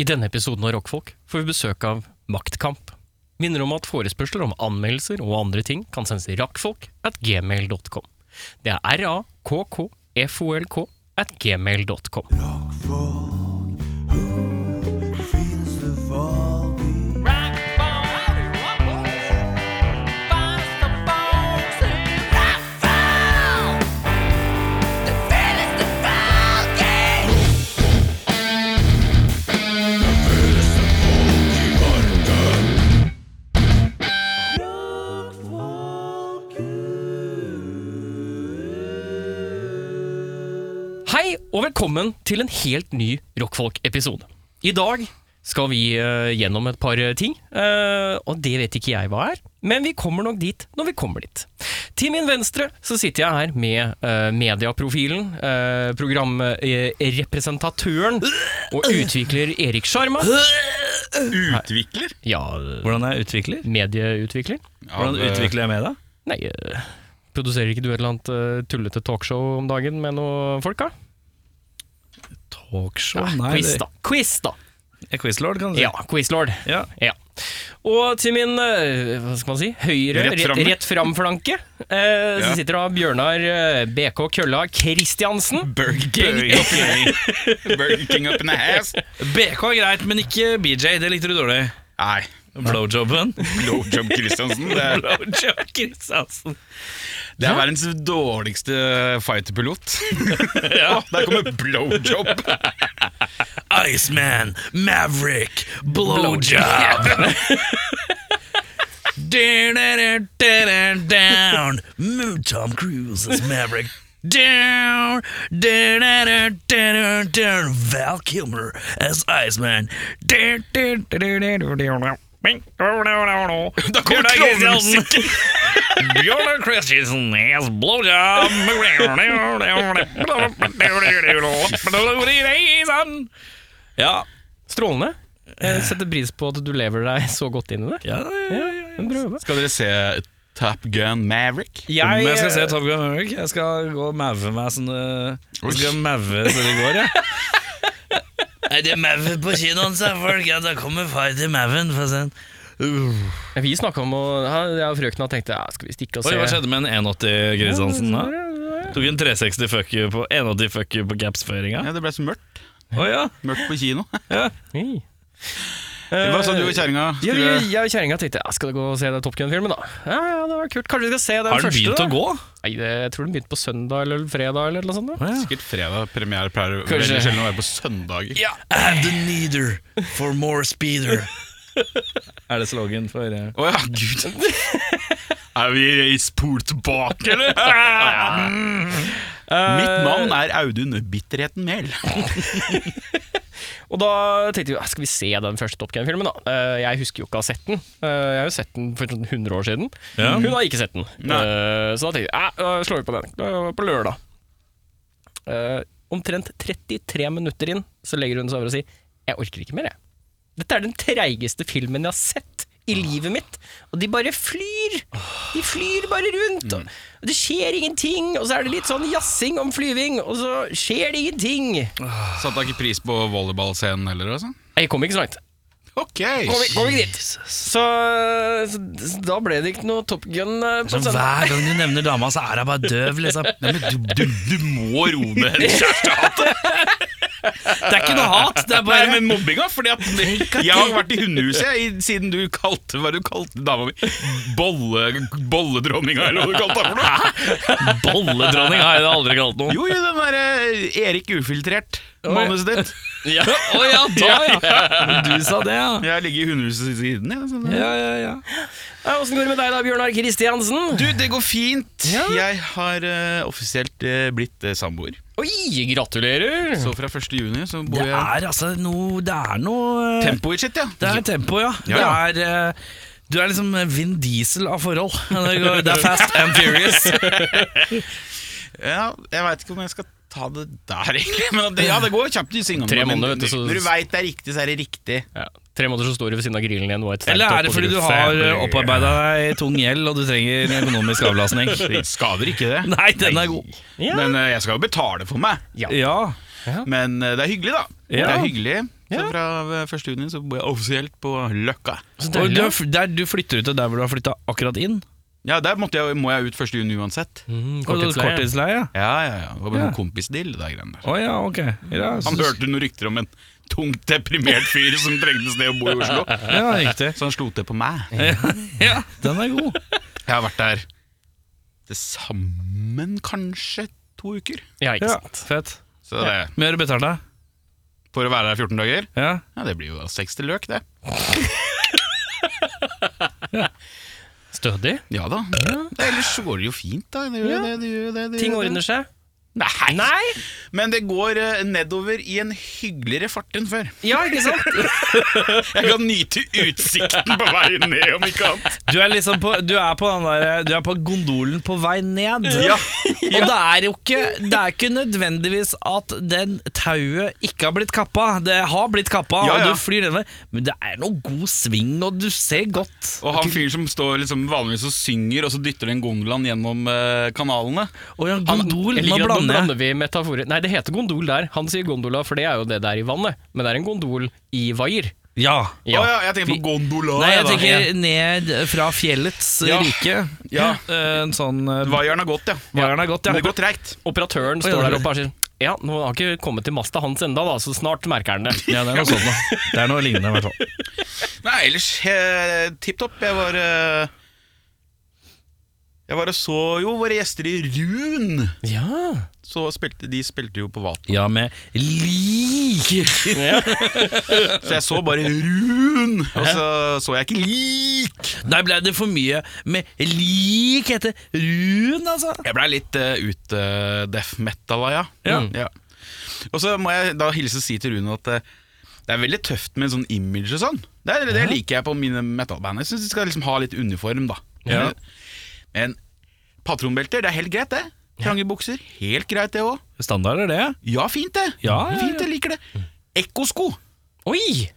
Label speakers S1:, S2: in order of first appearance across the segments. S1: I denne episoden av Rockfolk får vi besøk av Maktkamp. Minner om at forespørsler om anmeldelser og andre ting kan sendes til rakkfolk at gmail.com. Det er r-a-k-k-f-o-l-k at gmail.com. Hei og velkommen til en helt ny Rockfolk-episode. I dag skal vi eh, gjennom et par eh, ting, eh, og det vet ikke jeg hva er, men vi kommer nok dit når vi kommer dit. Til min venstre så sitter jeg her med eh, mediaprofilen, eh, programrepresentatøren og utvikler Erik Sjarma.
S2: Utvikler?
S1: Ja,
S3: Hvordan er jeg utvikler?
S1: medieutvikler.
S3: Hvordan utvikler jeg med deg?
S1: Nei, eh, produserer ikke du et eller annet eh, tullete talkshow om dagen med noen folk, da?
S3: Talkshow?
S1: Ja,
S3: Nei,
S1: quiz,
S3: det-
S1: da. Quiz, da.
S3: Jeg er quizlord, kan du si.
S1: Ja, quizlord.
S3: Ja.
S1: Ja. Og til min eh, hva skal man si, høyre,
S2: Rett framme.
S1: rett fram-flanke, eh,
S2: Ja.
S1: så sitter da Bjørnar eh, BK Kølla Kristiansen.
S2: Burger King. Burger King up in the ass.
S3: BK er greit, men ikke BJ. Det likte du dårlig.
S2: Nei,
S3: Blowjobben.
S2: blowjob Christiansen. Det, er-
S3: Blowjob Kristiansen.
S2: det er verdens dårligste fighterpilot. Å, Der kommer blowjob.
S3: Iceman, Maverick, blowjob. Down, Moon Tom Cruise as Maverick. Down, down, Val Kilmer as Iceman. Down, down, down, down, down.
S2: Da kommer klovnemusikk.
S3: Bjørnar Christensen has blowjob. Ja.
S1: Strålende. Jeg setter pris på at du lever deg så godt inn i det.
S3: ja, ja, ja.
S1: En prøve.
S2: Skal dere se Top Gun Maverick?
S3: Om jeg skal se
S1: Jeg,
S3: Top Gun Maverick, jeg skal gå og maue meg sånn øh, Jeg skal
S2: Oi.
S3: maue så det går, jeg. Nei, det er maue på kinoen, sa folk. Ja, da kommer far til mauen.
S1: eh, vi snakka om å ja, Jeg og frøkna tenkte ja, skal vi stikke og se
S3: Oi, hva skjedde med en 180 Grisansen da? Tok en 360 fuck you på 180 fuck you på gaps-føringa?
S2: Ja, det ble så mørkt.
S3: Å ja.
S2: Mørkt på kino.
S1: Hei. Eh,
S2: Hva sa
S3: sånn
S2: du og kjerringa?
S1: Ja, vi-
S2: Skulle-
S1: jeg og kjerringa tenkte ja, skal du gå og se den Top Gun-filmen, da. Ja, ja, det var kult. Kanskje vi skal se den
S3: Har den
S1: første?
S3: begynt
S1: da?
S3: å gå?
S1: Nei, det, jeg tror den begynte på søndag eller fredag eller noe sånt. da.
S2: Sikkert fredag. Premiere pleier
S1: Kanskje.
S2: veldig sjelden å være på søndager.
S1: Ja.
S3: I have the needer for more speeder. er det slogan for uh,
S2: Å ja, gud. Er vi i spor tilbake, eller? Mitt navn er Audun Bitterheten Mel.
S1: Og da tenkte vi ja, skal vi se den første Top Gun-filmen. da Eh, Jeg husker jo ikke å ha sett den. Eh, Jeg har jo sett den for sånn 100 år siden.
S3: Ja.
S1: Hun har ikke sett den.
S2: Nei.
S1: Eh, Så da tenkte vi ja, da slår vi på den. Det var På lørdag. Eh, Omtrent 33 minutter inn så legger hun seg over og sier 'Jeg orker ikke mer, jeg'. Dette er den treigeste filmen jeg har sett i livet mitt. Og de bare flyr! De flyr bare rundt. og- Og det skjer ingenting. Og så er det litt sånn jassing om flyving, og så skjer det ingenting.
S2: Satte da ikke pris på volleyballscenen heller? altså?
S1: Jeg kom ikke så langt.
S2: Ok!
S1: Kom, vi- kom ikke dit. Så, så da ble det ikke noe Top Gun eh, på søndag.
S3: Hver gang du nevner dama, så er hun bare døv, liksom.
S2: Nei, men du, du, du må roe ned det
S3: Det er ikke noe hat, det er
S2: Nei,
S3: bare
S2: men mobbinga. Fordi at jeg har vært i hundehuset jeg, i- siden du kalte hva du kalte dama mi. Bolle, bolledronninga, eller hva du kalte henne for noe.
S3: Bolledronning har jeg det aldri kalt noe.
S2: Jo, jo, den derre Erik Ufiltrert. Manuset ditt.
S3: Ja. Å ja, da, ja. Men Du sa det, ja.
S2: Jeg ligger i hundehuset siden, jeg. sånn.
S3: Ja, ja, ja.
S1: Ja, Åssen går det med deg da, Bjørnar Kristiansen?
S2: Du, det går fint.
S1: Ja.
S2: Jeg har eh, offisielt eh, blitt eh, samboer.
S1: Oi, gratulerer!
S2: Så fra 1. juni så bor
S3: Det
S2: jeg
S3: er altså noe Det er noe eh,
S2: Tempoet sitt, ja.
S3: Det er tempo, ja. Det
S2: Ja,
S3: er eh, Du er liksom Vin Diesel av forhold. Det går- det er fast and furious.
S2: Ja, jeg veit ikke om jeg skal ta det der, egentlig. Men det, ja, det går kjapt i svingene.
S1: Tre
S2: men
S1: måneder, vet du, så-
S2: Når du veit det er riktig, så er det riktig.
S1: Ja, tre måneder så står du ved siden av grillen igjen. og et sterkt
S3: Eller er det
S1: opp- og
S3: fordi du
S1: gruff.
S3: har eh, opparbeida deg tung gjeld og du trenger økonomisk avlastning?
S2: Det skader ikke det.
S3: Nei, den er god.
S1: Ja.
S2: Men eh, jeg skal jo betale for meg.
S1: Ja.
S3: Ja.
S1: Ja.
S2: Men eh, det er hyggelig, da.
S1: Ja.
S2: Det er hyggelig. Så
S1: Ja.
S2: fra eh, 1. juni så bor jeg offisielt på Løkka.
S1: Så
S3: Og
S1: deilig,
S3: du,
S1: da.
S3: har fl- der, du flytter ut til der hvor du har flytta akkurat inn?
S2: Ja, der måtte jeg, må jeg ut 1. juni uansett.
S1: Mm,
S3: Korttidsleie?
S1: korttidsleie.
S3: Korttidsleie.
S2: Ja, ja, ja. Det var bare
S3: Ja.
S2: noen kompisdeal, det der greiene der.
S3: Å ja, ok. Ja,
S2: Han
S3: så-
S2: hørte noen rykter om en tungt deprimert fyr som trengte sted å bo i Oslo.
S3: Ja, riktig.
S2: Så han slo til på meg.
S3: Ja, den er god.
S2: Jeg har vært der til sammen kanskje to uker.
S1: Ja, ikke
S3: Ja,
S1: sant.
S3: fett.
S2: Så det,
S3: Hvor mye har du betalt, da?
S2: for å være der 14 dager,
S3: Ja.
S2: ja, det blir jo da 60 løk, det.
S1: Stødig.
S2: Ja da. Det, ellers så går det jo fint, da. Det gjør jo det, det gjør jo det, det
S1: Ting
S2: gjør jo
S1: ordner
S2: det.
S1: seg.
S2: Nei.
S1: Nei!
S2: Men det går eh, nedover i en hyggeligere fart enn før.
S1: Ja, ikke sant?
S2: Jeg kan nyte utsikten på veien ned, om ikke annet.
S3: Du er liksom på, du er på, den der, du er på gondolen på vei ned.
S2: Ja.
S3: Og det er jo ikke, det er ikke nødvendigvis at den tauet ikke har blitt kappa. Det har blitt kappa,
S2: Ja, ja.
S3: og du flyr nedover. Men det er noe god sving, og du ser godt.
S2: Og han fyren som står liksom vanligvis og synger, og så dytter den gondolaen gjennom eh, kanalene.
S3: Og ja, gondol,
S1: Jeg
S3: nå
S1: liker at nå
S3: blander jeg.
S1: blander vi metaforer. Nei, det heter gondol der. Han sier gondola, for det er jo det der i vannet. Men det er en gondol i vaier.
S3: Ja.
S2: Å ja, jeg tenker på gondola.
S3: Nei, jeg
S2: da.
S3: tenker ned fra fjellets
S2: Ja.
S3: rike.
S2: Ja.
S3: Eh, En sånn eh,
S2: Vaieren har gått, ja.
S3: Vaieren har gått, ja.
S2: Det går treigt.
S1: Operatøren
S3: Oi,
S1: står
S3: ja.
S1: der oppe og sier Ja, nå har ikke kommet til masta hans enda da, så snart merker han det.
S3: Ja, det er noe sånt, da. Det er noe lignende, i hvert fall.
S2: Nei, ellers eh, tipp topp. Jeg var eh, Jeg var og så jo våre gjester i Run.
S1: Ja.
S2: Så spilte, de spilte jo på Vat.
S3: Ja, med lik.
S2: Så jeg så bare Run, og så så jeg ikke Lik.
S3: Der ble det for mye med lik etter Run, altså.
S2: Jeg blei litt eh, ut eh, death metal, ja. Mm.
S3: Ja.
S2: ja. Og så må jeg da hilse og si til Rune at eh, det er veldig tøft med en sånn image og sånn. Det, er- det liker jeg på mine metalband. Jeg syns de skal liksom ha litt uniform, da.
S3: Ja.
S2: Men patronbelter, det er helt greit, det. Trange bukser, helt greit det òg.
S3: Standard er det.
S2: Ja, fint det.
S3: Ja, Mm. ja, ja.
S2: Fint, jeg liker det. Ekkosko,
S1: Oi!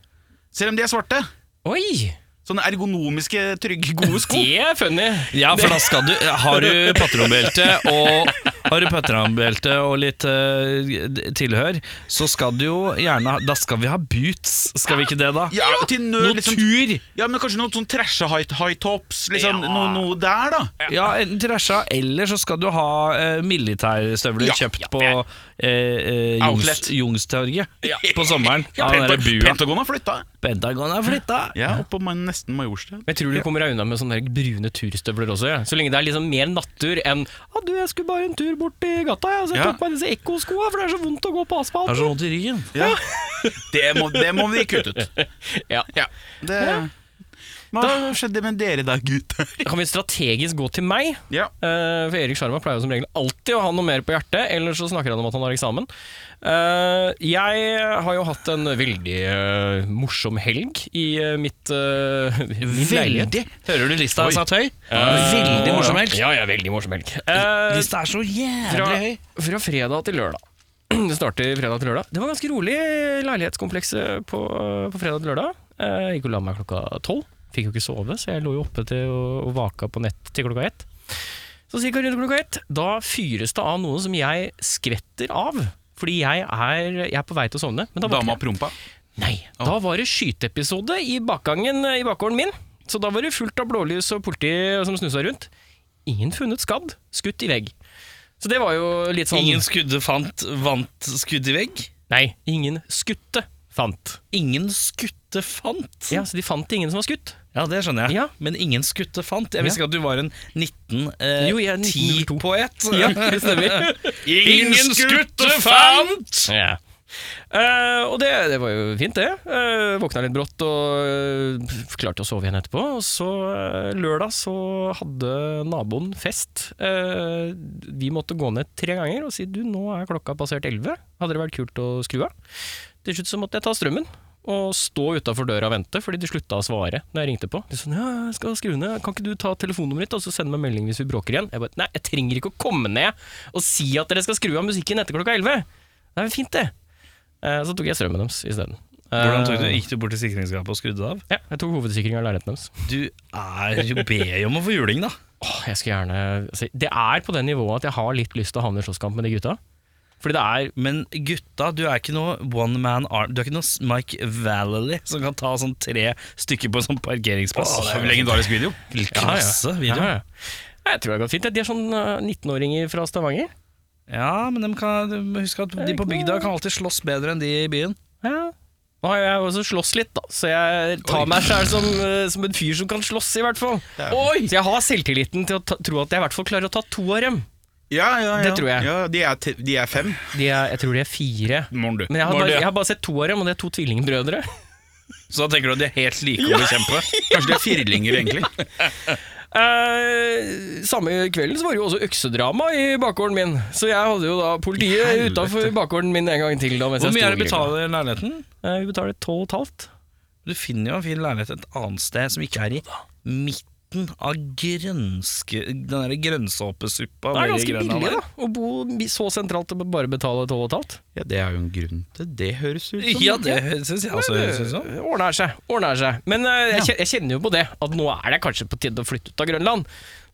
S2: selv om de er svarte.
S1: Oi!
S2: Sånne ergonomiske, trygge, gode sko.
S1: Det er funny.
S3: Ja, for da skal du Har du patronbelte og har du patronbelte og litt eh, tilhør, så skal du jo gjerne ha Da skal vi ha boots, skal vi ikke det, da?
S2: Ja, til nød,
S3: Noe
S2: liksom,
S3: tur!
S2: ja, men kanskje noen sånn trashe high, high tops, liksom. Noe, noe der, da.
S3: Ja, enten trasha, eller så skal du ha eh, militærstøvler
S2: Ja,
S3: kjøpt på eh, eh, Jungs,
S2: Outlet.
S3: Jungstorget på sommeren. Ja, den der
S2: Pentagon,
S3: bua.
S2: Pentagon har flytta.
S3: Pentagon er flytta.
S2: Ja, oppå man- nesten Majorstuen.
S1: Jeg tror du kommer deg unna med sånne der brune turstøvler også, ja. så lenge det er liksom mer nattur enn «Å du, jeg skulle bare en tur bort i gata, jeg, så jeg
S2: Ja.
S1: tok meg disse ekkoskoa, for det er så vondt å gå på asfalt.
S3: Har så vondt i ryggen.
S2: Ja. Det, må, det må vi kutte ut.
S1: Ja.
S2: Ja, det, Hva skjedde med dere da, gutter?
S1: Da kan vi strategisk gå til meg,
S2: Ja.
S1: Eh, for Erik Sjarma pleier jo som regel alltid å ha noe mer på hjertet, eller så snakker han om at han har eksamen. Eh, jeg har jo hatt en veldig eh, morsom helg i eh, mitt uh,
S3: Veldig. Hører du lista er satt høy? Veldig morsom helg.
S1: Ja, ja, veldig morsom helg. Eh,
S3: Lista er så
S1: fra,
S3: jævlig høy.
S1: fra fredag til lørdag. Det starter fredag til lørdag. Det var ganske rolig i leilighetskomplekset på, på fredag til lørdag. Eh, Jeg gikk og la meg klokka tolv. Fikk jo ikke sove, så jeg lå jo oppe til og, og vaka på nett til klokka ett. Så cirka rundt klokka ett, da fyres det av noe som jeg skvetter av. Fordi jeg er, jeg er på vei til å sovne. Men da våkner
S2: Dama prompa.
S1: Nei, da var det skyteepisode i bakgangen eh, i bakgården min. Så da var det fullt av blålys og politi som snusa rundt. Ingen funnet skadd, skutt i vegg. Så det var jo litt sånn
S3: Ingen skudde fant, vant skudd i vegg.
S1: Nei, ingen skutte fant.
S3: Ingen skutte fant.
S1: Ja, Så de fant ingen som var skutt.
S3: Ja, det skjønner jeg.
S1: Ja.
S3: Men ingen skutte fant. Jeg visste ikke at du var en 1910-poet. Eh,
S1: Jo, jeg er 1902.
S3: 10-poet.
S1: Ja, det stemmer.
S3: Ingen skutte fant!
S1: Ja. Eh, og det, det var jo fint, det. Eh, våkna litt brått og eh, klarte å sove igjen etterpå. Og så eh, lørdag så hadde naboen fest. Eh, vi måtte gå ned tre ganger og si du, nå er klokka passert 11. Hadde det vært kult å skru av? Til slutt så måtte jeg ta strømmen. Og stå utafor døra og vente, fordi de slutta å svare når jeg ringte på. De sånn, ja, jeg skal skru ned, Kan ikke du ta telefonnummeret ditt og så sende meg melding hvis vi bråker igjen? Jeg bare, nei, jeg trenger ikke å komme ned og si at dere skal skru av musikken etter klokka 11. Det er jo fint, det. Eh, Så tok jeg strømmen deres isteden. Eh,
S3: Hvordan tok du, Gikk du bort til sikringsskapet og skrudde det av?
S1: Ja, jeg tok hovedsikring av leiligheten deres.
S3: Du er jo ber om å få juling, da.
S1: Åh, jeg skulle gjerne altså, Det er på det nivået at jeg har litt lyst til å havne i slåsskamp med de gutta. Fordi det er
S3: Men gutta, du er ikke noe one man arm Du er ikke noe Mike Valley som kan ta sånn tre stykker på en sånn parkeringsplass.
S2: Åh, det er jo en legendarisk video.
S3: Klasse video.
S1: Ja, ja. Nei, Jeg tror det har gått fint. De er sånn eh, 19-åringer fra Stavanger.
S3: Ja, men de kan, de- husk at de på bygda kan alltid slåss bedre enn de i byen.
S1: Ja. Nå har jeg også slåss litt, da, så jeg tar
S2: Oi.
S1: meg sjæl som, eh, som en fyr som kan slåss, i hvert fall.
S2: Det er-
S1: Oi! Så jeg har selvtilliten til å ta, tro at jeg i hvert fall klarer å ta to av dem.
S2: Ja, ja, ja.
S1: Det tror jeg.
S2: Ja, de, er te- de er fem.
S1: De er, jeg tror de er fire.
S2: Morn, du.
S1: Men jeg har,
S3: Var
S1: bare,
S3: det-
S1: jeg har bare sett to av dem, og det er to tvillingbrødre.
S3: Så da tenker du at de er helt like å bekjempe?
S2: Kanskje de er firlinger, egentlig.
S1: Eh, samme kvelden så var det jo også øksedrama i bakgården min, så jeg hadde jo da politiet
S2: Helvete.
S1: utafor bakgården min en gang til. da mens
S3: Hvor
S1: jeg
S3: mye
S1: sto
S3: er det
S1: og grilla.
S3: betaler leiligheten?
S1: Eh, vi betaler tolv og et halvt.
S3: Du finner jo en fin leilighet et annet sted som ikke er i midten av grønske, den der
S1: Det
S3: grønnsåpesuppa.
S1: er
S3: med de
S1: ganske
S3: grønne
S1: billig
S3: der.
S1: da å bo så sentralt og bare betale tolv og et halvt.
S2: Ja, Det er jo en grunn til det, høres ut som.
S3: Ja, det syns jeg sånn. også høres ut som.
S1: Ordner seg. ordner seg Men eh, jeg, kje- jeg kjenner jo på det at nå er det kanskje på tide å flytte ut av Grønland.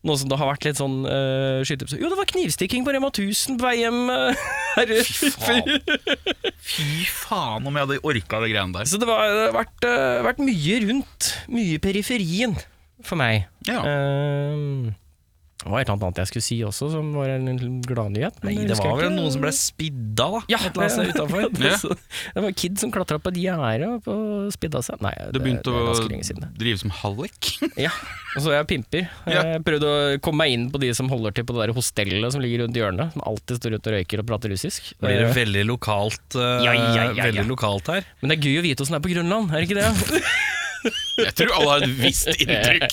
S1: Nå som det har vært litt sånn uh, skyteepisode Jo, det var knivstikking på Rema 1000 på vei hjem. eh, her.
S2: faen. Fy faen om jeg hadde orka det greiene der.
S1: Så det, var, det har vært, eh, vært mye rundt. Mye i periferien for meg.
S2: Ja.
S1: Eh, det var et eller annet annet jeg skulle si også, som var en gladnyhet.
S3: Nei, det var vel noen som ble spidda, da.
S1: Ja,
S3: et eller annet sted utenfor.
S1: det, det, det var en kid som klatra på et gjerde og på- spidda seg. Nei, det,
S2: Du begynte
S1: det er
S2: å
S1: ganske lenge siden. det.
S2: drive som hallik?
S1: Ja, og så er jeg pimper.
S2: Ja.
S1: Jeg prøvde å komme meg inn på de som holder til på det der hostellet som ligger rundt hjørnet, som alltid står rundt og røyker og prater russisk.
S3: Blir det veldig lokalt, eh,
S1: Ja, ja, ja, ja.
S3: Veldig lokalt her?
S1: Men det er gøy å vite åssen det er på Grønland, er det ikke det?
S2: Jeg tror alle har et visst inntrykk,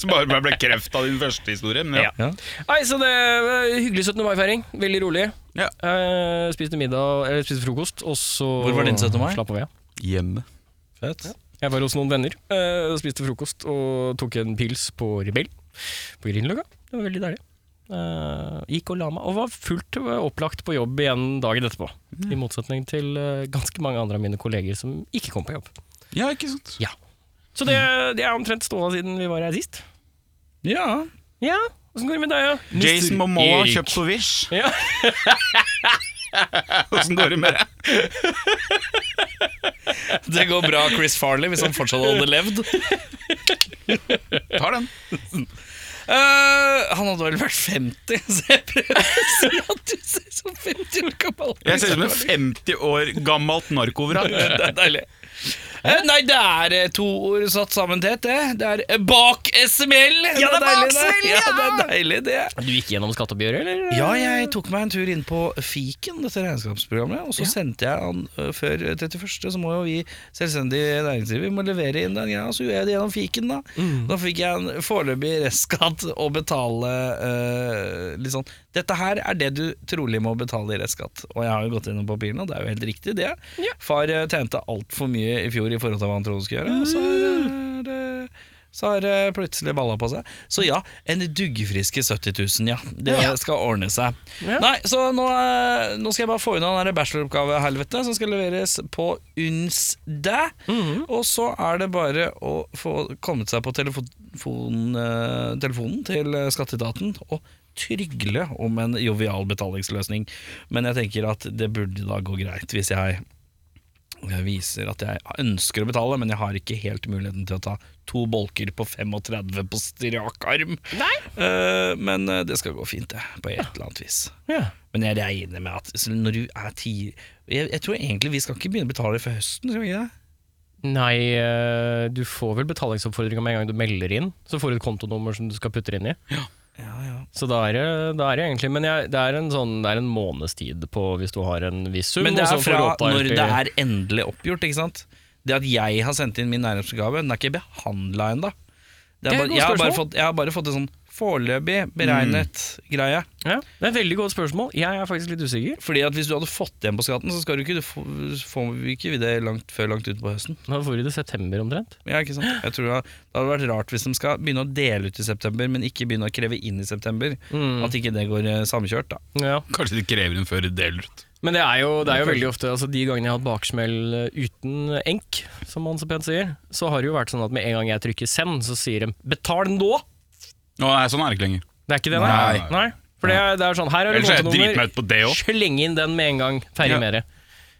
S2: som bare ble kreft av din første historie. Men ja.
S3: Ja.
S1: Nei, så det var hyggelig 17. mai-feiring. Veldig rolig.
S2: Ja.
S1: Eh, spiste middag, eller spiste frokost, og så
S3: Hvor var din 17. mai?
S1: Slapp av, ja.
S2: Hjemme.
S3: Fett.
S1: Jeg var hos noen venner, eh, spiste frokost og tok en pils på Rebell på Grünerløkka. Det var veldig deilig. Eh, gikk og la meg, og var fullt eh, opplagt på jobb igjen dagen etterpå.
S3: Mm.
S1: I motsetning til eh, ganske mange andre av mine kolleger som ikke kom på jobb.
S2: Ja, ikke sant?
S1: Så det,
S3: Mm.
S1: det er omtrent ståa siden vi var her sist.
S3: Ja.
S1: Ja, åssen går det med deg, da?
S2: Jason Momoa
S1: Erik.
S2: kjøpt på Wish.
S1: Ja.
S2: Åssen går det med deg?
S3: Det går bra, Chris Farley, hvis han fortsatt hadde levd.
S2: Tar den.
S3: Eh, han hadde vel vært 50, så jeg prøver å si at du ser som 50 år gammel ut.
S2: Jeg ser ut som en 50 år gammelt narkovrak.
S3: Det er deilig. Eh, nei, det er eh, to ord satt sammen til ett, det. Det er eh, bak SML.
S1: Ja, det er bak
S3: deilig,
S1: SML,
S3: Ja, det
S1: ja.
S3: er deilig, det.
S1: Du gikk gjennom skatteoppgjøret, eller?
S3: Ja, jeg tok meg en tur inn på Fiken, dette regnskapsprogrammet, og så sendte jeg han ø, før 31., så må jo vi selvstendige næringsdrivere må levere inn den greia, så gjorde jeg det gjennom Fiken, da. Da fikk jeg en foreløpig restskatt å betale ø, litt sånn Dette her er det du trolig må betale i restskatt, og jeg har jo gått gjennom papirene, og det er jo helt riktig, det.
S1: Ja.
S3: Far ø, tjente altfor mye i fjor i forhold til hva han trodde han skulle gjøre, og så er det- så har det plutselig balla på seg. Så ja, en duggfriske 70 000, ja. Det skal ordne seg.
S1: Ja.
S3: Nei, så nå, eh, nå skal jeg bare få unna den der bacheloroppgavehelvete som skal leveres på onsdag.
S1: Mhm.
S3: Og så er det bare å få kommet seg på telefon, eh, telefonen til eh, skatteetaten og trygle om en jovial betalingsløsning. Men jeg tenker at det burde da gå greit, hvis jeg jeg viser at jeg ønsker å betale, men jeg har ikke helt muligheten til å ta to bolker på 35 på strak arm.
S1: Nei.
S3: Eh, men eh, det skal gå fint, det, på et eller annet vis.
S1: Ja.
S3: Men jeg regner med at så når du er ti jeg, jeg tror egentlig vi skal ikke begynne å betale før høsten, skal vi ikke det?
S1: Nei, eh, du får vel betalingsoppfordringa med en gang du melder inn. Så får du et kontonummer som du skal putte inn i.
S3: Ja, ja.
S1: Så da er det, da er det egentlig Men jeg, det, er en sånn, det er en måneds tid på hvis du har en viss sum.
S3: Men det
S1: og
S3: er
S1: så får
S3: fra
S1: du opp
S3: når
S1: alt i-
S3: det er endelig oppgjort, ikke sant? Det at jeg har sendt inn min nærhetsgave, den er ikke behandla ennå. Det
S1: Det er et
S3: er bare-
S1: godt
S3: Jeg har bare
S1: spørsmål.
S3: fått- jeg har bare fått en sånn foreløpig beregnet greie.
S1: ja, Det er et veldig godt spørsmål. Jeg er faktisk litt usikker.
S3: Fordi at Hvis du hadde fått igjen på skatten, så skal du ikke, du får, får vi ikke det langt, før langt utpå høsten.
S1: Nå får du det i september omtrent.
S3: Ja, ikke sant? Jeg tror Det det hadde vært rart hvis de skal begynne å dele ut i september, men ikke begynne å kreve inn i september. At ikke det går eh, samkjørt. da
S1: Ja.
S2: Kanskje de krever en før de deler ut.
S1: Men det er jo, det er jo veldig ofte altså De gangene jeg har hatt baksmell eh, uten enk, som man så pent sier, så har det jo vært sånn at med en gang jeg trykker send, så sier de 'betal nå'!
S2: Å, nei, sånn er det ikke lenger.
S1: Det er ikke det, nei?
S2: Nei.
S1: nei. For det, er- det er sånn, her er det
S2: Ellers er jeg
S1: låtenummer.
S2: dritmett på det òg.
S1: Sleng inn den med en gang. Ferdig
S3: Ja.
S1: med det.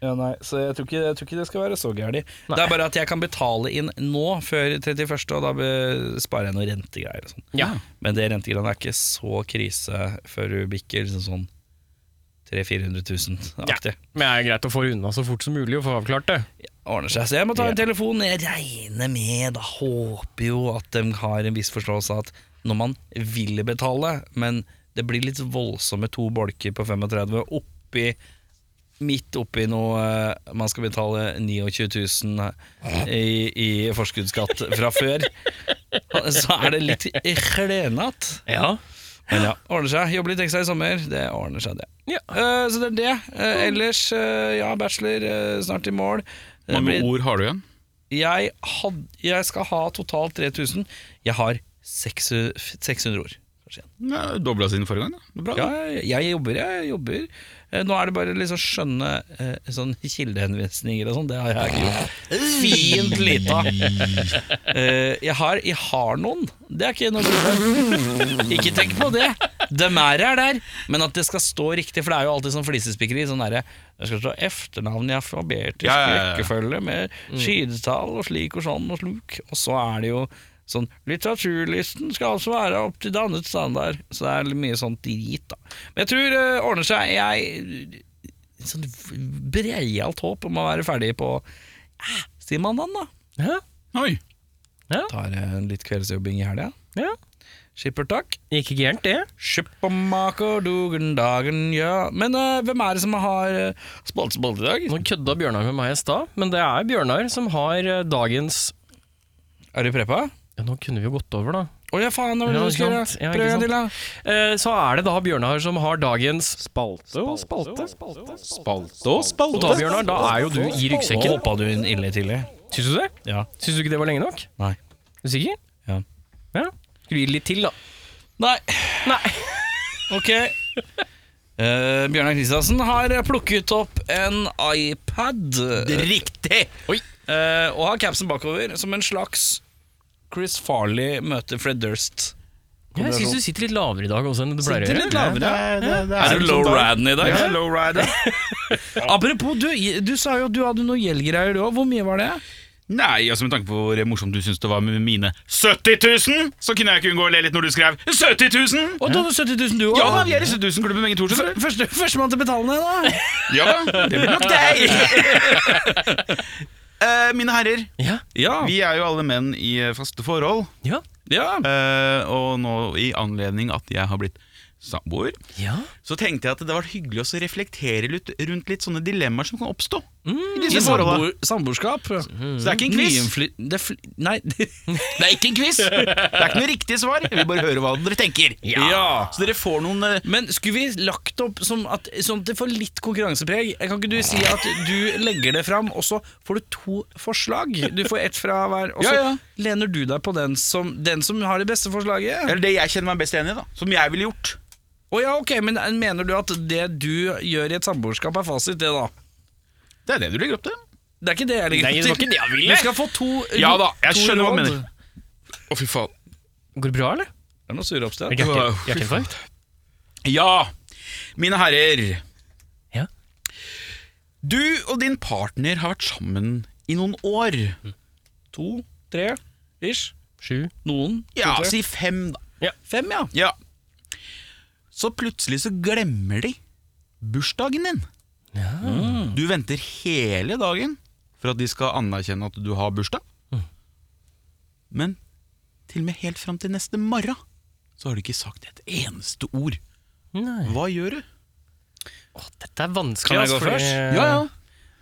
S3: Ja, nei, så jeg tror ikke, jeg tror ikke det skal være så gærent.
S1: Nei.
S3: Det er bare at jeg kan betale inn nå, før 31., og da be- sparer jeg noen rentegreier og sånn.
S1: Ja.
S3: Men det rentegreiene er ikke så krise før du bikker sånn, sånn 300 000-400 000 aktig.
S1: Men det er greit å få det unna så fort som mulig og få avklart det.
S3: Ordner seg. Så jeg må ta en telefon. Jeg regner med, da håper jo at de har en viss forståelse av at når man vil betale, men det blir litt voldsomme to bolker på 35 oppi Midt oppi noe eh, man skal betale 29 000 i, i forskuddsskatt fra før. Så er det litt klenete.
S1: Ja.
S3: Men ja, ordner seg. Jobbe litt ekstra i sommer. Det ordner seg, det.
S1: Ja.
S3: Eh, så det er det. Eh, ellers, eh, ja, bachelor eh, snart i mål. Det
S2: mange
S3: blir-
S2: ord har du igjen?
S3: jeg, had, jeg skal ha totalt 3000. Jeg har 600 600 ord. kanskje igjen.
S2: Ja, Dobla siden forrige gang. da. Det er Bra,
S3: Ja,
S2: da.
S3: jeg, jeg jobber, jeg jobber. Eh, Nå er det bare liksom skjønne eh, sånn kildehenvisninger og sånn. Det har jeg ikke gjort. Fint lita. Eh, jeg, har, jeg har noen. Det er ikke noe problem. Ikke tenk på det. Dem er her der. Men at det skal stå riktig, for det er jo alltid sånn flisespikkeri. Sånn derre Det skal stå efternavn i alfabetisk
S2: Ja, Mm. ja, ja, ja.
S3: rekkefølge med sidetall og slik og sånn og sluk. Og så er det jo sånn Litteraturlisten skal altså være opp til dannet standard. Så det er litt mye sånn drit, da. Men jeg tror det ordner seg. Jeg sånn breialt håp om å være ferdig på eh, Sier man den, da?
S1: Ja.
S2: Oi.
S3: Tar eh, en litt kveldsjobbing i helga.
S1: ja.
S3: Skippertak.
S1: Ikke gærent, det.
S3: Skippermaker dugen dagen, ja. Men eh, hvem er det som har uh, spalte spalte i dag?
S1: Nå kødda Bjørnar med meg i stad, men det er Bjørnar som har eh, dagens
S3: Er du preppa?
S1: ja, Nå kunne vi jo gått over, da.
S3: Å ja, faen, det var det
S1: Ja,
S3: du skulle
S1: ikke sant. Ja, ikke
S3: gjøre. Prøv en
S1: sant.
S3: til, da.
S1: Eh, Så er det da Bjørnar som har dagens Spalte og spalte.
S2: Spalte og
S1: Og da,
S2: spalte.
S1: Bjørnar, da er jo du i
S3: Nå
S1: ryggsekken.
S3: hoppa du inn ille tidlig.
S1: Syns du det?
S3: Ja.
S1: Syns du ikke det var lenge nok?
S3: Nei.
S1: Er du sikker?
S3: Ja.
S1: ja. Skal du gi det litt til, da?
S3: Nei.
S1: Nei.
S3: Ok. Eh, Bjørnar Kristiansen har plukket opp en iPad.
S2: Riktig!
S1: Oi.
S3: Eh, og har capsen bakover som en slags Chris Farley møter Fred Durst.
S1: Ja, jeg syns du sitter litt lavere i dag også enn du pleier å
S3: Sitter
S1: gjøre.
S3: litt lavere.
S2: Er, det, det liksom
S3: Er du low raden i dag?
S2: Ja, low rider.
S3: Apropos, du, du sa jo at du hadde noe gjeldgreier du òg. Hvor mye var det?
S2: Nei, altså med tanke på hvor morsomt du syns det var med mine 70 000, så kunne jeg ikke unngå å le litt når du skrev 70 000!
S3: Og du hadde 70 000 du òg?
S2: Ja da, vi er i 70 000-klubben begge to. skjønner du.
S3: Første, Førstemann til betalende, da.
S2: Ja da, det blir nok deg! Eh, mine herrer,
S1: Ja.
S3: Ja.
S2: vi er jo alle menn i eh, faste forhold.
S1: Ja.
S3: ja.
S2: eh, og nå i anledning at jeg har blitt samboer,
S1: ja.
S2: så tenkte jeg at det var hyggelig å så reflektere litt rundt litt sånne dilemmaer som kan oppstå. I
S3: I
S2: disse forholdene.
S3: samboer, samboerskap.
S2: Så det er ikke en quiz.
S3: Nyinfly- det fly, nei, det er ikke en quiz!
S2: Det er ikke noe riktig svar. Jeg vil bare høre hva dere tenker.
S3: Ja.
S2: Så dere får noen eh,
S3: Men skulle vi lagt opp som at, sånn at det får litt konkurransepreg? Kan ikke du si at du legger det fram, og så får du to forslag? Du får ett fra hver, og så
S2: Ja, ja.
S3: lener du deg på den som, den som har det beste forslaget?
S2: Eller det jeg kjenner meg best enig i, da. Som jeg ville gjort.
S3: Å ja, ok, men mener du at det du gjør i et samboerskap er fasit, det da?
S2: Det er det du legger opp til.
S3: Det er ikke det jeg legger
S1: Nei, det var ikke det jeg ville.
S3: Du skal få to eh,
S2: Ja da, jeg
S3: to
S2: skjønner hva du
S3: råd.
S2: mener. Å, fy faen.
S1: Går det bra, eller?
S3: Det er noe surroppstøt.
S1: Er det hjerte- Hjerteinfarkt?
S2: Ja, mine herrer.
S1: Ja.
S2: Du og din partner har vært sammen i noen år.
S3: To, tre, ish.
S1: Sju.
S3: Noen.
S2: Ja,
S3: to, tre.
S2: si fem, da.
S3: Fem, ja.
S2: Ja. Så plutselig så glemmer de bursdagen din.
S3: Mm.
S2: Du venter hele dagen for at de skal anerkjenne at du har bursdag.
S1: Mm.
S2: Men til og med helt fram til neste morgen så har du ikke sagt et eneste ord.
S1: Nei.
S2: Hva gjør du?
S1: Å, dette er vanskelig.
S3: Kan jeg
S1: ass,
S3: gå
S1: altså, fordi-
S3: først?
S2: Ja, ja.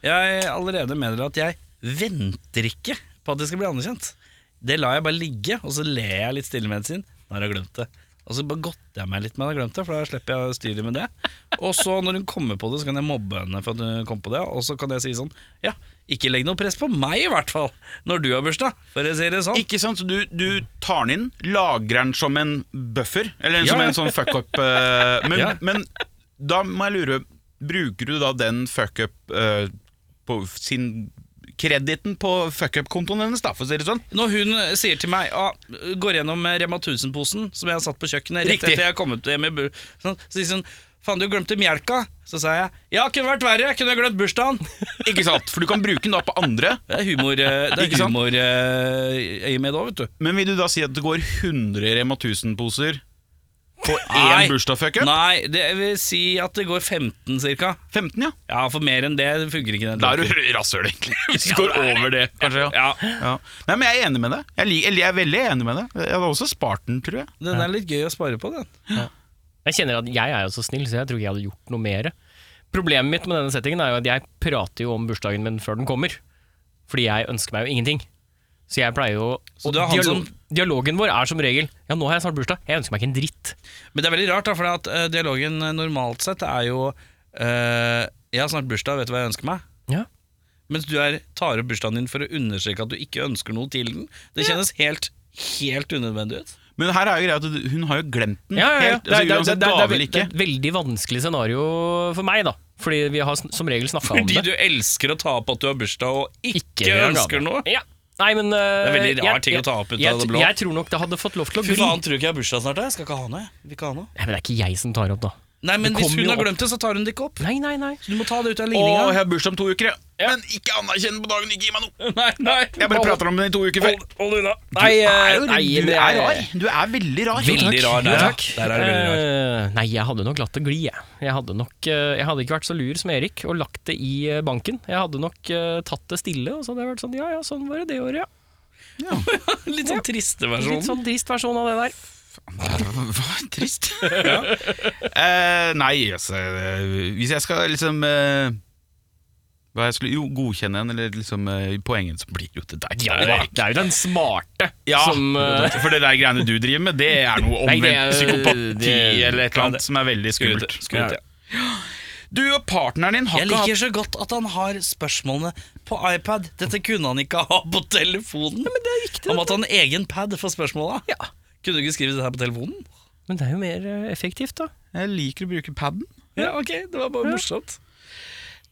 S3: Jeg allerede mener at jeg venter ikke på at det skal bli anerkjent. Det lar jeg bare ligge, og så ler jeg litt stille med det sin. Da har jeg glemt det. Og så bare godter jeg meg litt med at jeg har glemt det, for da slipper jeg å styre med det. Og så når hun kommer på det, så kan jeg mobbe henne for at hun kom på det, og så kan jeg si sånn Ja, ikke legg noe press på meg i hvert fall, når du har bursdag, for å si det sånn.
S2: Ikke sant, så du, du tar den inn, lagrer den som en buffer, eller
S3: Ja.
S2: som en sånn fuck-up. eh, men,
S3: Ja.
S2: men da må jeg lure, bruker du da den fuck-up eh, på sin krediten på fuckup-kontoen hennes, da, for å si det sånn.
S3: Når hun sier til meg ah, Går gjennom med Rema 1000-posen Som jeg har satt på kjøkkenet Rett
S2: Riktig.
S3: etter jeg har kommet hjem i bu sånn, Så sier hun Faen, du glemte melka Så sa jeg Ja, kunne vært verre Jeg kunne glemt bursdagen
S2: Ikke sant? For du kan bruke den da på andre.
S3: Det er humor eh, Det
S2: Ikke
S3: er
S2: sant?
S3: humor eh, i med da, vet du
S2: Men vil du da si at det går 100 Rema 1000-poser på
S3: Nei.
S2: én bursdagsfuckup?
S3: Nei, det vil si at det går 15 cirka
S2: 15, ja.
S3: Ja, for mer enn det funker ikke den
S2: Da er
S3: logikken.
S2: du rasshøl, egentlig. Hvis du går over det, kanskje. Ja.
S3: Ja,
S2: Ja. Nei, men jeg er enig med deg. Jeg, lik- eller jeg er veldig enig med deg. Jeg hadde også spart den, tror jeg.
S3: den er litt gøy å spare på den
S1: Jeg kjenner at jeg er jo så snill, så jeg tror ikke jeg hadde gjort noe mer. Problemet mitt med denne settingen er jo at jeg prater jo om bursdagen min før den kommer. Fordi jeg ønsker meg jo ingenting. Så jeg pleier jo
S3: Så
S1: og
S3: det er han som-
S1: Dialogen vår er som regel Ja, nå har jeg snart bursdag. Jeg ønsker meg ikke en dritt.
S3: Men det er veldig rart, da, for at eh, dialogen eh, normalt sett er jo eh, Jeg har snart bursdag, vet du hva jeg ønsker meg?
S1: Ja.
S3: Mens du er, tar opp bursdagen din for å understreke at du ikke ønsker noe til den. Det kjennes helt, helt unødvendig ut.
S2: Men her er jo greia at du- hun har jo glemt den.
S1: Ja, ja, ja.
S2: Helt, altså, uansett
S1: det,
S2: gave
S1: er,
S2: eller
S1: det er
S2: ikke.
S1: et veldig vanskelig scenario for meg, da. Fordi vi har sn- som regel snakka om
S3: Fordi
S1: det.
S3: du elsker å ta opp at du har bursdag og ikke,
S1: vil ha
S3: ønsker
S1: gave.
S3: noe.
S1: Ja. Nei, men, det
S3: er veldig rar ting å ta opp ut av det blå.
S1: Jeg tror nok det hadde fått lov til å
S3: Fy
S1: gli.
S3: faen, tror du ikke jeg har bursdag snart? Jeg Jeg skal ikke ha noe. jeg. Vil ikke ha noe.
S1: Nei, men det er ikke jeg som tar opp, da.
S3: Nei, men
S1: Det
S3: Hvis
S1: kommer
S3: hun
S1: jo
S3: har
S1: opp.
S3: glemt det, så tar hun det ikke opp.
S1: Nei, nei, nei.
S3: Så Du må ta det ut av
S2: Å, jeg
S3: ligninga.
S2: har bursdag om to uker, ja. Men ikke anerkjenn på dagen, ikke gi meg noe.
S3: Nei, nei.
S2: Jeg bare prater om den i to uker før.
S3: Hold, hold unna.
S1: Nei,
S2: Du
S1: eh,
S2: er, jo,
S1: nei,
S2: du
S1: det
S2: er rar. Du er veldig rar.
S3: Veldig rar der,
S1: Ja,
S3: ja.
S1: takk.
S3: Der er det veldig rar.
S1: Eh, nei, jeg hadde nok latt det gli, jeg. Jeg hadde, nok, eh, jeg hadde ikke vært så lur som Erik og lagt det i eh, banken. Jeg hadde nok eh, tatt det stille, og så hadde jeg vært sånn ja ja, sånn var det det året, ja.
S3: Litt sånn triste
S1: Litt
S3: versjon.
S1: sånn trist versjon av det der.
S2: Hva? Trist. Eh, nei, altså eh, Hvis jeg skal liksom eh, Hva jeg skulle Jo, godkjenne en, eller liksom eh, poengen, så blir det jo til deg.
S1: Ja, det, er, det er jo den smarte
S2: Ja,
S1: som eh,
S2: for det der greiene du driver med, det er noe
S1: Nei, det er-
S2: omvendt psykopati
S1: det-
S2: eller et eller annet som er veldig skummelt.
S3: Skummelt, ja.
S2: Du og partneren din har
S3: Jeg
S2: ikke hatt
S3: liker så godt at han har spørsmålene på iPad. Dette kunne han ikke ha på telefonen. men det er viktig Han måtte ha en egen pad for spørsmåla.
S1: Ja.
S3: Kunne du ikke skrive det her på telefonen?
S1: Men det er jo mer eh, effektivt, da.
S2: Jeg liker å bruke paden.
S3: Ja, ok, Det var bare morsomt.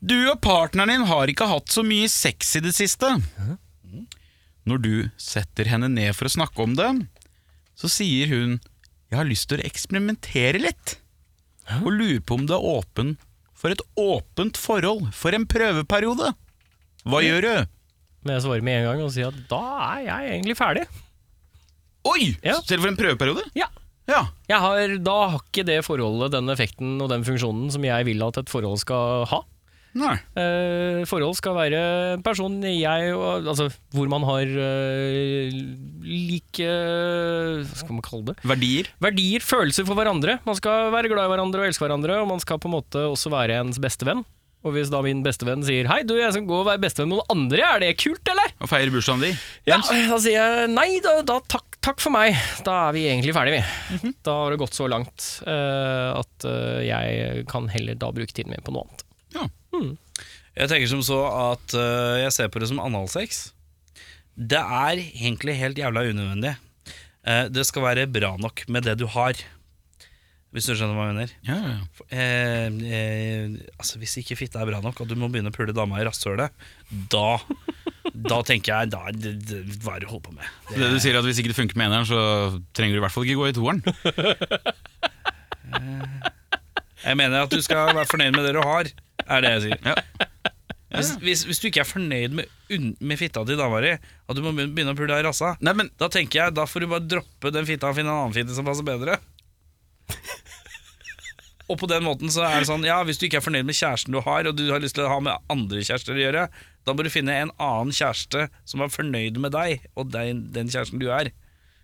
S2: Du og partneren din har ikke hatt så mye sex i det siste. Når du setter henne ned for å snakke om det, så sier hun 'jeg har lyst til å eksperimentere litt', og lurer på om du er åpen for et åpent forhold for en prøveperiode. Hva gjør du?
S1: Men jeg svarer med en gang og sier at da er jeg egentlig ferdig.
S2: Oi!
S1: Ja.
S2: Selv for en prøveperiode?
S1: Ja.
S2: Ja.
S1: Jeg har, da har ikke det forholdet den effekten og den funksjonen som jeg vil at et forhold skal ha.
S2: Nei.
S1: Eh, forhold skal være en person jeg og, Altså hvor man har eh, like Hva skal man kalle det?
S2: Verdier?
S1: Verdier, følelser for hverandre. Man skal være glad i hverandre og elske hverandre, og man skal på en måte også være ens bestevenn. Og hvis da min bestevenn sier 'hei, du, jeg skal gå og være bestevenn med noen andre', er det kult, eller?
S2: Og feire bursdagen din?
S1: Ja, da sier jeg nei, da, da takk, takk for meg. Da er vi egentlig ferdige, vi. Da har det gått så langt eh, at eh, jeg kan heller da bruke tiden min på noe annet.
S2: Ja.
S3: Jeg tenker som så at øh, jeg ser på det som analsex. Det er egentlig helt jævla unødvendig. Eh, det skal være bra nok med det du har, hvis du skjønner hva jeg mener.
S2: ja, ja.
S3: Eh, eh, altså Hvis ikke fitte er bra nok, og du må begynne å pule dama i rasshølet, da Da tenker jeg da, det, det, Hva er det du holder på med?
S2: Så Det du sier at Hvis ikke det funker med eneren, så trenger du i hvert fall ikke gå i toeren.
S3: Jeg mener at du skal være fornøyd med det du har, er det jeg sier.
S2: Ja.
S3: Hvis, hvis, hvis du ikke er fornøyd med, unn- med fitta til dama di, og du må begynne begynne å pule i rassa,
S2: Nei, men
S3: da tenker jeg da får du bare droppe den fitta og finne en annen fitte som passer bedre. Og på den måten så er det sånn Ja, hvis du ikke er fornøyd med kjæresten du har, og du har lyst til å ha med andre kjærester å gjøre, da må du finne en annen kjæreste som er fornøyd med deg og den, den kjæresten du er.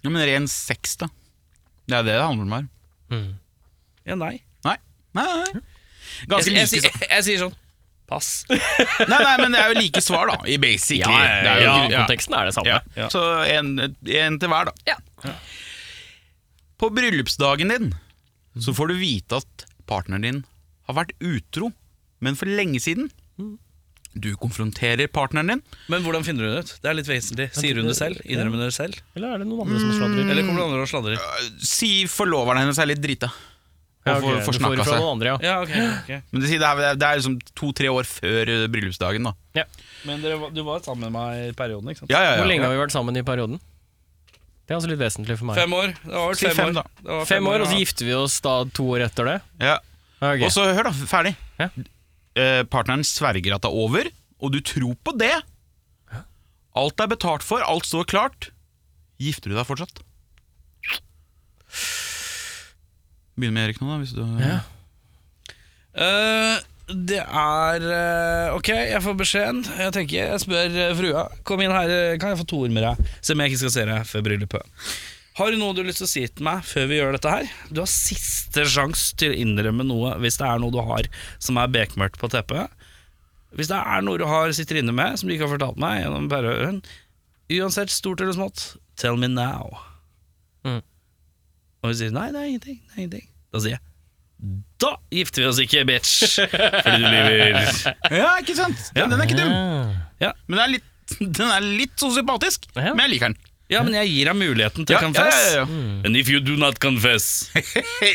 S2: Ja, men ren sex, da. Det er det det handler om her.
S1: Mm.
S3: Ja, nei.
S2: Nei. Nei, nei. Ganske
S3: Jeg, jeg,
S2: like
S3: jeg, jeg, jeg sier sånn Pass.
S2: svar. Nei, nei, men det er jo like svar, da. I basically. Det er jo- ja.
S1: konteksten er det samme.
S2: Ja. Så en, en til hver, da. På bryllupsdagen din så får du vite at partneren din har vært utro, men for lenge siden. Du konfronterer partneren din.
S3: Men hvordan finner du det ut? Det er litt vesentlig. Sier hun det selv? Innrømmer hun det selv?
S1: Mm. Eller er det noen andre som sladrer?
S3: Eller kommer det andre og sladrer?
S2: Si forloveren hennes er litt drita. Og
S1: Ja, ok,
S2: får, får
S1: du får det
S2: snakka
S1: fra
S2: seg.
S1: noen andre, ja.
S3: Ja, ok, ok.
S2: Men det, sier- det er, det er liksom to-tre år før eh, bryllupsdagen, da.
S1: ja.
S3: Men dere, var- du var sammen med meg i perioden, ikke sant?
S2: Ja, ja, ja.
S1: Hvor lenge har vi vært sammen i perioden? Det er også litt vesentlig for meg.
S3: Fem år. Det var vel
S2: Si
S3: fem,
S2: fem,
S3: år.
S2: da.
S3: Det var
S1: Fem år, og så
S3: ja.
S1: gifter vi oss da to år etter det?
S2: Ja.
S1: Ok.
S2: Og så, hør da, ferdig.
S1: Ja.
S2: Eh, partneren sverger at det er over, og du tror på det. Alt er betalt for, alt står klart. Gifter du deg fortsatt? Begynn med Erik nå, da. Hvis du,
S1: Ja.
S3: Eh, det er eh, Ok, jeg får beskjeden. Jeg tenker, jeg spør eh, frua. Kom inn her, eh, kan jeg få to ord med deg? Se om jeg ikke skal se deg før bryllupet. Har du noe du har lyst til å si til meg før vi gjør dette her? Du har siste sjanse til å innrømme noe hvis det er noe du har som er bekmørkt på teppet. Hvis det er noe du har sitter inne med som du ikke har fortalt meg gjennom perøren, uansett stort eller smått, tell me now.
S1: Mm.
S3: Og hun sier nei, det er ingenting. Det er ingenting. Da sier jeg da gifter vi oss ikke, bitch! Fordi du lyver.
S2: ja, ikke sant? Den, den er ikke dum.
S1: Ah.
S2: Men den er litt, den er litt sosiopatisk,
S1: Ja.
S2: men jeg liker den.
S3: Ja, men jeg gir deg muligheten til
S2: Ja,
S3: å confess.
S2: ja, ja, ja.
S1: Mm.
S3: And if you do not confess,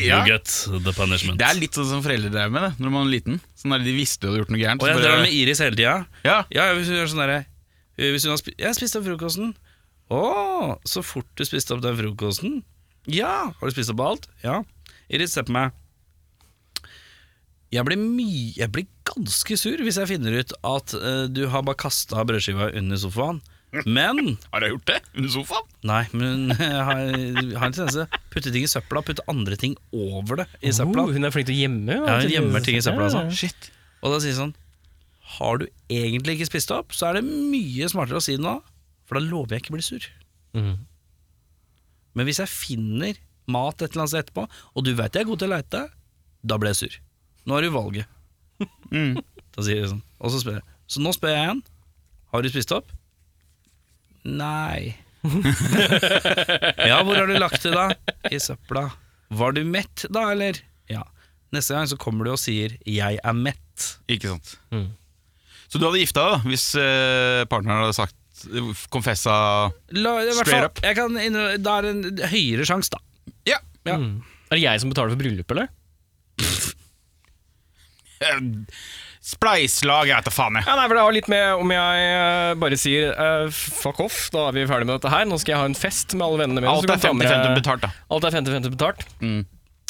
S2: Ja.
S3: you get the punishment.
S2: Det er litt sånn som foreldre drev med det når man var liten. Sånn der, De visste du hadde gjort noe gærent.
S3: Og jeg
S2: så
S3: drar
S2: bare-
S3: med Iris hele tida.
S2: ja.
S3: Ja, hvis hun gjør sånn derre eh, Hvis hun har spist Jeg spiste opp frokosten. Å, så fort du spiste opp den frokosten. Ja. Har du spist opp alt? Ja. Iris, se på meg. Jeg blir, my jeg blir ganske sur hvis jeg finner ut at eh, du har bare kasta brødskiva under sofaen. Men
S2: Har jeg gjort det? Under sofaen?
S3: Nei, men jeg har, jeg har en tendens til å putte ting i søpla, putte andre ting over det i søpla.
S1: Oh, hun er flink til å gjemme.
S3: Ja, hun gjemmer ting i søpla, altså.
S2: Shit.
S3: Og da sier jeg sånn Har du egentlig ikke spist opp, så er det mye smartere å si det nå, for da lover jeg ikke å bli sur.
S1: Mhm.
S3: Men hvis jeg finner mat et eller annet sted etterpå, og du veit jeg er god til å leite, da blir jeg sur. Nå har du valget.
S2: Mm.
S3: Da sier jeg sånn. Og så spør jeg. Så nå spør jeg igjen. Har du spist opp? Nei. ja, hvor har du lagt det, da? I søpla. Var du mett da, eller? Ja. Neste gang så kommer du og sier 'jeg er mett'.
S2: Ikke sant.
S1: Mm.
S2: Så du hadde gifta deg da, hvis eh, partneren hadde sagt Konfessa
S3: La, i hvert
S2: Straight
S3: fall,
S2: up.
S3: Jeg kan innrø- det er en høyere sjanse, da.
S2: Ja!
S3: Ja.
S1: Mm. Er det jeg som betaler for bryllupet, eller?
S2: eh, Spleiselag, jeg vet da faen jeg.
S1: Ja, nei, for Det har litt med om jeg eh, bare sier eh, fuck off, da er vi ferdig med dette her. Nå skal jeg ha en fest med alle vennene mine. så
S2: Alt
S1: du
S2: er
S1: kan ta med-
S2: 50-50 betalt, da.
S1: Alt er 50-50 betalt.
S2: Mm.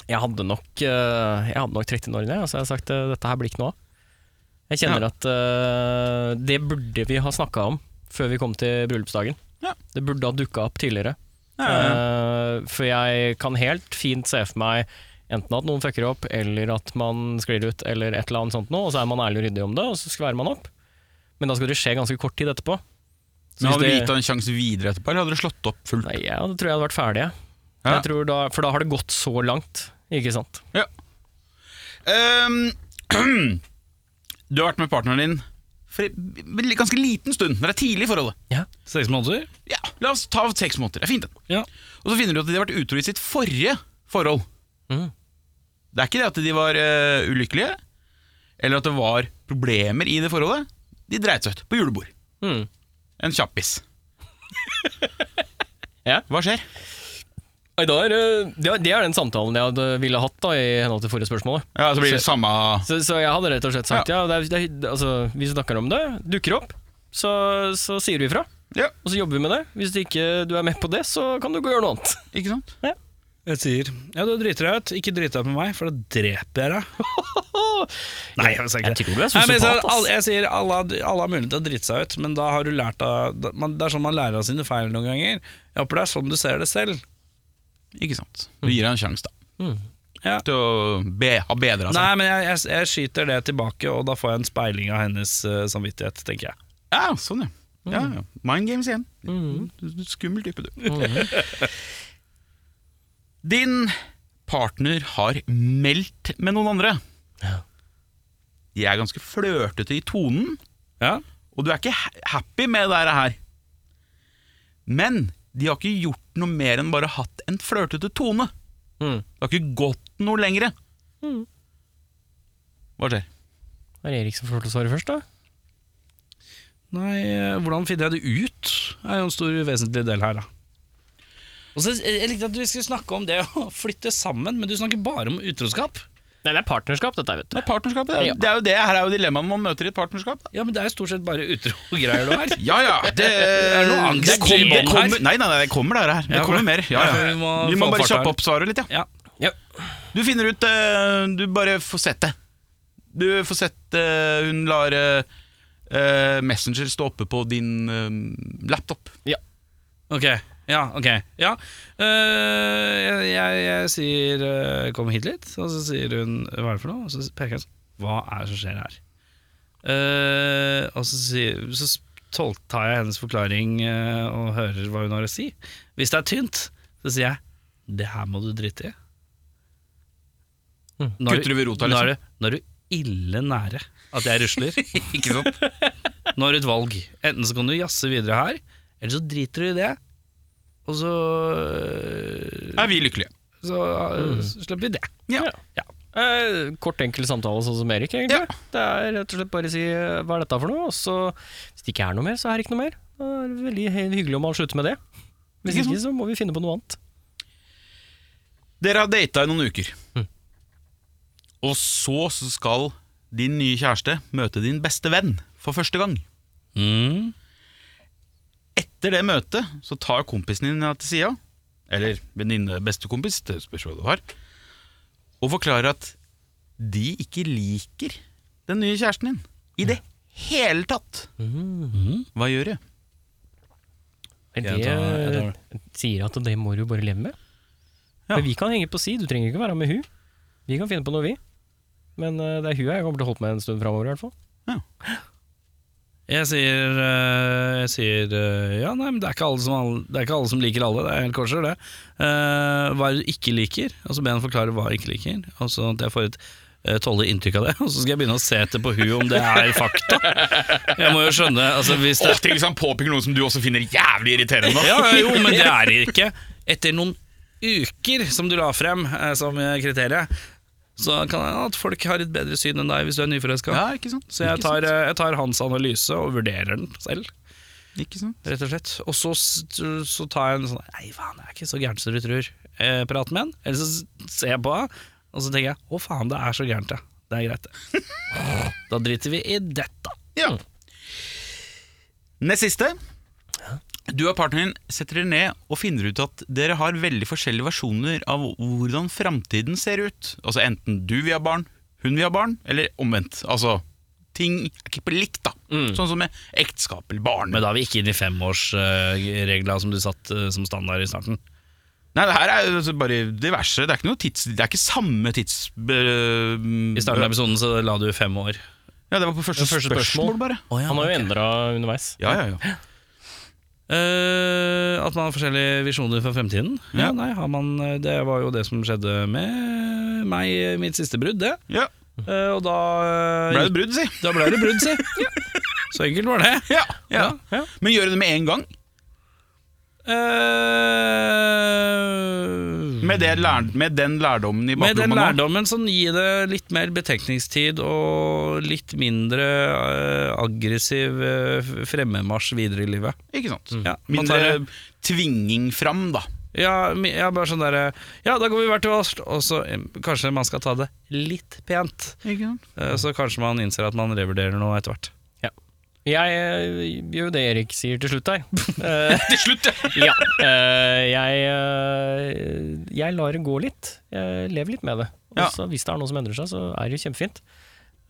S1: Jeg hadde nok, eh, jeg hadde nok 13 år inne, så jeg har sagt eh, dette her blir ikke noe av. Jeg kjenner at eh, det burde vi ha snakka om før vi kom til bryllupsdagen.
S2: Ja.
S1: Det burde ha dukka opp tidligere.
S2: Ja, ja,
S1: Eh, for jeg kan helt fint se for meg enten at noen fucker opp, eller at man sklir ut, eller et eller annet sånt noe, og så er man ærlig og ryddig om det, og så skværer man opp. Men da skal det skje ganske kort tid etterpå.
S2: Men
S1: hvis
S2: Hadde du
S1: det-
S2: gitt deg en sjanse videre etterpå, eller hadde du slått opp fullt?
S1: Nei, ja, det tror jeg hadde vært ferdig, jeg.
S2: Ja.
S1: Jeg tror da, for da har det gått så langt, ikke sant?
S2: Ehm, du har vært med partneren din for en ganske liten stund, men det er tidlig i forholdet.
S3: Seks måneder?
S2: Ja, La oss ta seks måneder. Det er fint, det.
S3: Ja.
S2: Og så finner du at de har vært utro i sitt forrige forhold.
S1: Mhm.
S2: Det er ikke det at de var eh, ulykkelige, eller at det var problemer i det forholdet. De dreit seg ut på julebord.
S1: Mm.
S2: En kjappis.
S1: Ja.
S2: Hva skjer?
S1: Nei, da er, det- det er- det er den samtalen jeg hadde, ville hatt da, i henhold til forrige spørsmål.
S2: Ja, Så blir det samme
S1: Så, så jeg hadde rett og slett sagt ja, det er, det er, altså, hvis du snakker om det, dukker opp, så, så sier vi ifra.
S2: Ja,
S1: Og så jobber vi med det. Hvis du ikke du er med på det, så kan du gå og gjøre noe annet.
S2: ikke sant?
S3: Jeg sier ja, du driter deg ut. Ikke drit deg ut med meg, for da dreper jeg deg. Nei, jeg sa ikke det.
S1: tror du er
S3: Nei, men jeg, sier, alle, jeg sier alle, har- alle har mulighet til å drite seg ut, men da har du lært av da- man, Det er sånn man lærer av sine feil noen ganger. Jeg håper det er sånn du ser det selv.
S2: Ikke sant. Du gir deg en sjanse, da.
S1: Mm.
S3: Ja.
S2: Til å be, ha altså. bedra seg.
S3: Nei, men jeg, jeg, jeg skyter det tilbake, og da får jeg en speiling av hennes eh, samvittighet, tenker jeg.
S2: Ja, sånn, ja.
S1: Mm.
S2: ja, ja. Mind games igjen.
S1: Mhm.
S2: Du- du- Skummel type, du.
S1: Mm.
S2: Din partner har meldt med noen andre.
S1: Ja.
S2: De er ganske flørtete i tonen,
S3: Ja,
S2: og du er ikke ha- happy med det her. Men de har ikke gjort noe mer enn bare hatt en flørtete tone.
S1: Mm.
S2: Det har ikke gått noe lengre.
S1: Mhm.
S2: Hva skjer?
S1: Er det Erik som får lov til å svare først, da?
S3: Nei, eh, hvordan finner jeg det ut? er jo en stor vesentlig del her, da. Og så, jeg jeg likte at du skulle snakke om det å flytte sammen, men du snakker bare om utroskap.
S1: Nei, det er partnerskap, dette, vet du.
S2: Det er partnerskapet. Det er,
S1: Ja.
S2: jo- det er jo det her er jo dilemmaet man møter i et partnerskap.
S3: Ja, men det er jo stort sett bare utro-greier du har.
S2: Ja ja, det
S3: Er det noe angst
S2: det kom-
S1: igjen
S2: det kommer-
S3: her?
S2: Nei, nei, nei, det kommer der her. Det
S3: Ja, for
S2: kommer
S3: det.
S2: mer. Ja,
S3: Ja,
S2: ja.
S3: for vi må
S2: Vi må
S3: få
S2: bare
S3: fart her.
S2: kjappe opp svaret litt, ja.
S3: Ja.
S1: Ja.
S2: Du finner ut eh, Du bare får sett det. Du får sett eh, Hun lar eh, eh, Messenger stå oppe på din eh, laptop.
S3: Ok, ja, ok ja. Eh, jeg, jeg, jeg sier eh, 'kom hit litt', og så sier hun 'hva er det for noe?' Og så peker jeg sånn 'hva er det som skjer her?' Eh, og så, sier, så s- tol- tar jeg hennes forklaring eh, og hører hva hun har å si. Hvis det er tynt, så sier jeg 'det her må du drite i'.
S1: Mm.
S3: Nå er
S2: Kutter du ved rota, liksom.
S3: nå er du- Nå er du ille nære at jeg rusler.
S2: Ikke sant?
S3: Nå har du et valg. Enten så kan du jazze videre her, eller så driter du i det. Og så
S2: Er vi lykkelige?
S3: Så øh, slipper vi det.
S2: Ja.
S1: Eh, kort, enkel samtale, sånn som Erik, egentlig.
S2: Ja.
S1: Det er rett og slett bare å si eh, 'hva er dette for noe?' Og så, hvis det ikke er noe mer, så er det ikke noe mer. Da er det veldig he- hyggelig om man slutter med det. Hvis
S2: Ikke
S1: ikke, så må vi finne på noe annet.
S2: Dere har data i noen uker.
S3: Mm.
S2: Og så skal din nye kjæreste møte din beste venn for første gang.
S3: Mm.
S2: Etter det møtet så tar kompisen din henne til sida, eller venninne, bestekompis, det spørs hva du har, og forklarer at de ikke liker den nye kjæresten din i det hele tatt. Hva gjør du?
S1: Men
S3: Mhm. Jeg
S1: det
S3: tar- jeg tar
S1: eh, sier at det må du bare leve med.
S2: Ja.
S1: Men vi kan henge på si, du trenger ikke være med hun. Vi kan finne på noe, vi. Men eh, det er hun jeg kommer til å holde på med en stund framover, i hvert fall.
S3: Jeg sier, øh, jeg sier øh, Ja, nei, men det er, ikke alle som, alle- det er ikke alle som liker alle. Det er helt korser, det. Eh, hva er det du ikke liker? Og så ber jeg han forklare hva jeg ikke liker. Og så at jeg får et øh, tolve inntrykk av det. Og så skal jeg begynne å se etter på hun om det er fakta. Jeg må jo skjønne altså, hvis det,
S2: tenk hvis han påpeker noe som du også finner jævlig irriterende.
S3: Ja, ja, jo, men det er det ikke. Etter noen uker som du la frem eh, som eh, kriteriet, så kan det hende at folk har et bedre syn enn deg hvis du er nyforelska.
S2: Ja, ikke sant?
S3: Så jeg
S2: Ikke
S3: tar,
S2: sant?
S3: eh, jeg tar hans analyse og vurderer den selv, eh,
S2: Ikke sant?
S3: rett og slett. Og så, s- så tar jeg en sånn Nei, faen, jeg er ikke så gæren som du tror. Eh, prat med han. Eller så s- ser jeg på han, og så tenker jeg å faen, det er så gærent, ja. Det er greit, det. Da driter vi i dette.
S2: Ja. Nest siste. Du og partneren setter dere ned og finner ut at dere har veldig forskjellige versjoner av hvordan framtiden ser ut. Altså Enten du vil ha barn, hun vil ha barn, eller omvendt. Altså, ting er ikke på likt, da. Sånn som med ekteskap eller barn.
S3: Men da er vi ikke inne i femårsregla som du satte som standard i starten.
S2: Nei, det her er jo altså bare diverse. Det er ikke, noe tids, det er ikke samme tids... øh,
S3: I starten av episoden så la du fem år.
S2: Ja, det var på første,
S1: Det var første
S2: spørsmål,
S1: spørsmål.
S2: bare.
S1: Han har jo endra underveis.
S2: Ja, ja, ja.
S3: Eh, at man har forskjellige visjoner for fremtiden. Ja,
S2: Ja.
S3: nei, har man, eh, Det var jo det som skjedde med meg i mitt siste brudd, det.
S2: ja.
S3: Eh, og da
S2: Ble det brudd, si?
S3: Da ble det brudd, si. Så enkelt var det.
S2: Ja, ja.
S1: Ja.
S2: Men gjør du det med en gang?
S3: Eh,
S2: Med, det lær, med den lærdommen i
S3: med den
S2: baklomma nå?
S3: lærdommen sånn gi det litt mer betenkningstid og litt mindre eh, aggressiv eh, f- fremmedmarsj videre i livet.
S2: Ikke sant?
S3: Ja, Mm. man
S2: Mindre
S3: tar det-
S2: tvinging fram, da.
S3: Ja, mi- ja, bare sånn der, ja, da går vi hver til oss, og så eh, kanskje man skal ta det litt pent.
S2: Ikke sant?
S3: Eh, Så kanskje man innser at man revurderer noe etter hvert.
S1: Jeg eh, gjør jo det Erik sier til slutt her. Eh,
S2: Til slutt,
S1: ja.
S2: ja!
S1: eh, jeg, eh, jeg lar det gå litt. Jeg lever litt med det. Og
S2: Ja.
S1: så hvis det er noe som endrer seg, så er det jo kjempefint.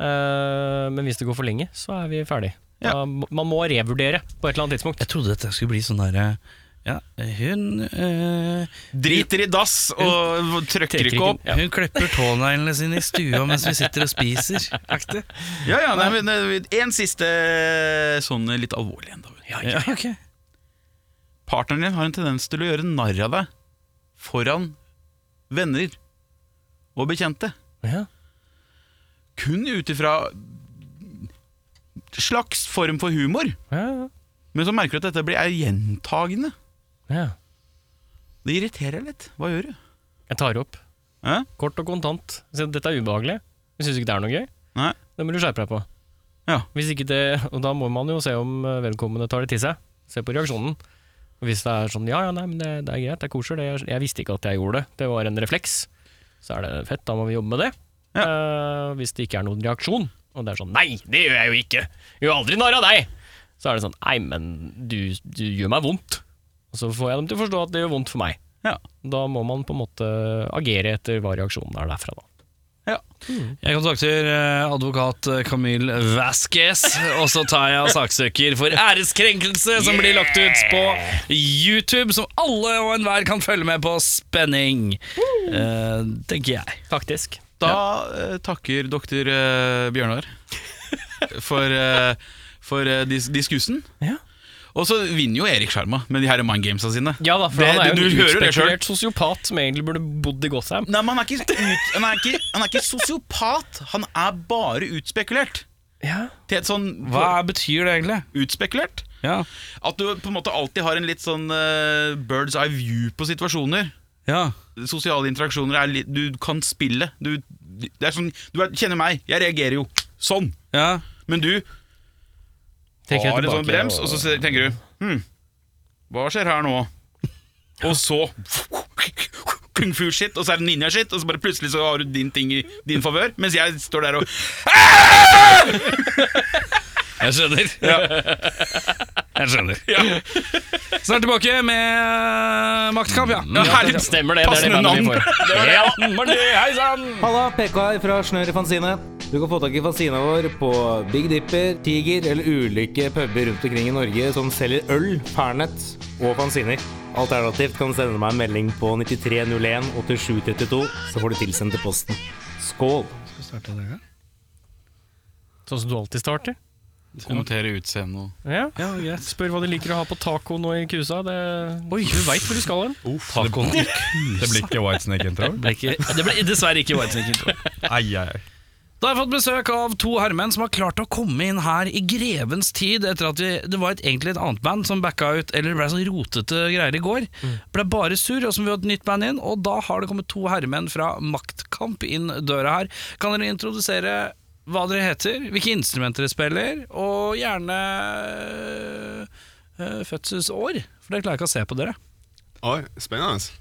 S1: Eh, men hvis det går for lenge, så er vi ferdig.
S2: Ja.
S1: Da, må- man må revurdere på et eller annet tidspunkt.
S3: Jeg trodde dette skulle bli sånn derre ja, hun, eh,
S2: Driter i dass og
S1: Trekker
S2: trykker
S1: ikke.
S2: ikke opp.
S1: Ja.
S3: hun klepper tåneglene sine i stua mens vi sitter og spiser. Aktig.
S2: Ja, ja, nei, men eh, En siste sånn litt alvorlig en, da.
S3: Ja, ok.
S2: Partneren din har en tendens til å gjøre narr av deg foran venner og bekjente.
S1: Ja.
S2: Kun ut ifra slags form for humor.
S1: Ja,
S2: Men så merker du at dette blir er gjentagende.
S1: ja, ja.
S2: Det irriterer litt. Hva gjør du?
S1: Jeg tar opp.
S2: Hæ?
S1: Kort og kontant. Så dette er ubehagelig. Jeg syns ikke det er noe gøy.
S2: Nei?
S1: Det må du skjerpe deg på.
S2: Ja.
S1: Hvis ikke det, og da må man jo se om eh, vedkommende tar det til seg. Se på reaksjonen. Og hvis det er sånn ja, ja, nei, men det, det er greit, det er koselig, det, jeg, jeg visste ikke at jeg gjorde det, det var en refleks, så er det fett, da må vi jobbe med det. Eh, hvis det ikke er noen reaksjon, og det er sånn nei, det gjør jeg jo ikke, jeg gjør aldri narr av deg, så er det sånn nei, men du, du gjør meg vondt. Og så får jeg dem til å forstå at det gjør vondt for meg.
S2: Ja.
S1: Da må man på en måte agere etter hva reaksjonen er derfra, da.
S2: ja.
S3: Jeg kontakter eh, advokat eh, Camille Vasquez, og så tar jeg saksøker for æreskrenkelse, som blir lagt ut på YouTube, som alle og enhver kan følge med på spenning. Eh, tenker jeg.
S1: Faktisk.
S2: Da eh, takker doktor eh, Bjørnar for, eh, for eh, dis diskussen.
S1: Ja.
S2: Og så vinner jo Erik Skjerma med de her Mind Gamesa sine.
S1: Ja da, for
S2: Det-
S1: han er
S2: du
S1: jo en
S2: hører det selv.
S1: utspekulert sosiopat som egentlig burde bodd i Gotham.
S2: Nei, men han er, ikke ut, han, er ikke, han er ikke sosiopat, han er bare utspekulert.
S1: Ja.
S2: Til et sånn
S3: Hva er- betyr det egentlig?
S2: Utspekulert?
S3: Ja,
S2: At du på en måte alltid har en litt sånn eh, bird's eye view på situasjoner.
S3: ja.
S2: Sosiale interaksjoner er litt Du kan spille. Du, det er sånn, du er, kjenner meg, jeg reagerer jo sånn.
S3: ja.
S2: Men du
S1: Trekker jeg
S2: har en sånn
S1: tilbake
S2: brems, og så ser- tenker du Hm, hva skjer her nå? Og så Kung fu shit, og så er det ninja shit, og så bare plutselig så har du din ting i din favør, mens jeg står der og
S3: Jeg skjønner. Jeg skjønner. Snart tilbake med Maktkamp, ja.
S2: ja, herlig,
S1: Stemmer det, det er det
S2: Passende
S1: bandet vi
S2: navn.
S1: får.
S3: Mm, Hei sann!
S4: Halla, PK her fra Snør i Fanzine. Du kan få tak i fanzina vår på Big Dipper, Tiger eller ulike puber rundt omkring i Norge som selger øl, pernett og fanziner. Alternativt kan du sende meg en melding på 9301 8732, så får du tilsendt til posten. Skål!
S1: Sånn som du alltid starter.
S2: Kommentere utseendet og
S1: Ja. Spør hva de liker å ha på taco nå i kusa. Det, Du veit hvor du skal hen.
S5: Tacoen i kusa. Det blir ikke Whitesnake-intro?
S3: Det ble, ikke, det ble dessverre ikke Whitesnake-intro.
S5: Ai, ai, ai.
S3: Da har jeg fått besøk av to herremenn som har klart å komme inn her i grevens tid, etter at vi, det var et, egentlig et annet band som backa ut, eller ble sånn rotete greier i går.
S5: Mm.
S3: Ble bare sur, og så må vi ha et nytt band inn, og da har det kommet to herremenn fra Maktkamp inn døra her. Kan dere introdusere hva dere heter, hvilke instrumenter dere spiller, og gjerne øh, fødselsår? For det klarer jeg ikke å se på dere.
S6: Oi, spennende.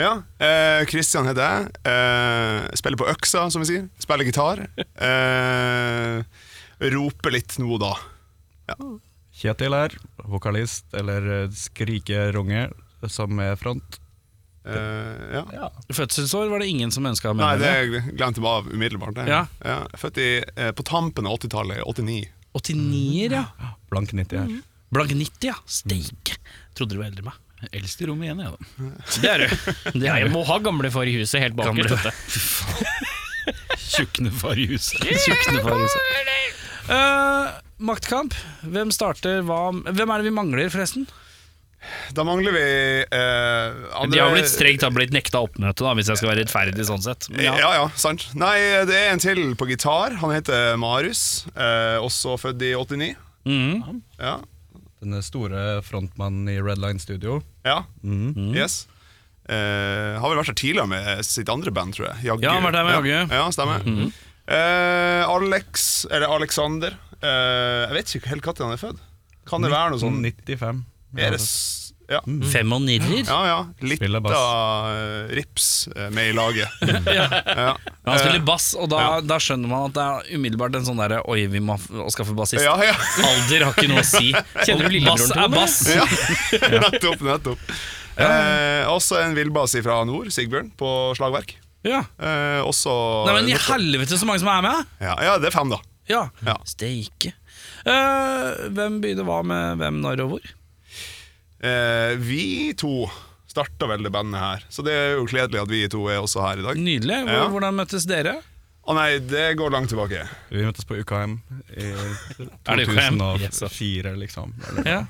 S6: Ja, eh, Christian heter jeg. Eh, spiller på øksa, som vi sier. Spiller gitar. Eh, roper litt nå og da.
S5: Kjetil her, vokalist, eller eh, skrikeronge, som er front.
S6: Eh, ja.
S3: Fødselsår var det ingen som ønska med.
S6: Nei, det glemte jeg meg av umiddelbart. det.
S3: Ja.
S6: Ja, født i, eh, på tampen av 80-tallet, i 89.
S3: 89-er, ja. Mm.
S5: Blank 90 her.
S3: Blank 90, ja. Steike. Trodde du var eldre enn meg.
S2: Eldst i rommet igjen, jeg, da.
S3: Det er du. Det
S1: Ja,
S3: er
S1: jeg
S3: du.
S1: må ha gamlefar i huset helt
S3: Gamle-
S1: bakerst. vet du.
S2: Tjukne far i huset.
S3: Tjukne for huset. Eh, maktkamp. Hvem starter hva Hvem er det vi mangler, forresten?
S6: Da mangler vi eh, andre
S3: De har blitt strengt har blitt nekta oppmøte, da, hvis jeg skal være rettferdig sånn sett. Men
S6: Ja.
S3: ja.
S6: ja, sant. Nei, det er en til på gitar. Han heter Marius. Eh, også født i 89.
S3: Mhm.
S6: Ja.
S5: Den store frontmannen i Red Line Studio. Mhm.
S6: Ja.
S3: Mhm.
S6: Yes. Eh, har vel vært her tidligere med sitt andre band, tror jeg. Jaggu.
S3: Ja, han har vært her med
S6: Ja,
S3: Jaggu. Mhm.
S6: ja stemmer. Eh, Alex, eller Alexander eh, Jeg vet ikke helt når han er født. Kan det være noe sånn
S5: 95.
S6: Er det s- ja.
S3: Fem og nirrer?
S6: ja, ja. Litt
S5: Mm. Spiller bass.
S6: av eh, rips eh, med i laget. ja.
S3: Han spiller bass, og da, da skjønner man at det er umiddelbart en sånn derre Oi, vi må f- skaffe bassist.
S6: Ja, ja.
S3: Alder har ikke noe å si.
S1: Kjenner du lillebroren
S3: Bass
S1: til
S3: er
S1: Tone?
S3: bass.
S6: ja. nettopp, nettopp. Eh, også en villbass fra nord, Sigbjørn, på slagverk.
S3: Ja.
S6: Eh, også
S3: Nei, men i helvete så mange som er med!
S6: ja, ja, det er fem, da.
S3: Ja.
S6: Ja.
S3: Steike. Eh, hvem begynner hva med hvem, når og hvor?
S6: Eh, vi to starta vel det bandet her, så det er jo gledelig at vi to er også her i dag.
S3: Nydelig. Hvor,
S6: Ja.
S3: Hvordan møttes dere?
S6: Å nei, det går langt tilbake.
S5: Vi møttes på UKM i
S3: Er det UKM?
S5: 2004, liksom. Eller-
S3: Ja.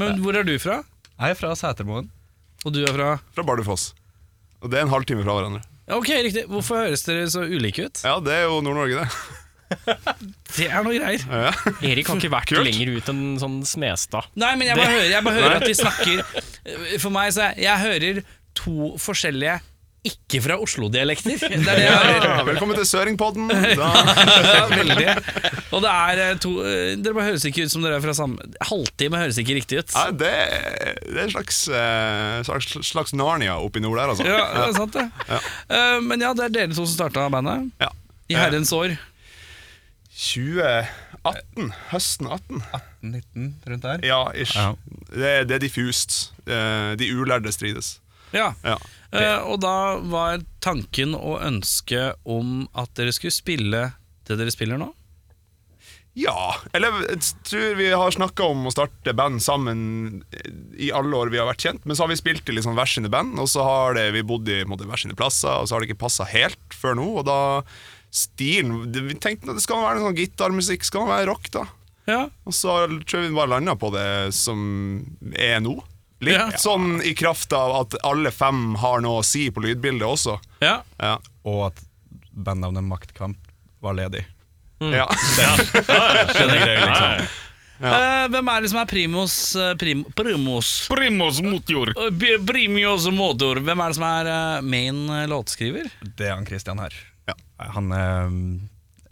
S3: Men hvor er du fra?
S5: Jeg er fra Setermoen.
S3: Og du er fra
S6: Fra Bardufoss. Og det er en halvtime fra hverandre.
S3: Ok, riktig. Hvorfor høres dere så ulike ut?
S6: Ja, det er jo Nord-Norge, det.
S3: Det er noe greier.
S1: Erik har ikke vært
S6: Kult.
S1: lenger ut enn sånn Smestad.
S3: Nei, men jeg bare hører, jeg bare hører at de snakker For meg så er Jeg hører to forskjellige ikke fra Oslo-dialekter. Det er det jeg hører.
S6: Ja, velkommen til Søringpodden. Da,
S3: Ja, veldig. Og det er eh, to eh, Dere bare høres ikke ut som dere er fra samme Halvtime høres ikke riktig ut.
S1: Ah.
S6: ja, det, det er en slags, eh, slags, slags Narnia oppi nord der, altså.
S3: Ja, det er sant, det. Eh, Men ja, det er dere to som starta bandet.
S6: Ja.
S3: I herrens år.
S6: 2018. Eh, Høsten 18.
S5: 19 rundt der.
S6: Ja, ish.
S5: Ja.
S6: Det, det er diffust. Eh, De ulærde strides.
S3: Ja.
S6: Ja.
S3: Eh, Og da var tanken og ønsket om at dere skulle spille det dere spiller nå.
S6: Ja, eller jeg tror vi har snakka om å starte band sammen eh, i alle år vi har vært kjent, men så har vi spilt i litt sånn hver sine band, og så har det, vi bodd i på en måte, hver sine plasser, og så har det ikke passa helt før nå, og da Stilen det- Vi tenkte at det skal være noe sånn gitarmusikk, skal være rock, da.
S3: Ja,
S6: Og så tror jeg vi bare landa på det som er nå. Litt
S3: Ja.
S6: sånn i kraft av at alle fem har noe å si på lydbildet også.
S3: ja.
S6: Ja.
S5: Og at bandnavnet Maktkamp var ledig.
S3: Mm.
S6: ja.
S5: liksom
S3: Eh, hvem er det som er primos eh, prim, Primos
S5: Primos Motjord!
S3: Eh, Pri- Primios motor. Hvem er det som er eh, main eh, låtskriver?
S5: Det er han Christian her.
S6: Ja.
S5: Han eh,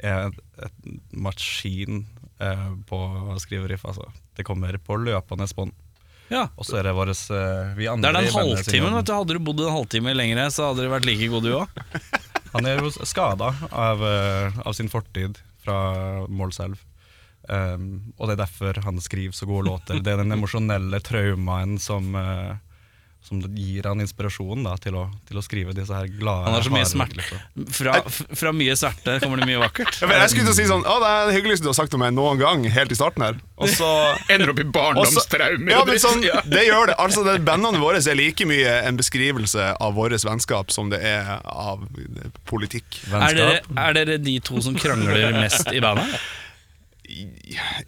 S5: er en maskin eh, på å skrive riff, altså. Det kommer på løpende bånd.
S3: Ja.
S5: Og så er det våres eh, vi
S3: Det
S5: andre
S3: er den
S5: i bandet sin
S3: halvtimen,
S5: jobb.
S3: vet du. Hadde du bodd en halvtime lenger, så hadde du vært like god, du òg.
S5: Han er jo skada av, eh, av sin fortid fra Målselv. Um, og det er derfor han skriver så gode låter. Det er den emosjonelle traumaen som, eh, som gir han inspirasjon da, til, å, til å skrive disse her glade
S3: Han har så mye
S5: harde
S3: smerte.
S5: låtene.
S3: Fra, f- fra mye sverte kommer det mye vakkert.
S6: Ja, men jeg skulle til å si sånn Å, det er det hyggeligste du har sagt om meg noen gang, helt i starten her. Og så
S7: Ender opp i
S6: Også-
S7: barndomstraumer.
S6: Ja, men sånn, det gjør det. Altså, det Bandene våre er like mye en beskrivelse av vårt vennskap som det er av politikk.
S3: Er dere, er dere de to som krangler mest i bandet?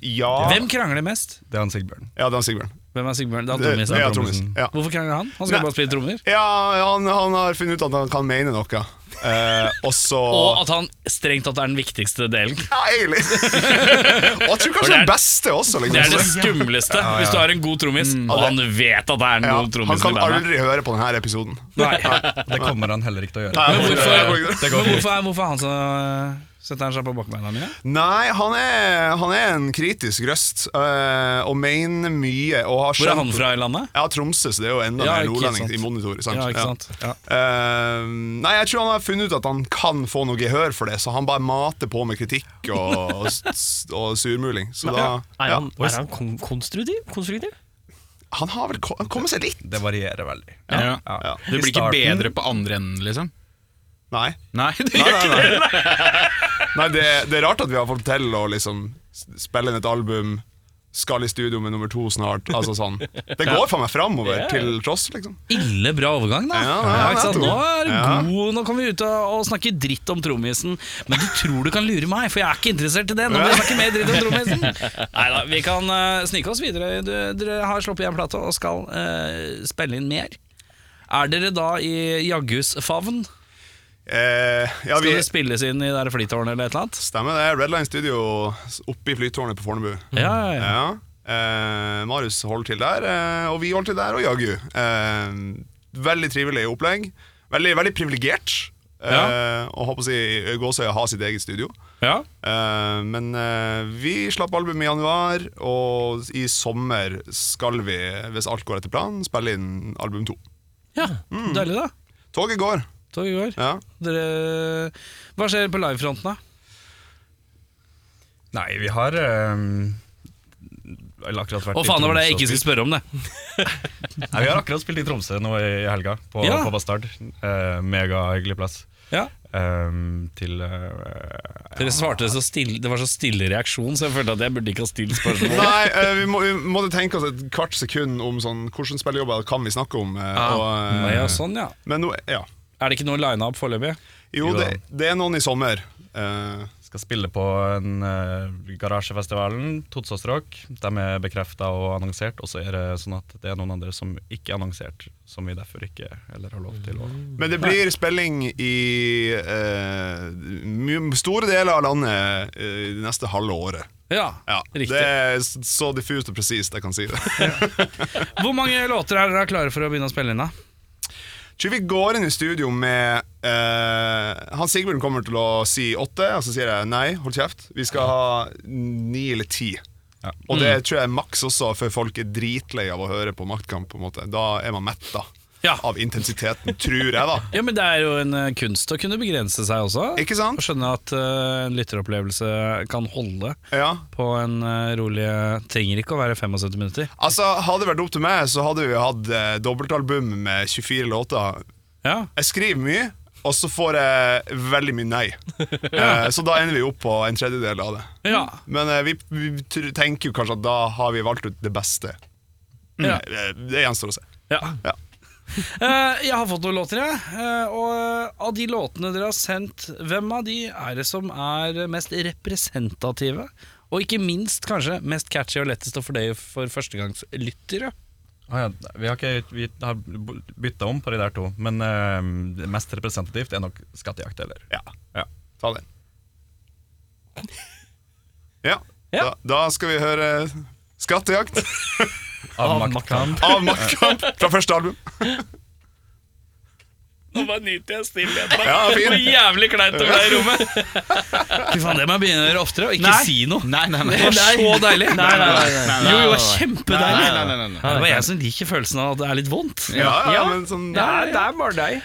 S6: Ja
S3: Hvem krangler mest?
S5: Det er han Sigbjørn.
S6: Ja, det er Sigbjørn.
S3: Hvem er Sigbjørn? Det er
S6: Det-
S3: trommisen.
S6: ja,
S5: Trommisen.
S6: trommisen. Ja.
S3: Hvorfor krangler han? Han skal
S6: Nei.
S3: bare spille trommer.
S6: ja han, han har funnet ut at han kan mene noe. Eh, og så
S3: Og at han strengt tatt er den viktigste delen.
S6: Ja, egentlig! og jeg tror kanskje den beste også,
S3: Det er det
S6: liksom.
S3: skumleste hvis du har en god trommis, og han vet at det er en
S6: Mm. Ja,
S3: god
S6: han
S3: trommis i
S6: kan
S3: bandet.
S6: aldri høre på denne episoden.
S5: Det kommer han heller ikke til å gjøre.
S6: Nei,
S3: Men
S6: han-
S3: hvorfor, men hvorfor, er, hvorfor er han så setter han seg på bakbeina mine?
S6: Nei, han er, han er en kritisk røst, eh, og mener mye. Og har
S3: Hvor er
S6: skjønt-
S3: han fra i landet?
S6: Ja, Tromsø, så det er jo enda
S3: Ja,
S6: mer
S3: ikke
S6: nordlending
S3: sant.
S6: i monitor. Sant?
S3: Ja, ikke sant? Ja.
S6: Eh, nei, jeg tror han har funnet ut at han kan få noe gehør for det, så han bare mater på med kritikk og, og, s- og surmuling. Så da
S1: Er
S6: ja.
S1: han, er han kon konstruktiv? konstruktiv?
S6: Han har vel ko- kommet seg litt?
S5: Det varierer veldig.
S7: Ja.
S5: Ja.
S7: Du blir ikke
S5: I starten-
S7: bedre på andre enden, liksom?
S6: Nei.
S7: Nei, det
S6: Nei,
S7: gjør
S6: nei,
S7: ikke det.
S6: nei. nei det, det er rart at vi har fått til å liksom s- spille inn et album, skal i studio med nummer to snart. Altså sånn. Det går faen meg framover, til tross, liksom.
S3: Ille bra overgang, da.
S6: Ja, ja,
S3: ikke sant?
S6: nettopp.
S3: Nå er det
S6: Ja.
S3: god Nå kommer vi ut og og snakker dritt om trommisen. Men du tror du kan lure meg, for jeg er ikke interessert i det. Nå må vi snakke mer dritt om trommisen. Neida, vi kan eh, snike oss videre. Du, dere har sluppet en plate og skal eh, spille inn mer. Er dere da i jagghusfavn?
S6: Eh, ja,
S3: Skal
S6: vi,
S3: det spilles inn i det der flytårnet eller et eller annet?
S6: stemmer det. Red Line Studio oppe i flytårnet på Fornebu.
S3: Ja, ja, ja.
S6: Ja. Eh, Marius holder til der, eh, og vi holder til der, og jaggu. Eh, veldig trivelig opplegg. Veldig, veldig privilegert. Eh, Og håper å si Gåsøya har sitt eget studio.
S3: ja.
S6: Eh, men eh, vi slapp albumet i januar, og i sommer skal vi, hvis alt går etter planen, spille inn album to.
S3: ja. Deilig, da.
S6: Toget går.
S3: Tog i går.
S6: Mm. Ja.
S3: Dere, hva skjer på livefronten, da?
S5: Nei, vi har um, Eller akkurat vært
S3: Å faen, det var det jeg
S5: Tromsø.
S3: ikke skulle spørre om, det.
S5: Nei, Vi har akkurat spilt i Tromsø nå i i helga, på,
S3: Ja.
S5: på Bastard. Eh, Megahyggelig plass.
S3: Ja.
S5: Ehm, til eh,
S3: Dere svarte så stille, det var så stille reaksjon, så jeg følte at jeg burde ikke ha stilt spørsmål.
S6: Nei, eh, vi, må, vi måtte tenke oss et kvart sekund om sånn, hvordan spillejobber kan vi snakke om. eh,
S5: Ah,
S6: og,
S3: Nei,
S6: eh,
S3: ja, sånn, ja.
S6: Men nå, ja.
S3: Er det ikke noe lina opp foreløpig?
S6: Jo,
S5: Jo da.
S6: det, det er noen i sommer. Eh,
S5: skal spille på en eh, garasjefestivalen, Totsastrok. De er bekrefta og annonsert, og så er det sånn at det er noen andre som ikke er annonsert, som vi derfor ikke eller har lov til å
S6: men det blir spilling i eh, my- store deler av landet eh, det neste halve året.
S3: Ja,
S6: Ja,
S3: riktig.
S6: Det er s- så diffust og presist jeg kan si det.
S3: Hvor mange låter er dere klare for å begynne å spille inn, da?
S6: Tror vi går inn i studio med eh, Han Sigbjørn kommer til å si åtte, og så sier jeg nei, hold kjeft. Vi skal ha ni eller ti. Og det tror jeg er maks også, for folk er dritlei av å høre på Maktkamp. på en måte Da er man metta
S3: Ja.
S6: av intensiteten, tror jeg, da.
S3: Ja, men det er jo en eh, kunst å kunne begrense seg også.
S6: Ikke sant?
S3: Og skjønne at eh, en lytteropplevelse kan holde
S6: Ja.
S3: på en eh, rolig Trenger ikke å være 75 minutter.
S6: Altså, Hadde det vært opp til meg, så hadde vi hatt eh, dobbeltalbum med 24 låter.
S3: Ja,
S6: Jeg skriver mye, og så får jeg veldig mye nei. Eh, så da ender vi opp på en tredjedel av det.
S3: ja.
S6: Men eh, vi, vi tr- tenker jo kanskje at da har vi valgt ut det beste.
S3: Ja.
S6: Eh, Det gjenstår å se.
S3: ja.
S6: Ja.
S3: Eh, jeg har fått noen låter, jeg. Eh, og eh, av de låtene dere har sendt, hvem av de er det som er mest representative? Og ikke minst kanskje mest catchy og lettest å fordøye for førstegangslyttere?
S5: Ah, ja. Vi har, ikke, vi har bytta om på de der to, men eh, det mest representativt er nok Skattejakt. Eller?
S6: Ja,
S5: Ja.
S6: ta den. Ja,
S1: Ja.
S6: Da, da skal vi høre Skattejakt
S5: Av
S1: Av
S5: Maktkamp.
S6: av Maktkamp fra første album.
S3: Nå bare nyter jeg stillheten.
S6: Ja, fin.
S1: Jævlig kleint å være i rommet!
S3: Fy faen, det må jeg begynne å gjøre oftere, og ikke si noe.
S7: Nei, nei, nei.
S3: Det var så deilig.
S1: Nei, nei, nei, nei.
S3: Jo, jo, kjempedeilig.
S7: Nei, nei, nei, nei.
S3: Det var jeg som liker følelsen av at det er litt vondt.
S6: Ja, ja,
S1: Ja.
S6: men sånn
S1: Det er, det er bare deg.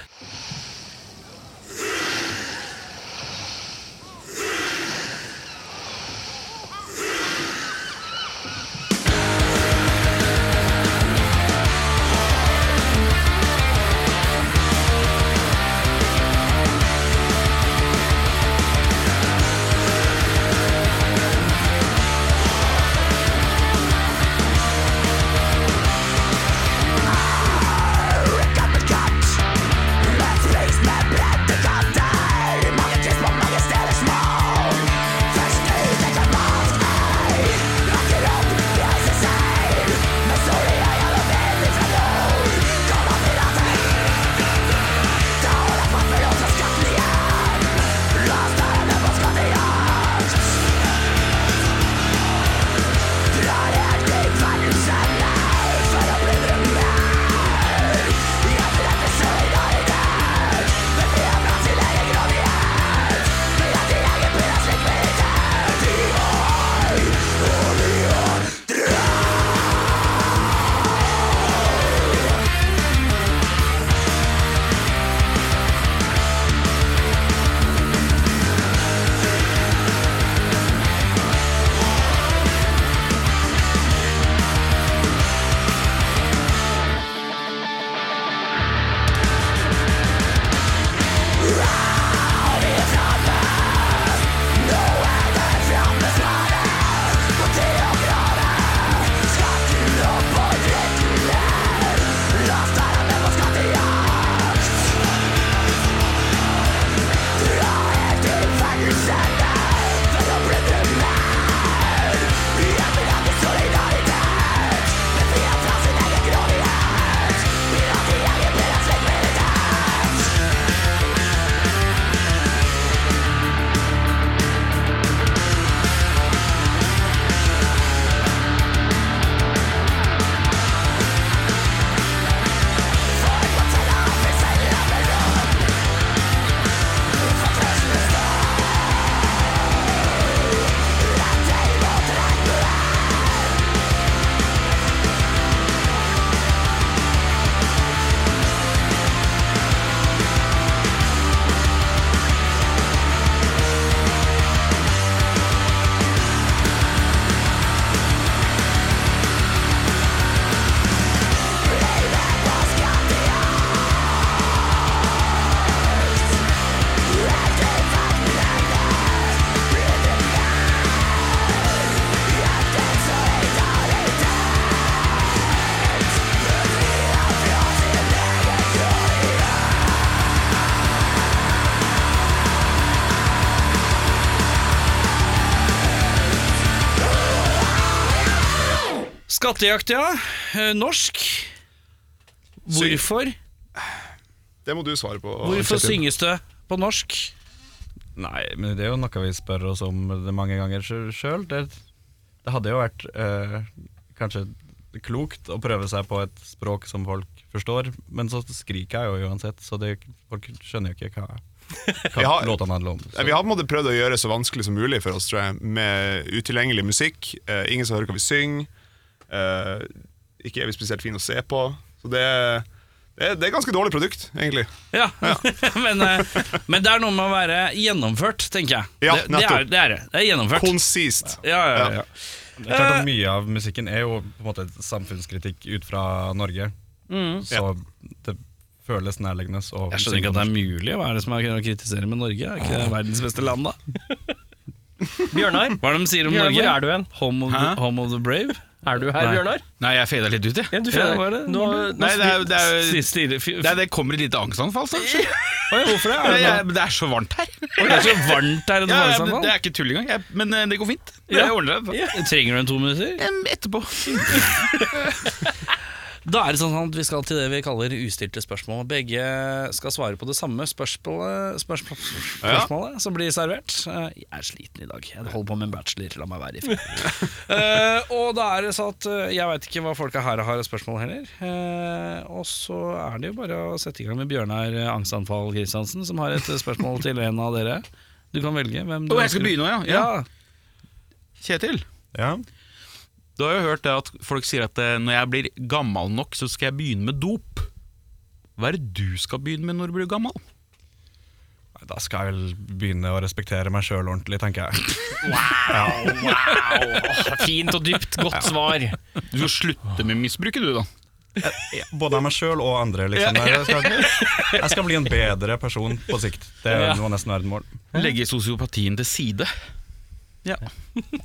S3: Skattejakt, ja. Eh, Norsk. Hvorfor,
S6: Det må du svare på.
S3: hvorfor
S6: Kjetil.
S3: synges det på norsk?
S5: Nei, men det er jo noe vi spør oss om det mange ganger sjøl. Det, det hadde jo vært eh, kanskje klokt å prøve seg på et språk som folk forstår, men så skriker jeg jo uansett, så det, folk skjønner jo ikke hva, hva
S6: Vi har-
S5: låtene handler om.
S6: Ja,
S5: Så.
S6: Vi har på en måte prøvd å gjøre det så vanskelig som mulig for oss, tror jeg, med utilgjengelig musikk. Eh, ingen som hører hva vi synger. Eh, ikke er vi spesielt fine å se på. Så det, det, det er ganske dårlig produkt, egentlig.
S3: Ja, men, eh, men det er noe med å være gjennomført, tenker jeg.
S6: Ja,
S3: det, det, er,
S6: nettopp.
S3: det er det. Det er gjennomført.
S6: Konsist.
S3: Ja, ja, ja.
S6: Eh.
S5: Det er klart at Mye av musikken er jo på en måte samfunnskritikk ut fra Norge, så det føles nærliggende. å
S3: Jeg skjønner ikke at det er mulig. Hva er det som er å kritisere med Norge? Er ikke det verdens beste land, da?
S1: Bjørnar,
S3: Hva er det de sier om
S1: Bjørnar, hvor
S3: Norge?
S1: er du hen?
S3: Home of, the, home of the brave?
S1: Er du her,
S3: Nei.
S1: Bjørnar?
S7: Nei, jeg fada litt ut, jeg.
S1: Ja, du
S3: Ja,
S1: føler
S3: hva er det?
S1: Nå, nå,
S7: Nei, det, er, jo- det, er, jo-
S3: Sier- sier- fy-
S7: det, er, det kommer et lite angstanfall, så. Nei,
S3: Oi, Hvorfor det? Er det,
S7: jeg- Det er så varmt her.
S3: noe- det er så varmt
S7: Ja, ja,
S3: her i
S7: det,
S3: Norge.
S7: det er ikke tull engang. Jeg, men eh, det går fint. Det
S3: Ja.
S7: ordner det.
S3: Trenger du en to minutter?
S7: Em, Etterpå.
S3: Da er det sånn at vi skal til det vi kaller ustilte spørsmål. Begge skal svare på det samme spørsmålet, spørsmål, spørsmålet som blir servert. Eh, Jeg er sliten i dag. Jeg holder på med en bachelor. La meg være i fred. Eh, og da er det sånn at eh, jeg veit ikke hva folka her har av spørsmål heller. Eh, og så er det jo bare å sette i gang med Bjørnar eh, Angstanfall Kristiansen, som har et eh, spørsmål til en av dere. Du kan velge hvem du
S7: Å, jeg skal begynne nå, ja. ja.
S3: Ja.
S7: Kjetil,
S5: Ja.
S7: du har jo hørt det at folk sier at eh, når jeg blir gammel nok, så skal jeg begynne med dop. Hva er det du skal begynne med når du blir gammel?
S5: Nei, Da skal jeg vel begynne å respektere meg sjøl ordentlig, tenker jeg.
S1: fint og dypt, godt svar.
S7: Du skal slutte med misbruket, du, da.
S5: Både av meg sjøl og andre. liksom. Jeg skal, jeg skal bli en bedre person på sikt. Det må nesten være et mål.
S7: Legge sosiopatien til side. Ja.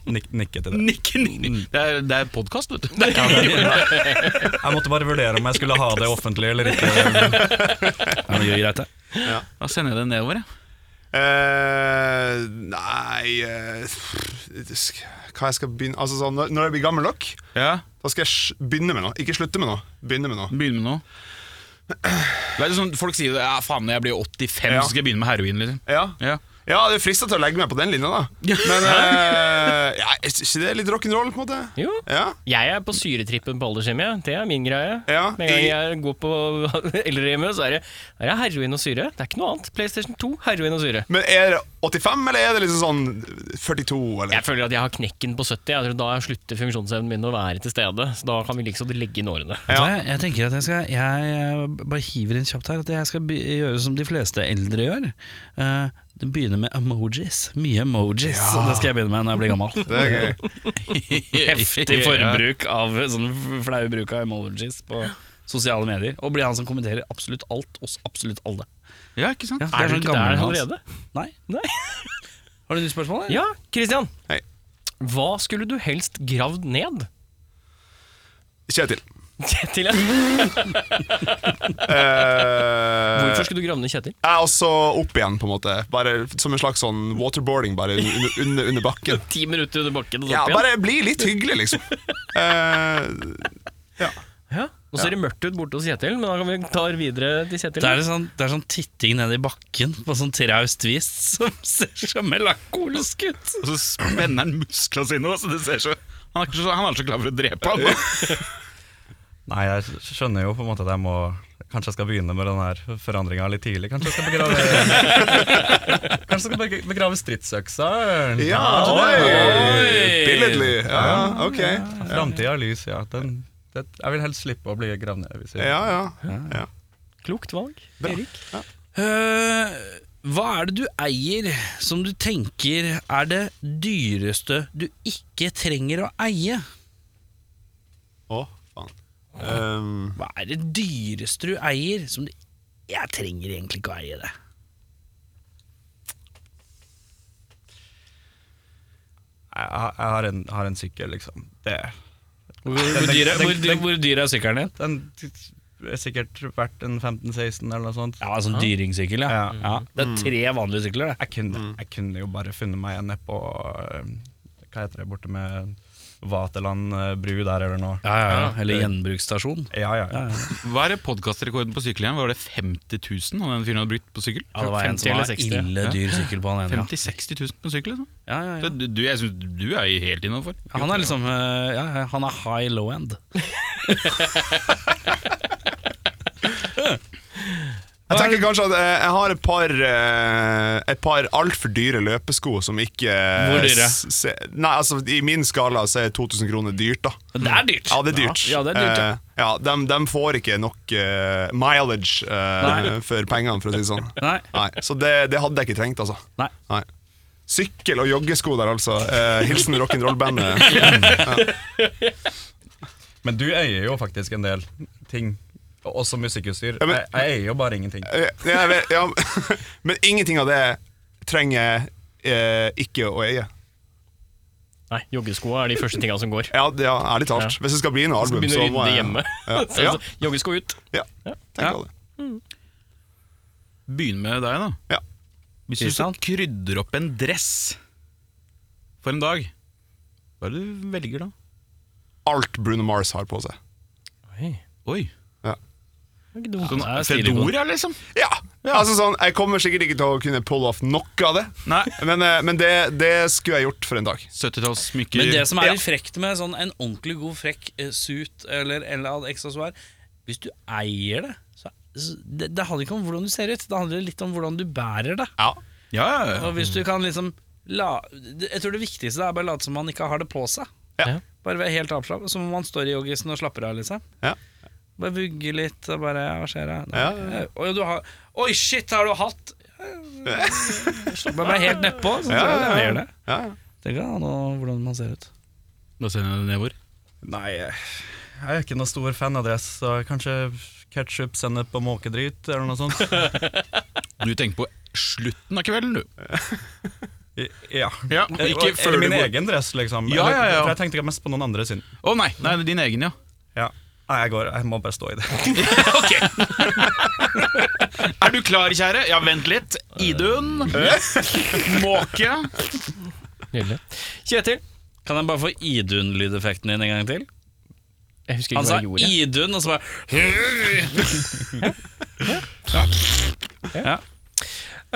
S5: Nik nikke til det.
S7: Nikke, nikke. Det er, det er podkast, vet du. Det er ikke
S5: Jeg måtte bare vurdere om jeg skulle ha det offentlig eller ikke.
S3: men det gjør greit, det.
S7: Da sender jeg det nedover, jeg.
S6: Eh, nei eh, det sk- Hva jeg skal begynne Altså sånn, Når når jeg blir gammel nok,
S7: Ja.
S6: da skal jeg sj- begynne med noe. Ikke slutte med noe. Begynne med noe.
S7: Begynne med noe. Det er sånn, folk sier ja, faen, når jeg blir 85,
S6: Ja.
S7: så skal jeg begynne med heroin. liksom
S6: Ja,
S7: ja.
S6: ja det er frista til å legge meg på den linja, da. Men eh, ja, er ikke det litt rock'n'roll, på en måte?
S1: Jo.
S6: Ja,
S1: Jeg er på syretrippen på aldershjem, jeg. Det er min greie.
S6: Ja,
S1: Med en gang
S6: i-
S1: jeg går på eldrehjemmet, så er det, er det heroin og syre. Det er ikke noe annet. PlayStation 2, heroin og syre.
S6: Men er det 85, eller er det liksom sånn 42, eller?
S1: Jeg føler at jeg har knekken på 70. Jeg tror Da slutter funksjonsevnen min å være til stede. Så da kan vi liksom legge inn årene.
S6: Ja.
S3: Jeg, jeg tenker at jeg skal Jeg eh, bare hiver inn kjapt her At jeg skal be- gjøre som de fleste eldre gjør Eh, Det begynner med emojis Mye emojis Så Det skal jeg begynne med når jeg blir gammel
S6: Det er gøy.
S3: Heftig forbruk av Sånn flau bruk av emojis På sosiale medier Og blir han som kommenterer absolutt alt Hos absolutt alle
S7: Ja, ikke sant?
S3: Ja,
S1: Er du
S3: sånn
S1: ikke der
S3: gammel hans.
S1: allerede?
S3: Nei
S1: Nei.
S3: Har du nye spørsmål? eller?
S1: Ja, Christian.
S6: Hei.
S1: Hva skulle du helst gravd ned?
S6: Kjetil.
S1: Kjetil, ja.
S6: Eh,
S1: Hvorfor skulle du grave ned Kjetil?
S6: jeg er også opp igjen, på en måte. Bare Som en slags sånn waterboarding, bare under, under, under bakken.
S1: Ti minutter under bakken og så
S6: Ja,
S1: opp igjen?
S6: bare bli litt hyggelig, liksom. Eh,
S1: Ja. Nå ser det mørkt ut borte hos Kjetil, men da kan vi ta videre til Kjetil.
S3: Det er, en sånn, det er sånn titting nede i bakken På sånn traust vis Som ser så melankolisk ut
S7: Og så spenner han musklene sine også, det ser så han er, ikke så, han er så klar for å drepe han.
S5: Nei, jeg skjønner jo på en måte at jeg må Kanskje jeg skal begynne med den her forandringa litt tidlig. Kanskje jeg skal begrave Kanskje jeg skal beg- begrave stridsøksa?
S6: ja, oi! Billedlig. Ja, ja, ok.
S5: Framtida er lys, ja. Den, det, jeg vil helst slippe å bli gravd ned. Hvis jeg,
S6: Ja, ja.
S1: Klokt valg, Erik.
S3: Eh, hva er det du eier som du tenker er det dyreste du ikke trenger å eie?
S6: Å, faen. Um,
S3: Hva er det dyreste du eier som du Jeg trenger egentlig ikke å eie det.
S5: jeg, jeg har, en, har en sykkel, liksom. Det,
S3: Hvor, dyr, er, sykkelen din?
S5: den er sikkert verdt en 15-16 eller noe sånt.
S3: Ja, Mm. Sånn dyringssykkel, ja.
S5: Ja.
S3: ja. Det er tre vanlige sykler, det.
S5: Mm. Jeg kunne, jeg kunne jo bare funnet meg en nede på eh, hva heter det, borte med Vaterland eh, bru der eller noe.
S3: Ja, ja, ja. Eller gjenbruksstasjon.
S5: Ja, ja, ja.
S7: Hva er podkastrekorden på sykkelhjem? Var det 50 000 han den fyren hadde brukt på sykkel?
S3: Ja, det var en
S1: 50
S3: som
S1: eller
S3: var
S1: 60, ja.
S3: ille dyr sykkel på han ene.
S7: 50 000-60 000 på sykkel, liksom?
S3: Ja, ja, ja.
S7: Så du, du- jeg synes du er jo helt innafor.
S3: Ja, Han er liksom eh, ja, ja, han er high low end.
S6: Jeg tenker kanskje at eh, jeg har et par eh, Et par altfor dyre løpesko som ikke eh,
S3: Hvor dyre?
S6: s- Se, nei, altså I min skala så er 2000 kroner dyrt, da.
S3: Men det er dyrt!
S6: Ja, det er dyrt.
S3: Ja, det er dyrt, ja.
S6: Eh, ja, de, får ikke nok eh, mileage eh,
S3: Nei.
S6: for pengene, for å si det sånn.
S3: Nei.
S6: så det, det hadde jeg ikke trengt, altså.
S3: Nei.
S6: Nei. Sykkel og joggesko der, altså. Eh, hilsen rock'n'roll-bandet.
S5: Men du eier jo faktisk en del ting. Og- Også musikkutstyr.
S6: Ja, men-
S5: Jeg, jeg eier jo bare ingenting.
S6: Eh, jeg vet- ja, men ingenting av det trenger jeg eh, ikke å eie.
S1: Nei, joggeskoa er de første tinga som går.
S6: Ja, det- ja, ærlig talt.
S1: Ja.
S6: Hvis det skal bli noe
S1: Så
S6: album,
S1: begynner
S6: så
S1: å
S6: må
S1: rydde
S6: jeg
S1: hjemme.
S6: eh, Ja,
S1: Så-
S6: ja,
S1: så Joggesko ut.
S6: ja. tenk
S3: Ja.
S6: på det.
S3: sånn-
S7: Begynn med deg, da.
S6: Ja.
S7: Hvis du så krydder opp en dress for en dag, hva er det du velger da?
S6: Alt Bruno Mars har på seg.
S1: Oi,
S7: Oi.
S6: Ja.
S1: det var ikke dumt.
S7: Sånn
S3: er stilig god.
S7: Fedora, liksom?
S6: Ja, altså sånn Jeg kommer sikkert ikke til å kunne pull off noe av det
S7: Nei.
S6: Men, eh, men det, det skulle jeg gjort for en dag
S7: 70-tallssmykker.
S3: Men det som er
S6: Ja.
S3: litt frekt med sånn en ordentlig god frekk eh, suit eller eller et accessoire Hvis du eier det, så så det, det handler ikke om hvordan du ser ut, det handler litt om hvordan du bærer det.
S6: Ja,
S7: Ja, ja, ja.
S3: Og hvis du kan liksom la, det- Jeg tror det viktigste er bare å late som man ikke har det på seg.
S6: Ja.
S3: Bare være helt avslappet. Som om man står i joggisen og slapper av, liksom.
S6: Ja.
S3: Bare vugge litt og bare ja, Hva skjer her? Nei.
S6: Ja, ja,
S3: Oi, du har, Oi, shit, har du hatt Bare være helt nedpå, så tror jeg det gjør det.
S6: ja.
S3: Det kan an om hvordan man ser ut.
S7: Da sender jeg det nedover.
S5: Nei, jeg er ikke noen stor fan av dress, så kanskje ketsjup, sennep og måkedrit eller noe sånt.
S7: Du tenker på slutten av kvelden, du.
S5: I- Ja.
S7: Ja,
S5: Eller-
S7: ikke før
S5: eller
S7: du
S5: min
S7: går-
S5: egen dress, liksom.
S7: Ja,
S5: Eller-
S7: ja, ja.
S5: For jeg tenkte ikke mest på noen andre sin.
S7: Å nei, nei, det er din egen, ja.
S5: Ja. Nei, jeg går. Jeg må bare stå i det.
S7: Er du klar, kjære? Ja, vent litt. Idun. Måke.
S1: Nydelig. Kjetil.
S3: Kan jeg bare få Idun-lydeffekten din en gang til?
S1: Jeg husker ikke
S3: Han sa
S1: hva jeg gjorde.
S3: Idun, og så bare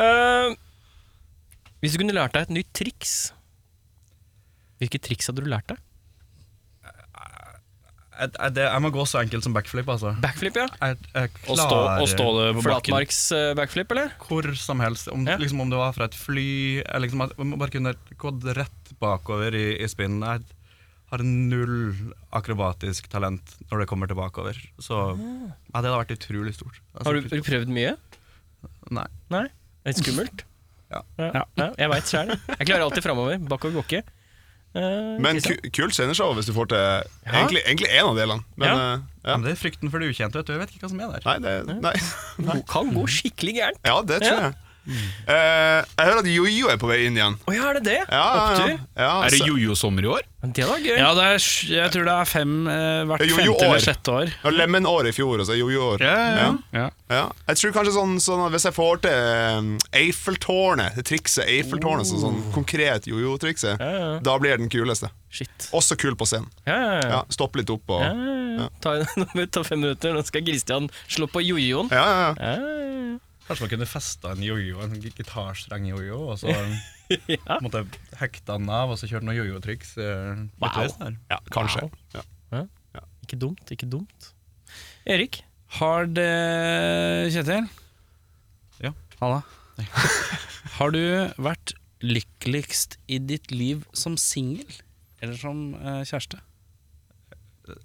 S1: Eh, hvis du kunne lært deg et nytt triks Hvilke triks hadde du lært deg?
S5: Jeg, jeg, det- jeg må gå så enkelt som backflip, altså.
S1: Backflip, ja.
S5: Jeg, jeg
S3: Og stå,
S5: klarer
S3: og stå det på bakken.
S1: Flatmarks eh, backflip, eller?
S5: hvor som helst. Om,
S1: Ja.
S5: liksom, om det var fra et fly eller liksom, at Man må bare kunne gått rett bakover i, i spinnen. Jeg har null akrobatisk talent når det kommer til bakover. Så ja, det hadde vært utrolig stort. Altså,
S1: Har du, har du prøvd mye?
S5: Nei.
S1: Nei? Det er litt skummelt?
S5: Ja.
S1: ja. ja jeg veit sjøl. Jeg klarer alltid framover. Bakover går ikke. Eh,
S6: Men
S1: Kristian?
S6: ku, kult sceneshow hvis du får til Egentlig, egentlig en av delene Men
S1: Ja.
S6: eh,
S5: Ja,
S6: ja.
S5: men det er frykten for det ukjente. Vet du. Jeg vet ikke hva som er der.
S6: Nei, det, nei.
S1: Nei. kan gå skikkelig gærent.
S6: Ja, det tror jeg Eh, Jeg hører at Jojo er på vei inn igjen
S1: Å ja, er det det?
S6: ja, ja, ja.
S1: Opptur?
S6: ja,
S7: Er det
S6: så-
S7: jojo-sommer i år?
S1: Men Det var gøy.
S3: Ja, det er, sj- jeg tror det er fem, eh, hvert
S6: Jo, jo,
S3: femte
S6: år.
S3: eller sjette år.
S6: ja, Lemonår i fjor, altså. og så er Jojo-år
S7: ja.
S3: Ja.
S6: Ja. Jeg tror kanskje sånn, sånn at Hvis jeg får til um, Eiffeltårnet, det trikset Eiffeltårnet, sånn, sånn konkret jojo-trikset,
S1: ja.
S6: da blir det den kuleste.
S1: Shit.
S6: Også kul på scenen.
S1: Ja, ja, ja.
S6: Ja, stopp litt opp og
S1: Ja,
S6: Ja,
S1: ja, ja. Ta, nå må vi ta fem minutter, nå skal Kristian slå på jojoen.
S6: ja, ja.
S1: Ja, ja,
S5: Kanskje man kunne festa en jojo, en gitarstreng jojo, og så
S1: Ja.
S5: måtte jeg hekte den av og så kjørte noen jojo-triks. eh, litt
S1: Wow.
S5: løs der.
S6: ja kanskje. Ja.
S1: ja. Ikke dumt, ikke dumt. Erik?
S3: Har det Kjetil?
S5: Ja.
S3: Halla. Har du vært lykkeligst i ditt liv som singel? Eller som eh, kjæreste?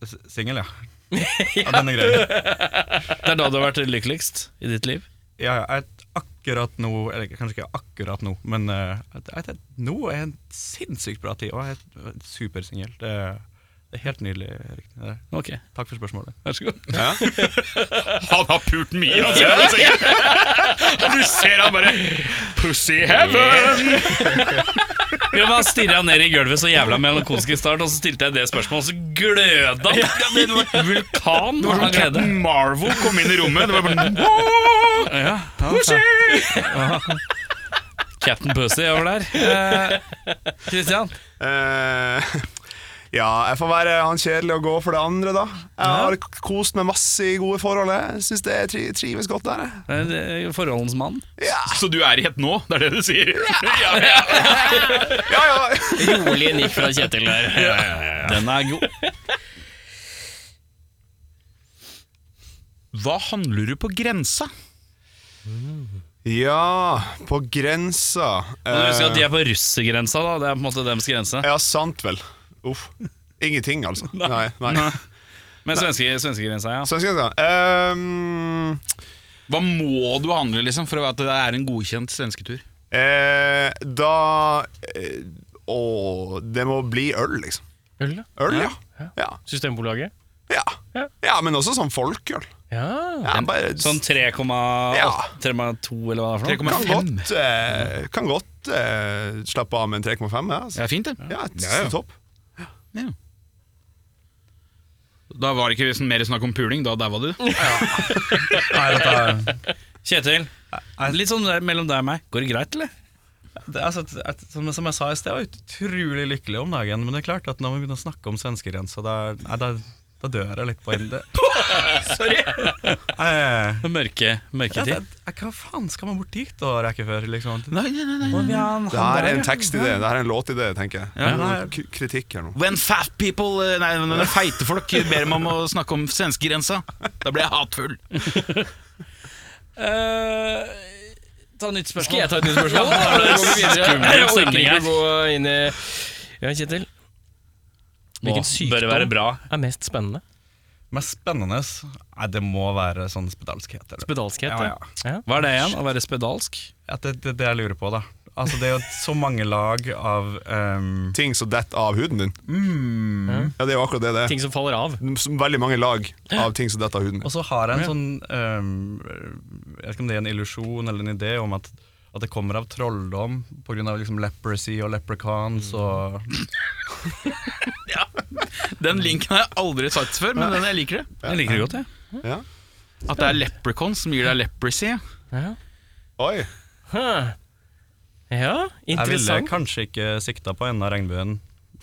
S5: S- Singel, ja. ja. Den er grei.
S3: Det er da du har vært lykkeligst i ditt liv?
S5: Ja, jeg, akkurat nå Eller kanskje ikke akkurat nå, men eh, at- at- at nå er en sinnssykt bra tid. Og jeg er supersingel. Det, er- det er helt nydelig. Erik. Det er-
S3: Ok,
S5: Takk for spørsmålet.
S3: vær så god.
S7: Han har pult mye, altså. Du ser han bare Pussy heaven!
S3: Ja, men han stirra ned i gulvet så jævla melankolsk i start, og så stilte jeg det spørsmålet, og så gløda han! Vulkan
S7: Det var
S3: av
S7: som
S3: glede.
S7: Captain Marvel kom inn i rommet. Det var bare
S3: Ja, ja,
S7: Pussy!
S3: Captain Pussy over der. Eh, Christian,
S6: Eh, ja, jeg får være han kjedelig å gå for det andre, da. Jeg har k- kost meg masse i gode forhold. Jeg syns det tri trives godt der. jeg.
S3: eh, forholdens mann.
S7: Så du er i et nå, det er det du sier? Ja,
S6: Ja, ja.
S1: Rolig nikk fra Kjetil der.
S3: Den er god.
S7: Hva handler du på grensa?
S6: ja, på grensa
S3: Men
S6: Eh,
S3: husk at de er sånn. på russergrensa, da. Det er på en måte deres grense.
S6: Ja, sant vel. Uff. Ingenting, altså. Nei. nei.
S3: Men svenske, svenskegrensa, ja.
S6: Så jeg skal jeg si um,
S7: Hva må du handle liksom for at det er en godkjent svensketur?
S6: Eh, da eh, Å, det må bli øl, liksom.
S1: Øl, da?
S6: Øl, ja. Ja,
S1: Systembolaget?
S6: ja. ja. men også sånn folkeøl.
S1: Ja.
S6: Ja, bare,
S3: Sånn 3,2
S6: Ja.
S3: eller hva det er for noe?
S6: kan godt, eh, kan godt eh, slappe av med en 3,5. Ja, altså.
S7: Det er fint, det.
S6: ja, t- topp.
S7: Da var det ikke liksom mer snakk om puling, da daua du.
S5: Nei, dette er
S3: Kjetil, litt sånn der, mellom deg og meg. Går det greit, eller?
S5: det, altså, et- et, som, som jeg sa i sted, jeg var utrolig lykkelig om dagen. Men det er klart at når vi begynner å snakke om svenskegrensa, da, nei, da, da dør jeg litt på ende. Sorry! Jeg,
S3: Mørke, mørketid.
S5: eh, jeg, jeg, hva faen skal man bort dit da, rekke før? Liksom?
S6: Det her er en tekstidé, det her er en låtidé, tenker jeg. Det er noe k- kritikk her nå.
S7: When fat people eh, Nei, når feite folk ber meg om å snakke om svenskegrensa, da blir jeg hatfull.
S3: Eh, ta nytt spørsmål.
S1: Skal jeg ta et nytt spørsmål? Jeg
S3: Skummel
S1: orker
S3: stemning
S1: ikke
S3: her.
S1: å gå inn i Ja, Kjetil. Hvilken
S3: Nå bør det være
S1: sykdom
S3: bra.
S1: er mest spennende?
S5: Mest spennende Nei, det må være sånn spedalskhet. Eller?
S1: Spedalskhet?
S5: Ja, ja.
S1: ja.
S3: Hva er det igjen? Å være spedalsk?
S5: At det, det, det jeg lurer på, da. Altså, det er jo så mange lag av ehm,
S6: Ting som detter av huden din. Ja, det er jo akkurat det det er.
S1: Ting som faller av.
S6: Veldig mange lag av ting som detter av huden.
S5: Og så har jeg en sånn ehm, Jeg vet ikke om det er en illusjon eller en idé om at, at det kommer av trolldom pga. Liksom leprosy og leprechauns og
S7: Den linken har jeg aldri sagt før, men den jeg liker det.
S3: Jeg liker det godt, jeg.
S6: Ja.
S7: At det er leprechauns som gir deg leprosy.
S1: Ja.
S6: Oi.
S1: Huh. ja,
S5: Jeg ville
S1: interessant.
S5: kanskje ikke sikta på enden av regnbuen,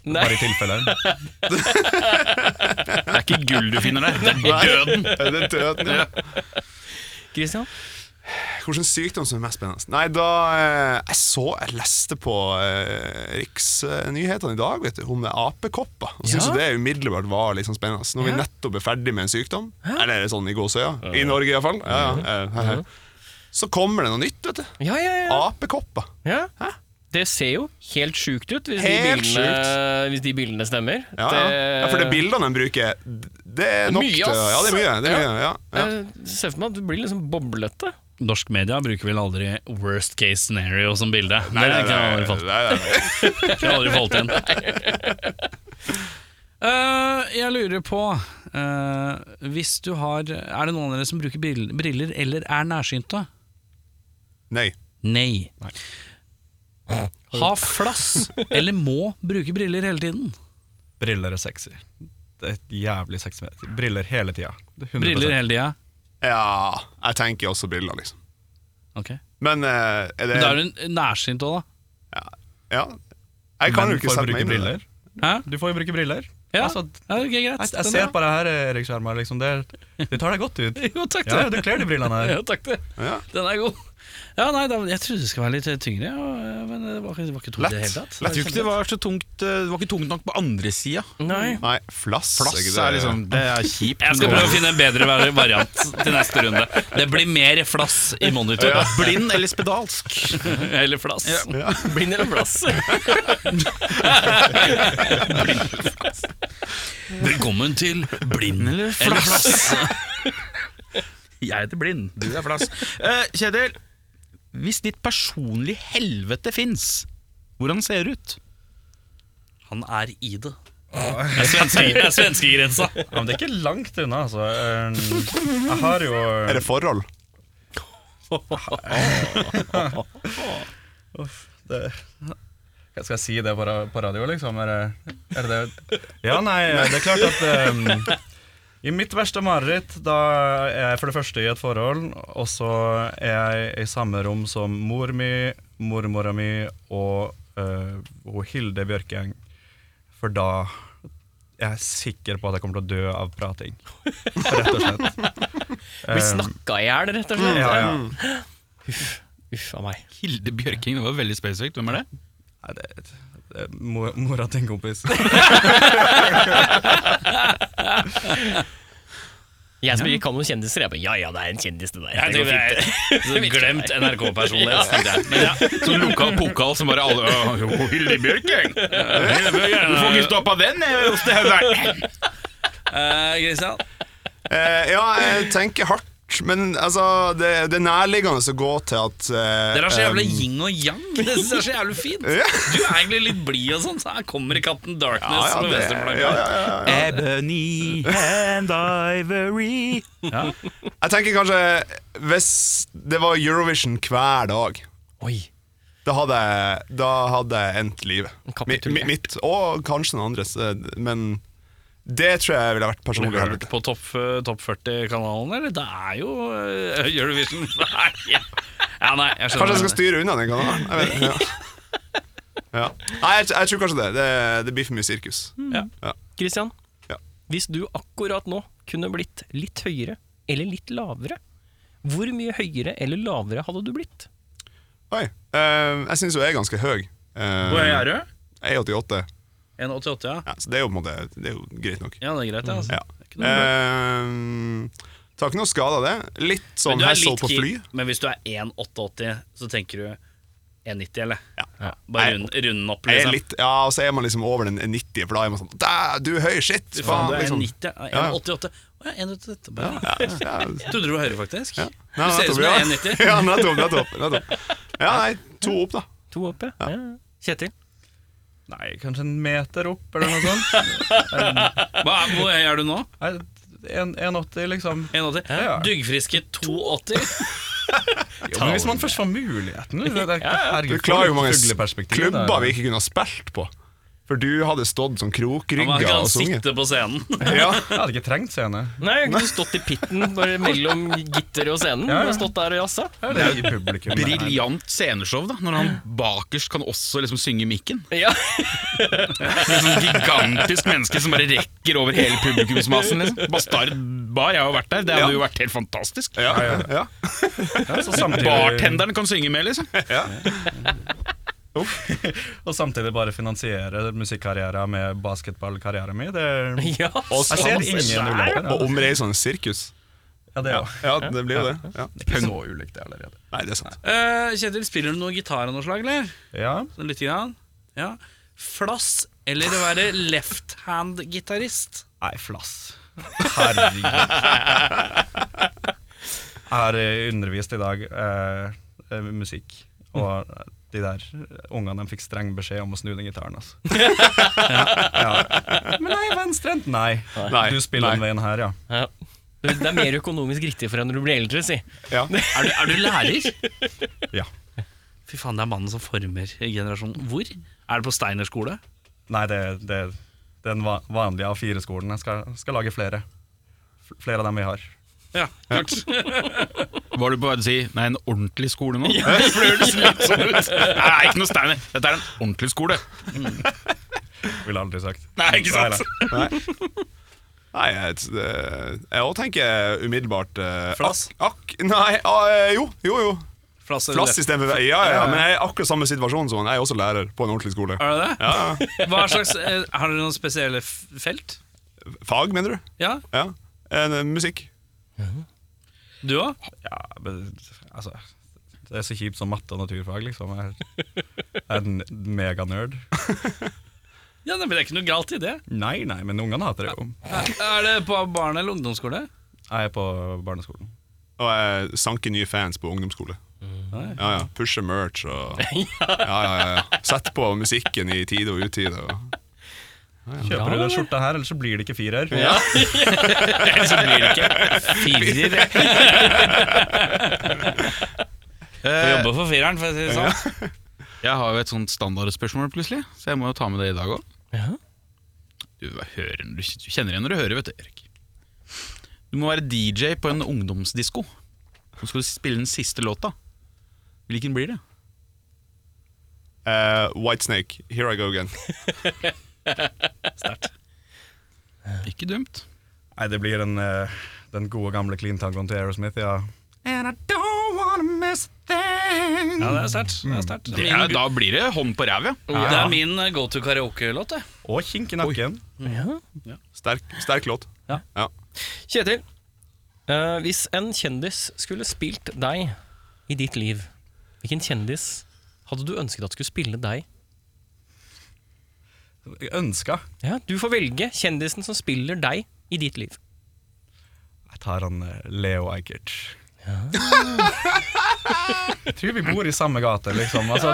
S1: Nei,
S5: bare i tilfelle.
S7: Det er ikke gull du finner der, det er døden.
S6: Er det døden? Ja.
S1: Christian.
S6: Hvilken sykdom som er mest spennende? Nei, da eh, Jeg så jeg leste på eh, Riksnyhetene i dag vet du, om det er apekopper. Og syntes
S1: Ja.
S6: jo det umiddelbart var litt sånn spennende. Når vi nettopp er ferdig med en sykdom, eller sånn i gåsøya, i Norge iallfall, ja, ja, eh, he, he. så kommer det noe nytt, vet du.
S1: Ja, ja, ja.
S6: Apekopper.
S1: ja. Det ser jo helt sjukt ut, hvis,
S6: Helt
S1: de, bildene, hvis de bildene stemmer.
S6: Ja, ja. ja, for det bildene de bruker, det er nok
S1: Mye,
S6: til
S1: ass.
S6: Ja, det er mye. Det er mye ja, ja.
S1: Jeg ser Eh, for meg at det blir liksom boblete.
S3: Norsk media bruker vel aldri 'worst case scenario' som bilde. Nei,
S6: Nei,
S3: det kan
S6: nei,
S3: aldri falt,
S6: nei, nei, nei.
S3: kan aldri falt inn. Eh, jeg lurer på eh, Hvis du har Er det noen av dere som bruker brill- briller eller er nærsynte?
S6: Nei.
S3: Nei. Ha flass eller må bruke briller hele tiden.
S5: Briller er sexy. Det er et jævlig sexy Briller hele tida. Det er 100%.
S3: Briller hele tida.
S6: Ja, jeg tenker også briller, liksom.
S3: Ok.
S6: Men eh, er det
S3: Men Da er du nærsynt òg, da.
S6: Ja. Jeg kan
S5: Men
S6: jo
S5: du
S6: ikke
S5: får
S6: sette meg
S5: bruke
S6: inn i det.
S5: briller.
S3: Hæ?
S5: Du får jo bruke briller.
S3: Ja,
S5: Altså,
S3: ja ok, greit.
S5: jeg,
S1: Sånn,
S5: jeg
S3: Den
S5: ser
S3: er-
S5: på det her, Erik Skjermar. Liksom. Det, det tar deg godt ut.
S3: Jo, takk,
S5: Ja, ja,
S3: det.
S5: du kler de brillene her.
S3: Ja, takk det.
S6: Ja.
S3: Den er god. Ja, nei, da, Jeg trodde det skulle være litt eh, tyngre, ja, men det var, ikke- det var ikke tungt i det hele tatt.
S7: Jeg tror ikke det var så tungt eh, Det var ikke tungt nok på andre sida.
S1: Nei.
S6: Nei, flass, er
S7: Flass
S6: ikke
S7: er liksom Det er kjipt.
S3: Jeg skal prøve å finne en bedre var- variant til neste runde. Det blir mer flass i monitoren.
S7: Blind eller spedalsk?
S3: Eller flass.
S1: Blind eller plass?
S3: Velkommen til Blind eller flass.
S7: Jeg heter Blind, du er flass. Eh, Kjetil, hvis ditt personlige helvete fins, hvordan ser det ut?
S3: Han er i det. Det er svenske- det er svenskegrensa.
S5: Ja, men det er ikke langt unna, altså. Um, Jeg har jo
S6: Er det forhold?
S5: det, Skal jeg si det på, ra- på radio, liksom? Er det, er det det? Ja, nei, det er klart at um, I mitt verste mareritt, da er jeg for det første i et forhold, og så er jeg i samme rom som mor mi, mormora mi og, eh, og Hilde Bjørkeng, for da jeg er sikker på at jeg kommer til å dø av prating. Rett og slett.
S1: Blir
S6: Ehm,
S1: snakka i hjel, rett og slett. Eh,
S5: Ja, ja.
S1: Uff a meg.
S2: Hilde Bjørking, det var veldig spesifikt. Hvem er det?
S5: Nei, det, det er mo- mora til en kompis.
S1: Jeg som ikke kan noen kjendiser, jeg bare ja ja, det er en kjendis, det der.
S3: Jeg
S1: Det går
S3: tror det
S1: fint.
S3: er så glemt NRK-personlighet. tenkte jeg. Men ja.
S2: Sånn lokal pokal som bare alle «Å, jo, Hilde Bjørking! Du får ikke stoppa den eh, hos deg der!
S3: Eh, Christian,
S6: Eh, ja, jeg tenker hardt. Men altså, det, det er nærliggende å gå til at eh,
S3: dere har så jævlig
S6: em,
S3: yin og yang. Det synes jeg er så jævlig fint. Du er egentlig litt blid og sånn, så her kommer Captain Darkness
S6: ja, ja,
S3: med
S6: det-
S3: venstreflagget.
S6: ja, ja, ja, ja.
S2: Ebony and Ivory
S6: Jeg tenker kanskje Hvis det var Eurovision hver dag
S1: Oi.
S6: da hadde, jeg- da hadde jeg endt livet. Mi,
S1: Kapitulert.
S6: mi, mitt, og kanskje noen andres. eh, Men det tror jeg ville vært
S3: Har du
S6: personlig
S3: hørt
S6: helvete.
S3: på Topp top 40-kanalen, eller? Det er jo eh, Eurovision. Nei, ja. ja, nei, jeg skjønner.
S6: Kanskje jeg skal styre unna den kanalen? Jeg vet, ja. Ja. Nei, jeg, jeg tror kanskje det. det. Det blir for mye sirkus.
S1: Christian,
S6: Ja.
S1: hvis du akkurat nå kunne blitt litt høyere eller litt lavere, hvor mye høyere eller lavere hadde du blitt?
S6: Oi. eh, jeg syns jo jeg er ganske høy. Eh,
S3: Hvor høy er du?
S6: jeg er 88,
S3: 1,88, ja.
S6: ja, så det er jo på en måte Det er jo greit nok.
S3: Ja, det er greit, ja, altså.
S6: Ja.
S3: Det er ikke noe problem.
S6: Uh, Tar ikke noe skade av det. Litt sånn
S3: Men du er
S6: hassle
S3: litt
S6: på fly.
S3: keen, liksom. Men hvis du er 1,88, så tenker du 1,90, eller? Ja.
S6: Jeg-
S3: Bare rund, runde den opp,
S6: Jeg er
S3: liksom.
S6: litt, ja, og så er man liksom over den 90, for da er man sånn Dæ, du er høy, shit!
S3: Fy faen,
S6: faen,
S3: du er
S6: liksom.
S3: 1,90. ja, 1,88. Å ja, 1,88. Bare.
S6: Ja, ja.
S3: Trodde du var høyere, faktisk.
S6: Nei,
S3: Du ser ut som du er
S6: nettopp,
S3: 1,90.
S6: ja. Ja, nettopp, nettopp, nettopp. Ja, nei, to opp, da.
S1: To opp, ja. ja. Kjetil?
S5: Nei, kanskje en meter opp, eller noe sånt.
S3: Hva, hvor høy er du nå?
S5: Nei, en- 1,80, liksom.
S3: 1,80?
S5: Ja.
S3: Duggfriske 2,80.
S5: Jo, men hvis man først får muligheten det er, herregud,
S6: Du klarer jo
S5: for
S6: mange
S5: et
S6: s-
S5: fugleperspektiv,
S6: klubber
S5: da.
S6: vi ikke kunne ha spilt på. For du hadde stått som
S3: Ja, Man
S6: krokrygga
S3: kan
S6: og sunget.
S3: sitte på scenen.
S6: Ja.
S5: Jeg hadde ikke trengt scene.
S1: Nei, jeg kunne stått i pitten bare mellom gitteret og scenen.
S5: Ja, ja.
S1: Og stått der og jazza.
S5: Jeg hadde ikke publikum.
S2: Briljant sceneshow, da. Når han bakerst kan også liksom synge i mikken.
S1: Ja.
S2: Et sånn gigantisk menneske som bare rekker over hele publikumsmassen. Liksom. Bastard bar, jeg har jo vært der. Det hadde jo vært helt fantastisk.
S6: Ja, ja, ja.
S5: Ja, så samtidig,
S2: Bartenderen kan synge med, liksom.
S5: og samtidig bare finansiere musikkarrieren med basketballkarrieren min. Det
S1: ja.
S5: jeg ser ingen ulemper.
S6: Og omreisende sirkus.
S5: Ja, det er jo
S6: Ja, det blir jo det. Ja.
S5: ikke så ulikt, det allerede.
S6: Nei, det er sant.
S3: Eh, Kjetil, spiller du noe gitar av noe slag, eller?
S5: Ja,
S3: Sånn Litt grann. Ja. Flass eller å være left-hand-gitarist?
S5: Nei, flass. Herregud. Jeg har eh, undervist i dag eh, eh, musikk, og eh, de der ungene de fikk streng beskjed om å snu den gitaren. Altså. ja. Men nei, venstrehendt. Nei.
S6: Nei,
S5: Du spiller den veien her, ja.
S1: Ja. Det er mer økonomisk riktig for deg når du blir eldre, si.
S6: Ja.
S3: Er du, er du lærer?
S5: ja.
S3: Fy faen, det er mannen som former generasjonen. Hvor? Er det på Steiner skole?
S5: Nei, det, det, det er den va- vanlige A4-skolen. Jeg skal, skal lage flere. F- Flere av dem vi har.
S3: Ja, klart.
S2: Var du på vei til å si nei, en ordentlig skole nå? For det høres litt sånn ut. Nei, nei, ikke noe steiner. Dette er en ordentlig skole.
S5: Ville aldri sagt.
S2: Nei, ikke sant?
S5: Nei,
S6: Nei, jeg, det- jeg også tenker umiddelbart eh,
S3: Flass?
S6: Ak, ak, nei, ah, eh, jo, jo, jo.
S3: Flass eller
S6: Flass
S3: left?
S6: istedenfor Ja, ja, ja, men jeg er i akkurat samme situasjon som han. Jeg er også lærer på en ordentlig skole.
S3: Er det det?
S6: Ja, ja.
S3: Hva slags, eh, har dere noen spesielle f- felt?
S6: Fag, mener du?
S3: Ja,
S6: Ja. Eh, musikk.
S3: du òg?
S5: Ja, men altså Det er så kjipt som matte og naturfag, liksom. Jeg jeg er en meganerd.
S3: Ja, nei, men det er ikke noe galt i det.
S5: Nei, nei, men ungene hater det jo.
S3: Er det på barne- eller ungdomsskole?
S5: Jeg er på barneskolen.
S6: Og jeg sanker nye fans på ungdomsskole. Ja, ja. Pusher merch og ja, ja, ja, ja. Sett på musikken i tide og utide. Og...
S5: Kjøper du den skjorta her, ellers så blir det ikke firer.
S3: Så blir det ikke firer. Jeg jobber for fireren, for å si det sånn.
S2: Eh, Jeg har jo et sånt standardspørsmål plutselig, så jeg må jo ta med det i dag òg. Du, hører- du kjenner igjen når du hører, vet du, Erik. Du må være DJ på en ungdomsdisko. Nå skal du spille den siste låta. Hvilken blir det?
S6: Eh, Whitesnake, Here I Go Again.
S2: Ikke dumt.
S5: Nei, det blir den, eh, den gode gamle clean-tangoen til Aerosmith, ja.
S8: Ja, det er sterkt. Det er sterkt.
S3: Mm.
S2: Det er, da blir det hånd på ræv, ja.
S8: Min- det er min go to karaoke-låt, det.
S5: Og kink i nakken.
S6: Sterk, sterk låt.
S8: Ja.
S1: Kjetil, eh, hvis en kjendis skulle spilt deg i ditt liv, hvilken kjendis hadde du ønsket at skulle spille deg?
S5: Jeg Ønska.
S1: Ja, du får velge kjendisen som spiller deg i ditt liv.
S5: Jeg tar han eh, Leo Ajkic. Jeg tror vi bor i samme gate, liksom. Altså,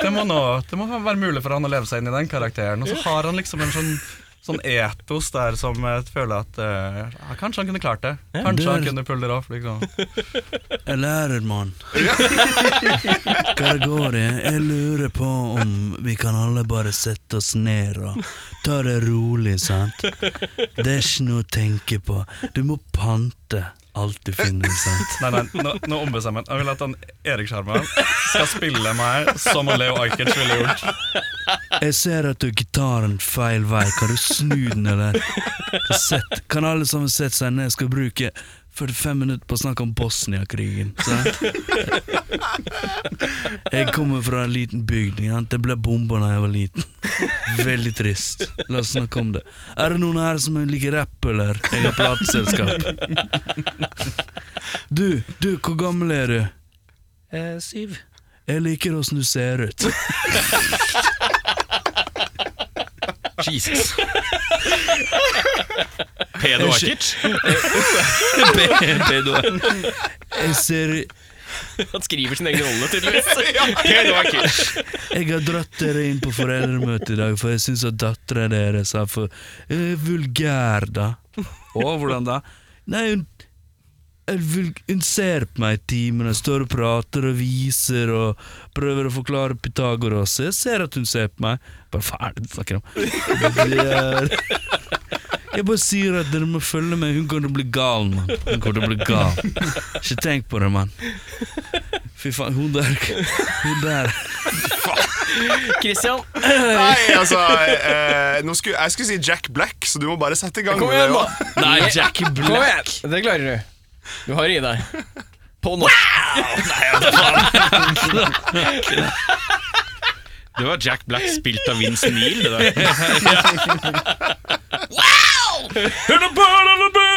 S5: det, må nå, det må være mulig for han å leve seg inn i den karakteren. Og så har han liksom en sånn, sånn etos der som jeg føler at eh, ja, Kanskje han kunne klart det. Kanskje han kunne pulle det off. Liksom.
S3: Jeg lærer, mann. Hva det går i? Jeg lurer på om vi kan alle bare sette oss ned og ta det rolig, sant? Det er ikke noe å tenke på. Du må pante alt du finner, sant?
S5: Nei, nei, nå, nå ombestemmer jeg meg. Jeg vil at han Erik Skjermann skal spille meg som han Leo Ajkic ville gjort.
S3: Jeg ser at du har gitaren feil vei. Kan du snu den, eller? Sett. Kan alle sammen sette seg ned? Jeg skal bruke 45 minutter på å snakke om Bosnia-krigen. sant? Jeg kommer fra en liten bygd. ikke sant? Det ble bomba da jeg var liten. Veldig trist. La oss snakke om det. Er det noen her som liker rapp, eller? Jeg har plateselskap. Du, du, hvor gammel er du?
S8: syv.
S3: Jeg liker åssen du ser ut.
S2: Jesus. Pedo Akic.
S3: Jeg ser
S1: Han skriver sin egen rolle, tydeligvis.
S3: Jeg har dratt dere inn på foreldremøte i dag, for jeg syns at dattera deres er for eh, vulgær, da. Å, hvordan da? Nei, hun er vul- hun ser på meg i timen og står og prater og viser og prøver å forklare Pythagoras. Jeg ser at hun ser på meg. Bare ferdig, snakker om. Det er- Jeg bare sier at dere må følge med. Hun kommer til å bli gal, mann. Hun kommer til å bli gal. Ikke tenk på det, mann. Fy faen, hun der Hun der
S1: Christian,
S6: Nei, altså eh, nå skulle, Jeg skulle si Jack Black, så du må bare sette i gang.
S1: Kom
S6: med det,
S1: igjen,
S6: ja.
S1: Nei, Jackie Black. Det klarer du. Du har det i deg. På norsk.
S2: Det var Jack Black spilt av Vince Neil, det der.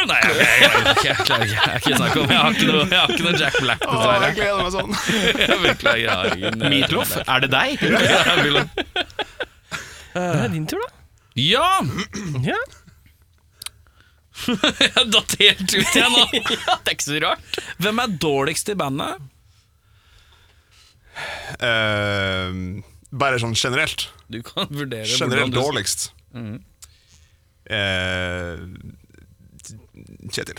S8: Nei, jeg, jeg, jeg, jeg, jeg klarer ikke. Jeg har ikke snakk om Jeg har ikke noe, jeg har ikke noe Jack Black,
S6: Å,
S8: dessverre.
S6: jeg gleder meg sånn.
S8: Jeg beklager, jeg har ingen-
S2: Meatloaf, er det deg?
S1: Det er din tur, da.
S8: Ja!
S1: Ja.
S8: Jeg datt helt ut igjen nå.
S1: Det er ikke så rart.
S8: Hvem er dårligst i bandet?
S6: Eh, bare sånn generelt.
S8: Du kan vurdere
S6: Generelt
S8: hvordan du-
S6: dårligst. Eh, Kjetil.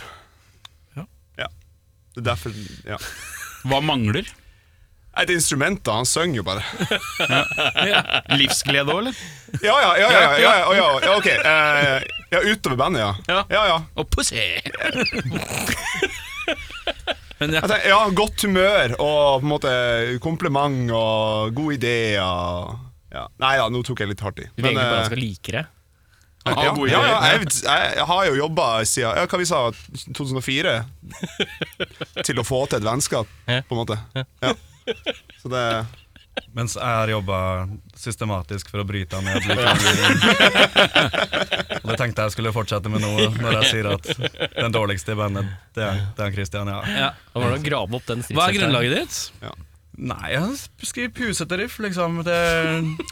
S8: Ja.
S6: ja. Det er derfor ja.
S2: Hva mangler?
S6: Nei, det er instrumentet. Han synger jo bare.
S2: Livsglede òg, eller?
S6: Ja, ja, ja. ja, ja, ja, ja, ja ok. Eh, ja, utover bandet, ja.
S2: Ja.
S6: ja, ja.
S2: Og pussy!
S6: Jeg tenker, ja godt humør og på en måte kompliment og gode ideer. Ja. Nei da, nå tok jeg litt hardt i.
S1: Du vil egentlig bare
S6: eh,
S1: han skal like det.
S6: Ja, ja, ja, jeg, jeg, jeg har jo jobba siden ja, hva vi sa, 2004 til å få til et vennskap, på en måte. Ja. Så det
S5: Mens jeg har jobba systematisk for å bryte han ned. Like og det tenkte jeg skulle fortsette med nå, når jeg sier at den dårligste i bandet, det er, det er han Christian, ja.
S1: Da var det å grave opp
S8: Hva
S1: den
S8: er
S1: stridssektoren.
S8: grunnlaget ditt?
S5: Nei, han skriver pusete riff, liksom. Det,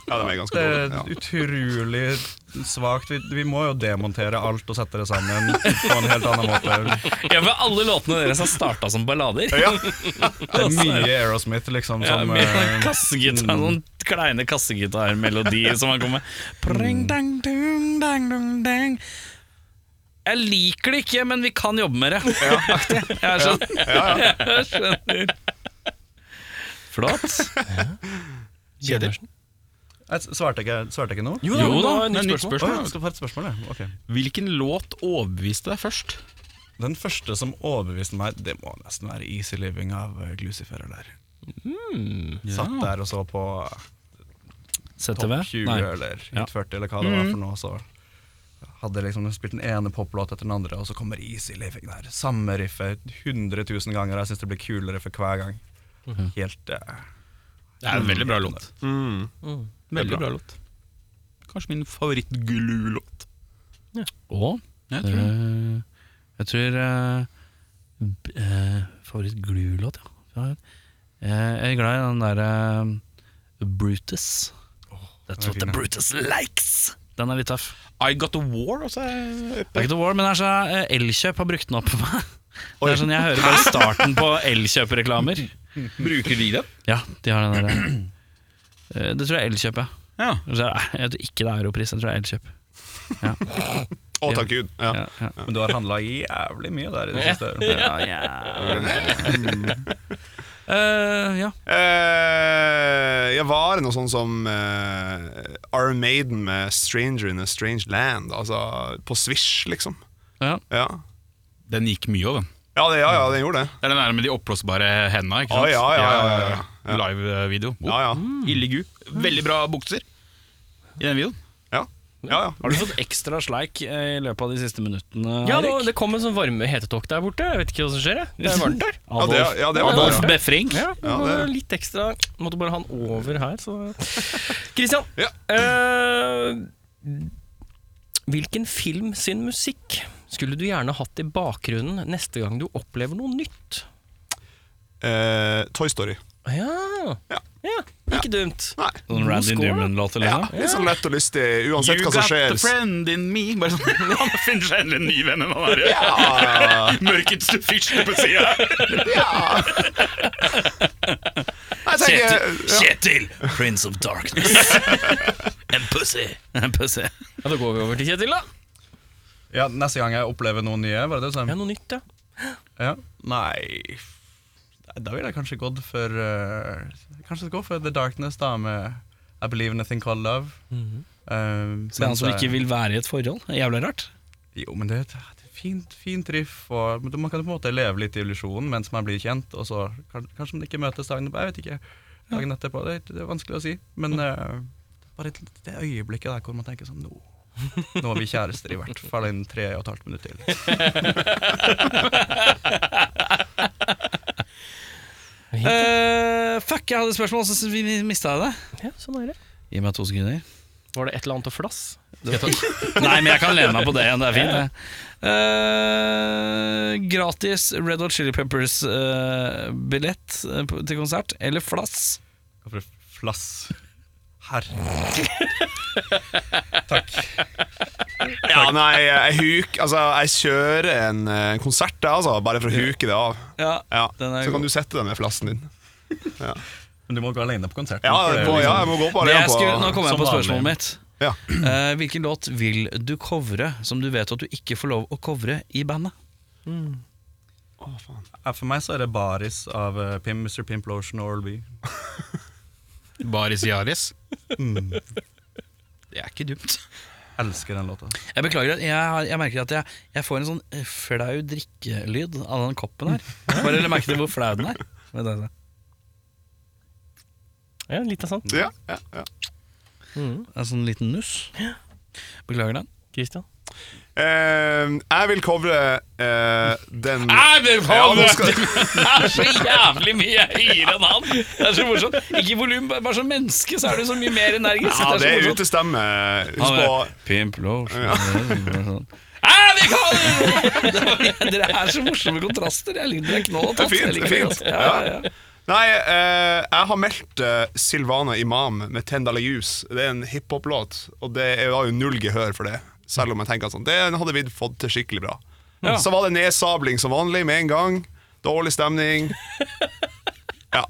S6: Ja, det var ganske
S5: det er
S6: dårlig. Ja.
S5: utrolig svakt. Vi, vi må jo demontere alt og sette det sammen på en helt annen måte.
S8: Ja, for Alle låtene deres har starta som ballader.
S6: Ja.
S5: Det er mye Aerosmith, liksom,
S8: Ja,
S5: som
S8: med
S5: eh,
S8: sånn kassegitar, sånn kleine kassegitarmelodier som han kommer med. Pring, dang, dung, dang, dung, dang. Jeg liker det ikke, men vi kan jobbe med det. Aktig. Jeg skjønner. Jeg skjønner. Flott.
S1: Kjetil.
S5: eh, jeg Svarte ikke, svarte ikke noe?
S1: Jo da,
S8: Jo
S1: men
S8: da,
S1: det var et
S2: det er
S1: nytt
S2: nytt
S1: spørsmål.
S5: Å, jeg skal få et spørsmål, ja. Ok.
S2: Hvilken låt overbeviste deg først?
S5: Den første som overbeviste meg, det må nesten være
S9: Mm.
S5: Easy Living av eh, Glucifer der. Satt der og så på
S9: ZTV?
S5: topp 20
S9: Nei.
S5: eller hit
S9: Ja.
S5: 40, eller hva det var for noe. Så hadde liksom spilt den ene poplåt etter den andre, og så kommer Easy Living der. Samme riffet 100 000 ganger, og jeg syns det blir kulere for hver gang.
S9: Mhm.
S5: Helt eh,
S7: Det
S2: Mm.
S7: er en veldig bra låt. Mm.
S8: Mm.
S7: Veldig bra låt. Kanskje min favoritt-glu-låt.
S9: Og
S7: Jeg tror det.
S9: eh, jeg tror eh, b- eh, Favoritt-glu-låt, ja. ja. Eh, jeg er glad i den derre Brutus. That's what the Brutus likes! Den er litt tøff.
S8: Eh.
S7: I Got A War også er
S9: Det er ikke The War, men det er så, eh, Elkjøp har brukt den opp for meg. Det er sånn, Jeg hører bare starten på Elkjøp-reklamer.
S7: Bruker de den?
S9: Ja, de har den der. Eh, Det tror jeg er Elkjøp, ja.
S7: Ja.
S9: Altså, Jeg tror ikke det er Europris, jeg tror det er Elkjøp.
S6: Å, takk Gud. Ja.
S9: Ja, ja.
S5: Men du har handla jævlig mye der i det siste.
S9: Eh, ja.
S6: Eh, ja, var det noe sånn som uh, Our Maiden med 'Stranger in a Strange Land'? Altså på Swish, liksom.
S9: ja.
S6: Ja,
S7: Den gikk mye av, den.
S6: ja, det, ja, ja den gjorde det.
S7: Det er den der med de oppblåsbare henda. ikke
S6: Å,
S7: sant?
S6: ja, ja, ja, ja, ja.
S7: Live-video. Oh,
S6: Ja, ja.
S7: Ille gu. Veldig bra bukser i den videoen.
S6: Ja, ja, ja.
S9: Har du fått ekstra sleik eh, i løpet av de siste minuttene?
S1: Ja, det,
S9: Erik?
S1: det kom en sånn varme hetetokk der borte. Jeg vet ikke hva som skjer. jeg. Det er varmt der.
S6: ja, det, ja, det var det.
S9: Adolf
S6: ja.
S9: Befring.
S1: Ja,
S6: Ja,
S1: det...
S6: det-
S1: Litt ekstra. Måtte bare ha den over her, så Christian.
S6: Ja.
S1: eh, hvilken film sin musikk skulle du gjerne hatt i bakgrunnen neste gang du opplever noe nytt?
S6: Eh, Toy Story.
S1: Ja,
S6: Ja.
S1: ja. ikke dumt.
S6: Nei.
S9: Sånn Randy
S1: Skål, da.
S9: Newman-låt,
S6: Ja,
S9: liksom?
S6: litt sånn lett og lystig, uansett hva som
S7: a
S6: skjer.
S7: friend in me. Bare sånn, Han finner seg endelig en ny venn enn han er.
S6: Ja,
S7: Mørkets fyrste på sida.
S6: ja. Jeg tenker, ja.
S9: Kjetil! Prince of Darkness. En pussy. En pussy.
S1: Ja, Da går vi over til Kjetil, da.
S5: Ja, neste gang jeg opplever noe nye, var det det du sa?
S1: Ja, Noe nytt, ja.
S5: Ja. Nei f- Da ville jeg kanskje gått for eh, Kanskje gå for The Darkness, da, med I Believe in a Thing Called Love. Eh,
S9: Mhm. Det er han som
S5: mens jeg-
S9: ikke vil være i et forhold. Det er Jævlig rart.
S5: Jo, men det er et det er fint, fint riff, og men man kan på en måte leve litt i illusjonen mens man blir kjent, og så kan, kanskje man ikke møtes dagen Jeg vet ikke. Dagen etterpå. Det, er- det er vanskelig å si. Men eh, bare et, det øyeblikket der hvor man tenker sånn Nå, nå er vi kjærester, i hvert fall innen tre og et halvt minutt til.
S3: Eh, fuck, jeg hadde et spørsmål, så vi mista jeg det.
S1: ja. Sånn er det.
S9: Gi meg to sekunder.
S1: Var det et eller annet å flass?
S9: Nei, men jeg kan lene meg på det igjen. Det er fint. det.
S3: Eh, gratis Red Hot Chili eh, Peppers-billett til konsert, eller flass.
S5: Hvorfor flass? Herre Takk.
S6: ja, nei, jeg huk Altså, jeg kjører en eh, konsert, da, altså, bare for å huke det av.
S3: Ja,
S6: Ja.
S3: Den er
S6: Så
S3: god.
S6: kan du sette deg med flassen din.
S5: Men du må gå alene på konsert.
S6: Ja,
S5: for det er
S6: på,
S5: liksom-
S6: ja jeg må gå på
S3: Det
S6: alene
S3: jeg
S6: på
S3: skulle, nå kommer jeg
S5: som
S3: på spørsmålet
S5: vanlig.
S3: mitt.
S6: Ja.
S3: Eh, hvilken låt vil du covre som du vet at du ikke får lov å covre i bandet?
S5: Ja, For meg så er det Baris av eh, Pim, Mr. Pimplotion og Oral-B.
S7: Baris Yaris. Det er ikke dumt.
S5: Elsker den låta.
S3: Jeg beklager, at jeg, har- jeg merker at jeg, jeg får en sånn eh, flau drikkelyd av den koppen her. Bare eller merke til hvor flau den er. Vent, altså. vent, vent.
S1: Ja, litt av sånt.
S6: Ja, ja, ja.
S3: En sånn liten nuss. Beklager den.
S1: Christian.
S6: Eh, jeg vil covre eh, den
S3: det
S6: Ja, nå skal-
S3: er så jævlig mye høyere enn han! Det er så morsomt. Ikke i volum, bare som menneske så er du så mye mer energisk.
S6: Ja,
S3: er
S6: det er
S3: så morsomt.
S6: utestemme. Husk på
S3: Pimp Love. Ah, vi kan! Dere er så morsomme kontraster. Jeg liker dere knall og tatt.
S6: Det er fint,
S3: Jeg liker
S6: det er
S3: dere
S6: fint.
S3: godt. Ja, ja,
S6: Nei, eh, jeg har meldt eh, Silvana Imam med 'Tendala Juice'. Det er en hiphop-låt, og det er- jeg har jo null gehør for det. Selv om jeg tenker at sånn, det hadde vi fått til skikkelig bra. Så var det nedsabling som vanlig med en gang. Dårlig stemning. Ja.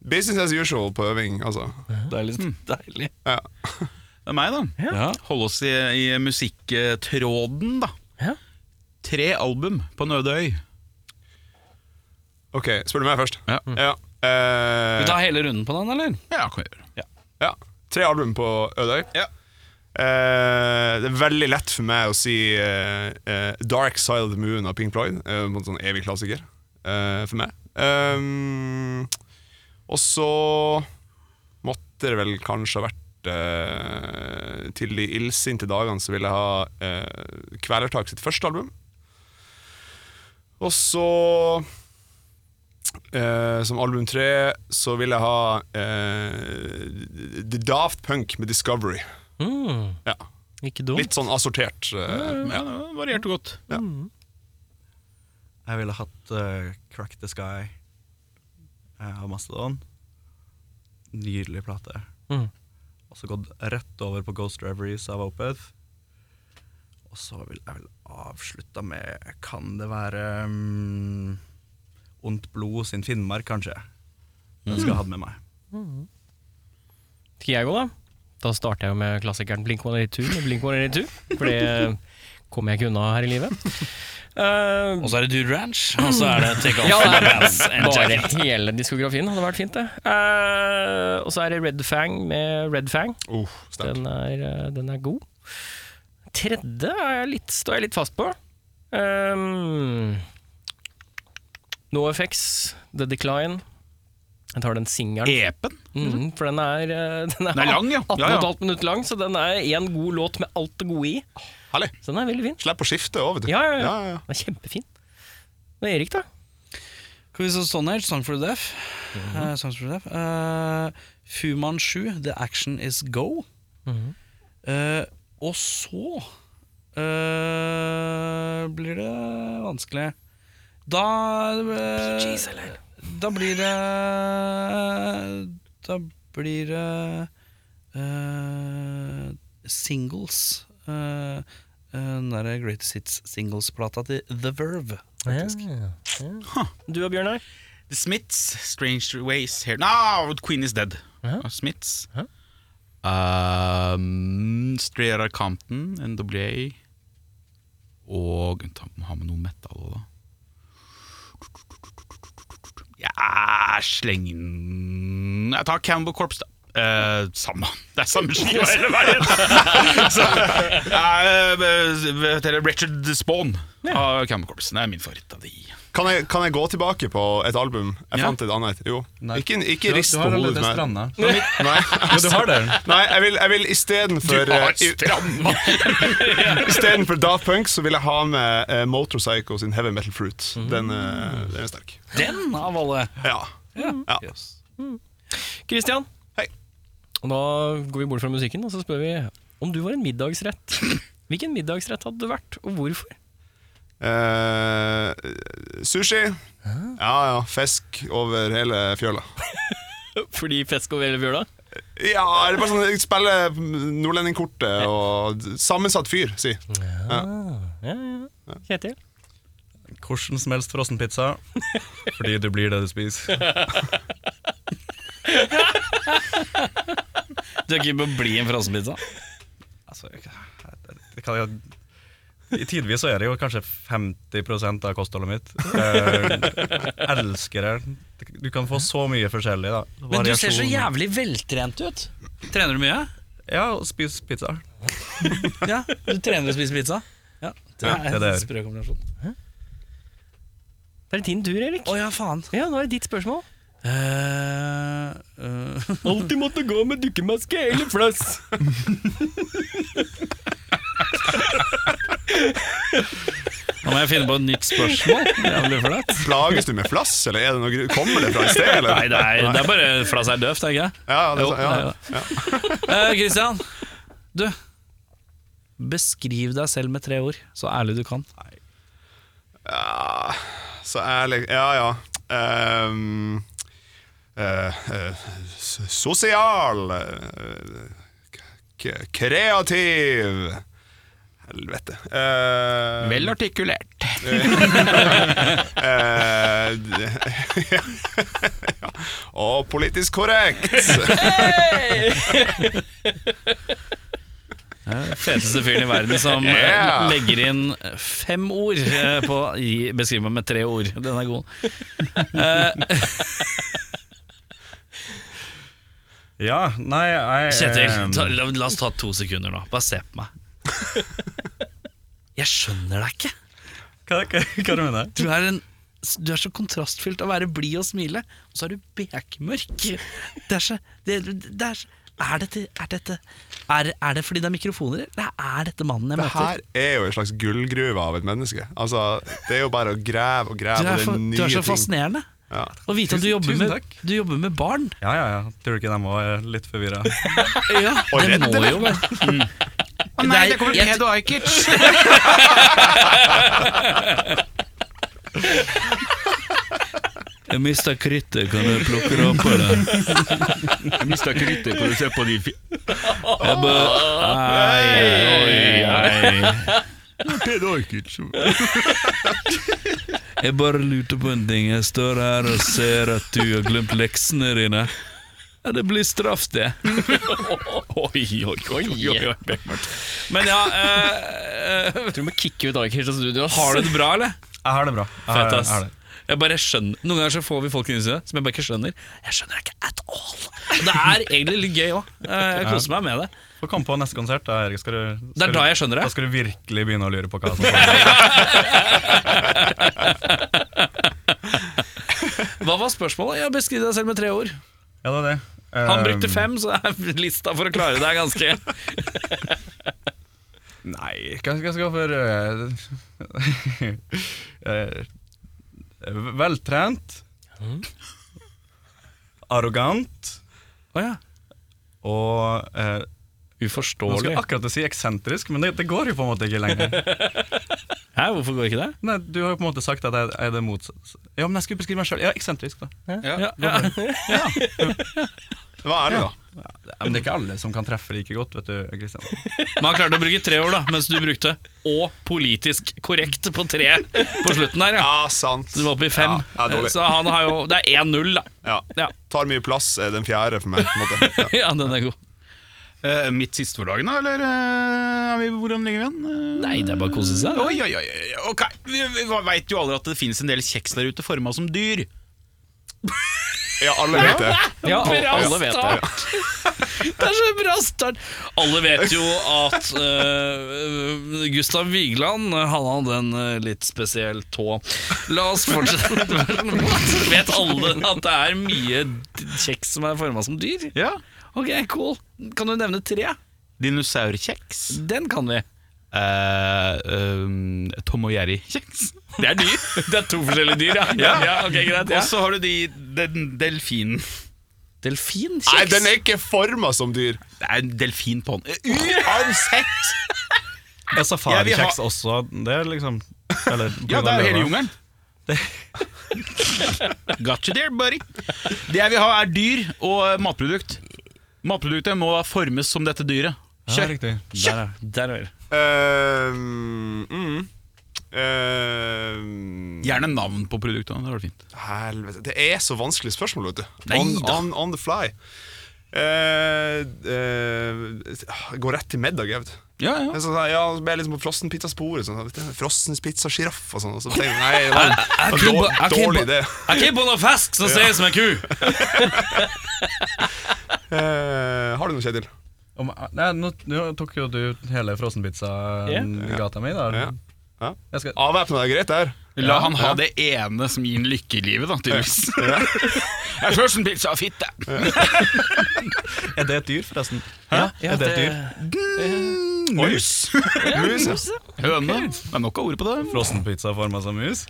S6: Business as usual på øving, altså.
S3: ja. Deilig. deilig.
S6: Ja.
S7: Det er meg, da.
S3: Ja.
S7: Holde oss i, i musikktråden, da.
S1: Ja.
S7: Tre album på en øde øy.
S6: OK, spør du meg først?
S7: Ja.
S6: Ja. Eh,
S3: Vi tar hele runden på den, eller?
S7: Ja, kan vi gjøre.
S6: Ja. Tre album på Ødøy. Eh, det er veldig lett for meg å si eh, eh, 'Dark Side of the Moon' av Pink Floyd. eh, en sånn evig klassiker eh, for meg. Eh, Um, og så måtte det vel kanskje ha vært eh, Til de illsinte dagene så vil jeg ha eh, Kvelertak sitt første album. Og så eh, Som album tre så vil jeg ha eh, The Daft Punk med Discovery. Ja.
S1: Ikke dumt.
S6: Litt sånn assortert. eh, ja.
S7: Variert og godt.
S5: Jeg ville hatt eh, Crack the Sky eh, av Mastodon. Nydelig plate.
S1: Mhm.
S5: Og så gått rett over på Ghost Reveries av Opeth. Og så vil jeg vel avslutta med Kan det være mm, Ondt blod sin Finnmark, kanskje? Den skal jeg ha med meg.
S1: Skal jeg gå, da? Da starter jeg jo med klassikeren Blink 182 med Blink 182. For det eh, kommer jeg ikke unna her i livet. Eh,
S3: Og så er det Dude Ranch, og så er det Take Off
S1: Ja,
S3: My
S1: det er
S3: Pants and
S1: bare
S3: Jacket.
S1: hele diskografien hadde vært fint, det. Eh, og så er det Red Fang med Red Fang.
S6: Oh, sterkt.
S1: Den er, eh, den er god. Tredje er jeg litt, står jeg litt fast på. Um, no Effects, The Decline. Jeg tar den singelen.
S3: E.
S7: Epen.
S1: Mm, for den er, eh, den er,
S7: Den er lang, ja.
S1: 18,5
S7: Ja, ja.
S1: minutter lang, så den er én god låt med alt det gode i.
S6: Herlig.
S1: Så den er veldig fin.
S6: Slipp å skifte òg, vet du.
S1: Ja, ja, ja.
S6: Ja, ja, ja.
S1: Den er kjempefin. Og Erik, da?
S3: Queens of Stone Age, sånn Song for the Deaf. Eh, Songs for the Deaf. Eh, Fu Manchu, The Action Is Go. Eh, og så eh, blir det vanskelig. Da eh, Da blir det Da blir det eh, singles. Eh, eh, den derre Greatest Hits-singles-plata til The Verve.
S1: Du og Bjørnar?
S7: The Smiths, Strange Ways Here No, Queen is Dead. Av Smiths. Um, Strera Compton, NWA. Og ta- må ha med noe metal òg, da. Ja, sleng inn Jeg tar Campbell Corps, da. Eh, samme. Det er samme skiva hele veien! Så, eh, eh, eh, Richard Spawn av Campbell Corps. Det er min favoritt av de.
S6: Kan jeg, kan jeg gå tilbake på et album? Jeg
S7: Ja.
S6: fant et annet. Jo. Ikke, ikke
S5: Du-
S6: rist
S5: du
S6: på
S5: har
S6: hodet.
S5: allerede
S6: men-
S5: stranda.
S6: Nei,
S5: Jo, du har den.
S6: nei, jeg vil, jeg vil istedenfor eh, i-
S7: stramma!
S6: Istedenfor Daft Punk så vil jeg ha med eh, Motorpsycho sin Heavy Metal Fruit. Den, eh, den er sterk.
S3: Den av alle!
S6: Ja. Ja.
S1: Kristian?
S6: Hei.
S1: Og da går vi bort fra musikken, og så spør vi om du var en middagsrett. Hvilken middagsrett hadde du vært, og hvorfor?
S6: Eh, sushi. Ja ja, fisk over hele fjøla.
S1: Fordi fisk over hele fjøla?
S6: Ja, det er bare sånn jeg spiller nordlendingkortet og Sammensatt fyr, si.
S1: Ja, ja, ja. Kjetil?
S5: Hvordan som helst frossenpizza. Fordi du blir det du spiser.
S3: Du er keen på å bli en frossenpizza?
S5: Altså, jeg- jeg- jeg kan jeg- I tidvis så er det jo kanskje 50 av kostholdet mitt. Jeg elsker det. Du kan få så mye forskjellig. da
S3: Men du ser så
S5: Variasjon.
S3: jævlig veltrent ut. Trener du mye?
S5: Ja, og spis pizza.
S3: Ja, Du trener og spiser pizza? Ja, det
S5: Ja,
S3: er
S5: det
S3: en
S5: er det.
S3: sprø kombinasjon.
S1: Det er din tur, Erik.
S3: Å ja, faen.
S1: Ja, nå er det ditt spørsmål.
S3: Eh, eh,
S1: Alltid måtte gå med dukkemaske eller flass.
S3: nå må jeg finne på et nytt spørsmål. Jævlig flaut.
S6: Plages du med flass, eller er det noe, gru- kommer det fra et sted? Eller?
S3: Nei, det er, det er bare flass er døvt, tenker jeg.
S6: Ja, det, er sånn, ja.
S3: Eh, Christian, du. Beskriv deg selv med tre ord, så ærlig du kan.
S6: Ja, så ærlig Ja, ja. Ehm, eh, eh, s- sosial. eh, k- kreativ. Helvete. Eh,
S7: Vel artikulert.
S6: eh, d- ja. Og politisk korrekt.
S3: Feteste fyren i verden som eh,
S6: Yeah.
S3: legger inn fem ord eh, på gi- Beskriv meg med tre ord. Den er god.
S5: Ja, nei, jeg
S3: Kjetil,
S5: eh,
S3: ta, la, la oss ta to sekunder nå. Bare se på meg. Jeg skjønner deg ikke.
S5: Hva, hva, hva du mener
S3: Du er, en, du er så kontrastfylt å være blid og smile, og så er du bekmørk. Det er så, det, det er, så- Er dette, er, dette er, er det fordi det er mikrofoner, eller er dette mannen jeg
S6: Det
S3: møter?
S6: her er jo en slags gullgruve av et menneske. Altså, Det er jo bare å grave og
S3: Du
S6: grave.
S3: er,
S6: og det
S3: fa-
S6: er nye
S3: du er så
S6: ting.
S3: fascinerende.
S6: Ja.
S3: Å vite at du
S5: Tusen-
S3: jobber,
S5: tusen
S3: med,
S5: takk.
S3: du jobber med barn.
S5: Ja, ja, ja. Tror du ikke de var eh, litt forvirra?
S3: Ja, det
S6: redd,
S3: må
S6: eller?
S3: jo være
S2: Å nei, det kommer Pedo Ajkic!
S10: Jeg mista krittet, kan du plukke det opp? Eller?
S2: Jeg mista krittet for å se på de fi...
S10: Jeg bare,
S2: Oi, oi. Pedo Ajkic.
S10: jeg bare lurte på en ting. Jeg står her og ser at du har glemt leksene dine. Ja, det blir straff, det.
S2: Oi, oi, oi, oi, oi.
S3: Men ja, eh, eh,
S1: Jeg tror vi må kicke ut Aker fra studio. ass.
S3: har du det bra, eller?
S5: Jeg har det bra. Jeg har,
S3: Fett,
S5: jeg har
S3: ass.
S5: det.
S3: Jeg bare skjønner Noen ganger så får vi folk inn i seg som jeg bare ikke skjønner. Jeg skjønner ikke at all. Og det er egentlig litt gøy òg. Jeg koser meg med det.
S5: Få komme på neste konsert. Da, Erik. Skal du, skal
S3: Det er da jeg skjønner
S5: du,
S3: det.
S5: da skal du virkelig begynne å lure på hva som foregår.
S3: Hva var spørsmålet? Jeg beskriver deg selv med tre ord.
S5: Ja, det var det.
S3: Han
S5: Eh,
S3: brukte fem, så er lista for å klare det er ganske
S5: Nei, hva skal jeg gå for eh, eh, Veltrent.
S2: Mm.
S5: Arrogant.
S3: Å ja.
S5: Og eh, Nå skulle
S3: Uforståelig.
S5: jeg akkurat til å si eksentrisk, men det, det går jo på en måte ikke lenger.
S3: Hæ, hvorfor går ikke det?
S5: Nei, Du har jo på en måte sagt at jeg er det motsatte. Ja, men jeg skulle beskrive meg sjøl. Ja, eksentrisk, da.
S3: Ja, ja.
S6: Hva er det, da?
S5: Ja, men det er ikke alle som kan treffe like godt, vet du, Kristian.
S3: Men han klarte å bruke tre ord, da, mens du brukte 'og politisk korrekt' på tre på slutten der. ja
S6: Ja, sant.
S3: Du var oppe i fem.
S6: Ja, ja, dårlig.
S3: så han har jo Det er 1-0, da.
S6: Ja.
S3: Ja.
S6: Tar mye plass, er den fjerde for meg. På en måte. Ja.
S3: ja, den er god.
S2: Eh, Mitt siste for dagen, da? Eller eh, er vi, hvordan ligger vi igjen? Eh,
S3: Nei, det er bare å kose seg. det.
S2: Oi, oi, oi, oi, ok Vi, vi vet jo alle at det finnes en del kjeks der ute forma som dyr.
S6: ja, alle vet det.
S1: Ja, alle,
S3: Bra
S1: alle vet det.
S3: start! Det er så bra start! Alle vet jo at eh, Gustav Vigeland eh, han hadde en eh, litt spesiell tå. La oss fortsette. vet alle at det er mye d- kjeks som er forma som dyr?
S2: Ja
S3: Ok, cool. Kan du nevne tre?
S2: Dinosaurkjeks.
S3: Den kan vi.
S2: Eh, um, Tom og Jerry-kjeks. Det er dyr.
S3: Det er to forskjellige dyr, ja. ja. ok, greit,
S2: Og så har du de, den delfinen.
S3: Delfinkjeks?
S6: Nei, den er ikke forma som dyr.
S2: Det er en delfin på den. Uansett!
S5: Er safarikjeks
S2: ha-
S5: også Det er liksom eller,
S2: Ja, det er jo hele jungelen. Got you there, buddy. Det jeg vil ha, er dyr og matprodukt. Matproduktet må formes som dette dyret.
S5: Ja,
S2: Kjøtt.
S5: riktig.
S3: Der, er- der er det.
S6: Eh, mm, eh,
S2: Gjerne navn på produktet. Det var fint.
S6: helvete. Det er så vanskelig spørsmål, vet du.
S2: Nei
S6: On,
S2: da.
S6: on, on the fly. Eh, eh, går rett til middag, jeg vet du.
S2: Ja,
S6: Jeg
S2: ja.
S6: er Sånn, ja, og så ble jeg liksom på frossenpizzasporet. Sånn, frossenspizza sjiraff og sånn. Og så tenkte jeg nei, det var en
S3: jeg kunne
S6: dårlig,
S3: ba- jeg kunne
S6: dårlig
S3: ba-
S6: idé.
S3: Jeg er ikke på noe fisk som ser ut som en ku!
S6: Eh, har du noe, Kjetil?
S5: Om, nei, nå, nå tok jo du hele frossenpizza-gata mi,
S6: Ja.
S5: da.
S6: Ja. Ah.
S5: Jeg skal,
S6: Avvæpna deg greit der.
S2: La han ha det ene som gir ham lykke i livet, da, tydeligvis. Jeg er først en pizza av fitte.
S5: er det et dyr, forresten? Hæ? er det et dyr?
S2: Mus.
S6: Mus, ja.
S2: Høne. Det er nok av ord på det.
S5: Frossenpizza forma som mus?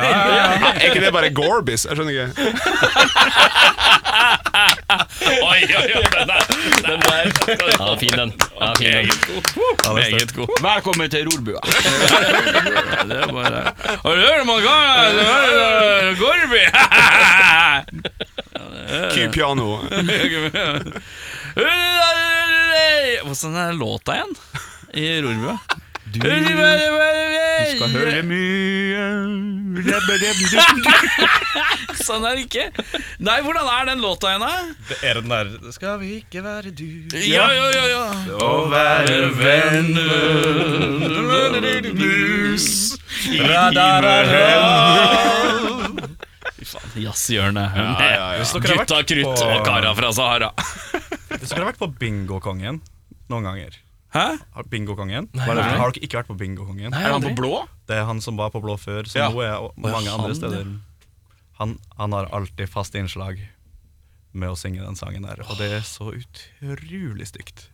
S6: Er ikke det bare Gorbis? Jeg skjønner ikke.
S3: Oi, oi, oi, den er, den er
S1: Ja, fin den. Ja, fin den.
S3: meget god. Meget god.
S2: Velkommen til rorbua.
S3: Det er bare Har du hørt om han Gar- det var- det var Gorby?
S6: Kypiano.
S3: Hvordan er låta igjen? I rorbua? Du
S2: Skal høre mye
S3: Sånn er det ikke. Nei, hvordan er den låta igjen, da?
S5: Det er den der Skal vi ikke være dyr
S3: Ja, ja, ja, ja.
S5: og være
S2: Mus
S3: Jazzhjørnet.
S5: Hvis dere har vært
S3: Gutta krutt
S5: på-
S3: og kara fra Sahara.
S5: Hvis dere har vært på Bingokongen noen ganger
S3: Hæ?
S5: Har- Bingokongen? Har dere- Har dere ikke vært på Bingokongen?
S2: Er han på blå?
S5: Det er han som var på Blå før, som
S2: Ja.
S5: nå er mange andre steder. Han, han har alltid fast innslag. med å synge den sangen der. Og det er så utrolig stygt.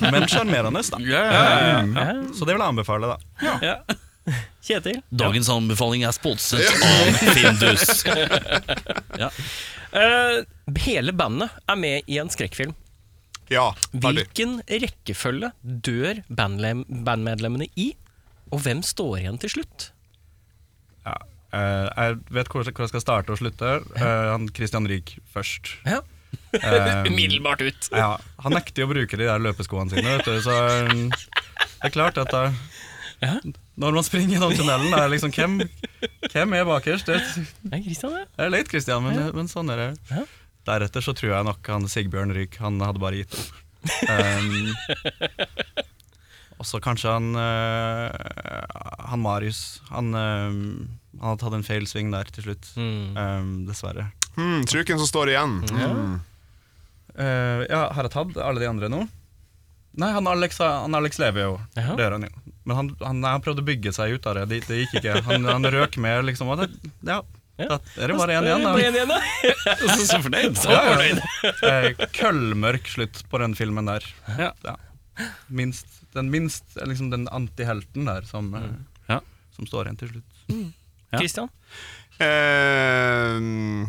S5: Men sjarmerende, da. Så det vil jeg anbefale, da.
S1: Kjetil?
S3: Dagens anbefaling er sponset av Findus.
S1: Eh, hele bandet er med i en skrekkfilm.
S6: Ja, ferdig.
S1: Hvilken rekkefølge dør bandlem- bandmedlemmene i, og hvem står igjen til slutt?
S5: Ja. Eh, jeg vet hvor, hvor jeg skal starte og slutte. Eh, han Christian Ryg først.
S1: Ja.
S5: Eh,
S1: Umiddelbart ut.
S5: ja, han nekter jo å bruke de der løpeskoene sine, vet du, så um, det er klart at da, når man springer gjennom tunnelen, er det liksom hvem, hvem er bakerst? Det
S1: Nei, Christian, ja.
S5: er leit, Christian, men, men sånn er det. Deretter så tror jeg nok han Sigbjørn Ryk, han hadde bare gitt opp. Um, og så kanskje han eh, Han Marius, han, eh, han hadde tatt en feil sving der til slutt,
S1: Mm.
S5: um, dessverre.
S6: Hmm, tror ikke hvem som står igjen. Hmm.
S5: Eh, ja, har jeg tatt alle de andre nå? Nei, han Alex, han Alex lever jo.
S1: Ja.
S5: Det gjør han jo. Men han, han, nei, han prøvde å bygge seg ut av det. Det, det gikk ikke. Han, han røk med, liksom. Og det, ja, da er det bare én igjen.
S1: Bare
S5: da.
S1: en igjen, da.
S3: Så fornøyd.
S1: Så fornøyd.
S5: Eh, Køllmørk slutt på den filmen der.
S3: Ja.
S5: Minst, den minst liksom den antihelten der som, eh,
S3: Ja.
S5: som står igjen til slutt.
S3: Ja.
S1: Christian?
S6: Eh,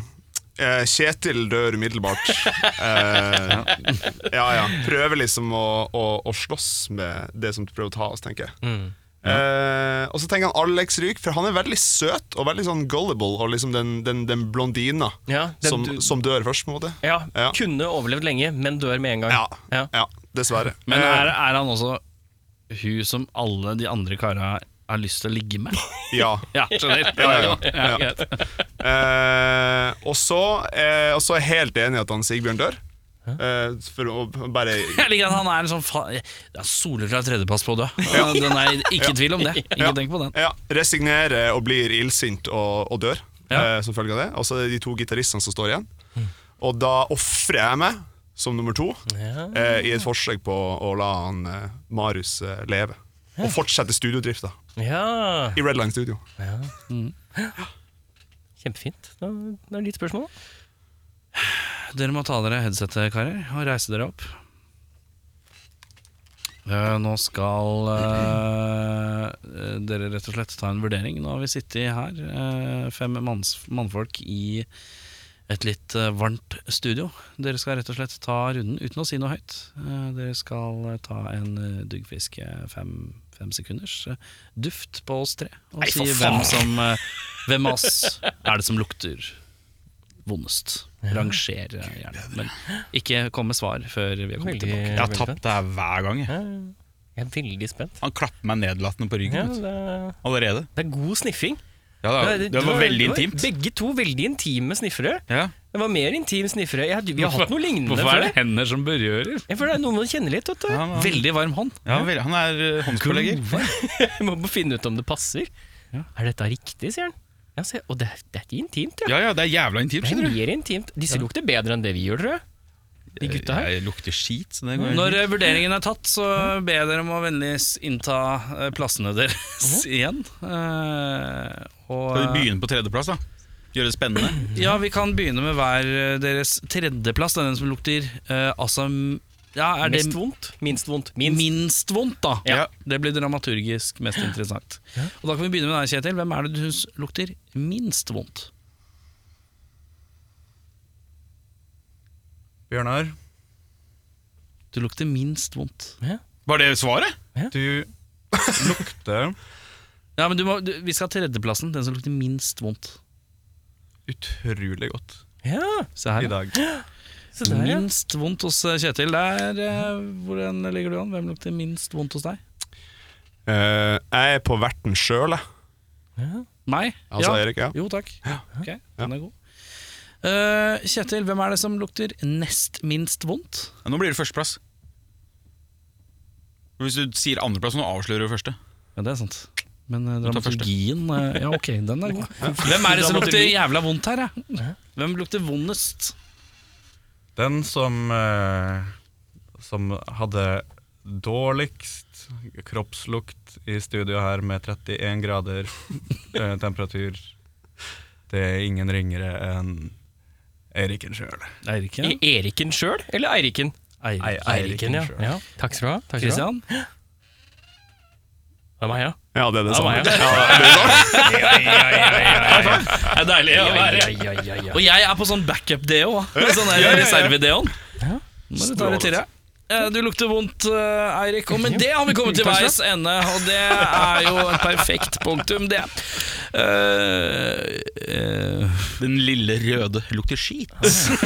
S6: eh, Kjetil dør umiddelbart. Eh, ja, ja. Prøver liksom å, å, å slåss med det som prøver å ta oss, tenker jeg.
S1: Mm.
S6: Eh, og så tenker han Alex Ryk, for han er veldig søt og veldig sånn gullible. Og liksom den, den, den blondina
S1: Ja, den
S6: som,
S1: du-
S6: som dør først, på en måte.
S1: Ja,
S6: Ja.
S1: Kunne overlevd lenge, men dør med en gang.
S6: Ja, ja dessverre.
S3: Men
S6: Eh,
S3: er, er han også hun som alle de andre kara har lyst til å ligge med?
S6: ja.
S3: Ja, skjønner.
S6: Ja, ja, ja.
S3: Ja, greit.
S6: Eh, og så eh, og så er jeg helt enig i at han Sigbjørn dør. Eh, for å bare
S3: Jeg liker at han er en sånn fa Det er soleklar tredjepass på å dø. Den er ikke i tvil om det. Ikke
S6: Ja.
S3: tenk på den.
S6: ja, resignere og blir illsint og, og dør
S3: Ja.
S6: eh, som følge av det. Og så er det de to gitaristene som står igjen. Og da ofrer jeg meg som nummer to eh, i et forsøk på å la han eh, Marius eh, leve. Og fortsette studiodrifta
S1: Ja,
S6: i Red Line Studio.
S1: Kjempefint. Da, da er det ditt spørsmål.
S3: Dere må ta dere headsetet, karer, og reise dere opp. Eh, nå skal eh, eh, dere rett og slett ta en vurdering. Nå har vi sittet her, eh, fem manns, mannfolk i et litt eh, varmt studio. Dere skal rett og slett ta runden uten å si noe høyt. Eh, dere skal eh, ta en eh, duggfiske fem, fem sekunders eh, duft på oss tre, og si hvem, som, eh, hvem av oss er det som lukter vondest. Ranger eh, gjerne. Men ikke kom med svar før vi har kommet
S1: Veldig,
S3: tilbake.
S7: Jeg har
S1: veldig
S7: tapt det her hver gang. Jeg.
S1: Jeg er veldig spent.
S7: Han klapper meg nedlatende på
S1: Ja,
S7: ryggen vet du.
S1: det, er-
S7: allerede.
S1: det er god sniffing.
S7: Ja, det, var- det var veldig
S1: det var
S7: intimt.
S1: Begge to veldig intime sniffere.
S7: Ja.
S1: Det var mer intim sniffere. Jeg, hadde- vi har hatt noe lignende
S3: Hvorfor er det
S1: før.
S3: hender som berører?
S1: Ja, for det er noe man kjenner litt. Vet du.
S7: Ja, men-
S3: Veldig varm hånd.
S7: Ja, vel, han er eh, håndspålegger.
S1: Jeg må bare finne ut om det passer. Er dette riktig, sier han. Ja, se, og det, er- det er ikke intimt, ja.
S7: Ja, ja, det er jævla intimt.
S1: Det er
S7: skjønner du.
S1: mer intimt. Disse lukter bedre enn det vi gjør, tror jeg. De gutta her.
S7: Jeg lukter skit. Så det Mhm. går
S3: Når eh, vurderingen er tatt, så ber jeg dere om å vennligst innta eh, plassene deres igjen. Eh,
S7: Mhm.
S3: og,
S7: Skal vi begynne på tredjeplass, da? Gjøre det spennende?
S3: eh, ja, vi kan begynne med hver eh, deres tredjeplass. Det er den som lukter eh, altså m- ja, er det
S1: Mest vondt, minst vondt,
S3: minst.
S1: minst.
S3: vondt, da.
S1: Ja.
S3: Det blir dramaturgisk mest interessant. Og Da kan vi begynne med deg, Kjetil. Hvem er det du syns lukter minst vondt?
S5: Bjørnar,
S3: Du lukter minst vondt.
S7: Var det svaret?
S5: du lukter
S3: Ja, men du må, du, Vi skal ha tredjeplassen. Den som lukter minst vondt.
S5: utrolig godt
S1: Ja,
S3: Se her.
S5: i
S3: ja.
S5: dag.
S1: se der, ja.
S3: Minst vondt hos eh, Kjetil. Der, eh, hvordan ligger du an? Hvem lukter minst vondt hos deg?
S6: Eh, jeg er på verten sjøl, jeg.
S3: Meg?
S6: Altså Erik. Ja.
S3: Jo takk. Ok, den er god. Eh, Kjetil, hvem er det som lukter nest minst vondt?
S7: Ja, nå blir det førsteplass. Hvis du sier andreplass, nå avslører du første.
S3: Ja, det er sant. Men eh,
S7: tar første.
S3: dramaturgien eh, Ja, ok, den er god. Hvem er det som lukter jævla vondt her, ja? Hvem lukter vondest?
S5: Den som eh, Som hadde dårligst kroppslukt i studio her med 31 grader eh, temperatur Det er ingen ringere enn Eriken sjøl.
S3: Eiriken?
S1: I Eriken sjøl, eller Eiriken?
S3: Eirik.
S1: Eiriken, ja. ja. Takk skal du ha. Takk skal du ha.
S3: Christian?
S1: Det er meg, ja. Sånn
S6: Ja, Sånn det er det
S1: Det er
S6: samme.
S1: meg, ja.
S3: Det er deilig å være
S1: Ja, ja, ja, ja.
S3: Og jeg er på sånn backup-deo. da. Med Sånn der reserve-deoen. Må du ta litt til, ja. Eh, Du lukter vondt, eh, Eirik. Og med det har vi kommet til veis ende, og det er jo et perfekt punktum, det. Eh, eh,
S7: Den lille røde lukter skit.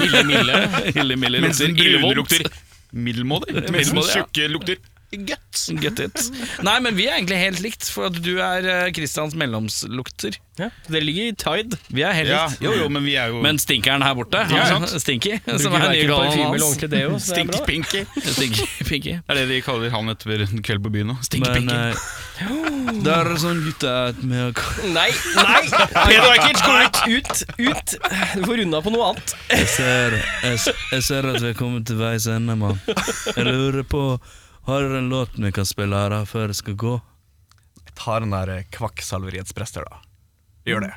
S3: Ille Mille. Ille Mille
S7: Mens
S3: lukter
S7: den brune
S3: illevondt.
S7: lukter middelmådig. Mens den
S3: Middelmådig, ja.
S7: tjukke lukter guts.
S3: Get it. Nei, men vi er egentlig helt likt, for at du er eh, Christians mellomslukter.
S1: Ja, Det ligger i Tide.
S3: Vi er helt
S7: Ja,
S3: likt.
S7: jo, jo, men vi er jo
S3: Men stinkeren her borte,
S7: Ja,
S3: han,
S7: sant.
S3: Stinky, som
S1: Bruker
S3: er
S1: verken parfyme
S3: nye kallenavnet
S1: eller
S3: hans.
S1: ordentlig deo. Så det er bra.
S7: Stinky-pinky.
S3: Stinky Pinky.
S7: Det er det de kaller han etter en kveld på byen nå.
S9: Men
S7: Stinky-pinky.
S9: eh, det er sånn gutta at vi har
S1: Nei, nei! Peder Eikic, gå ut! Ut! ut. Du får runda på noe annet.
S9: Jeg ser, jeg, s- jeg ser at vi er kommet til veis ende, mann. Jeg lurer på Har dere en låt vi kan spille her da, før jeg skal gå?
S5: Ta den der eh, kvakksalveriets prester, da. Gjør det.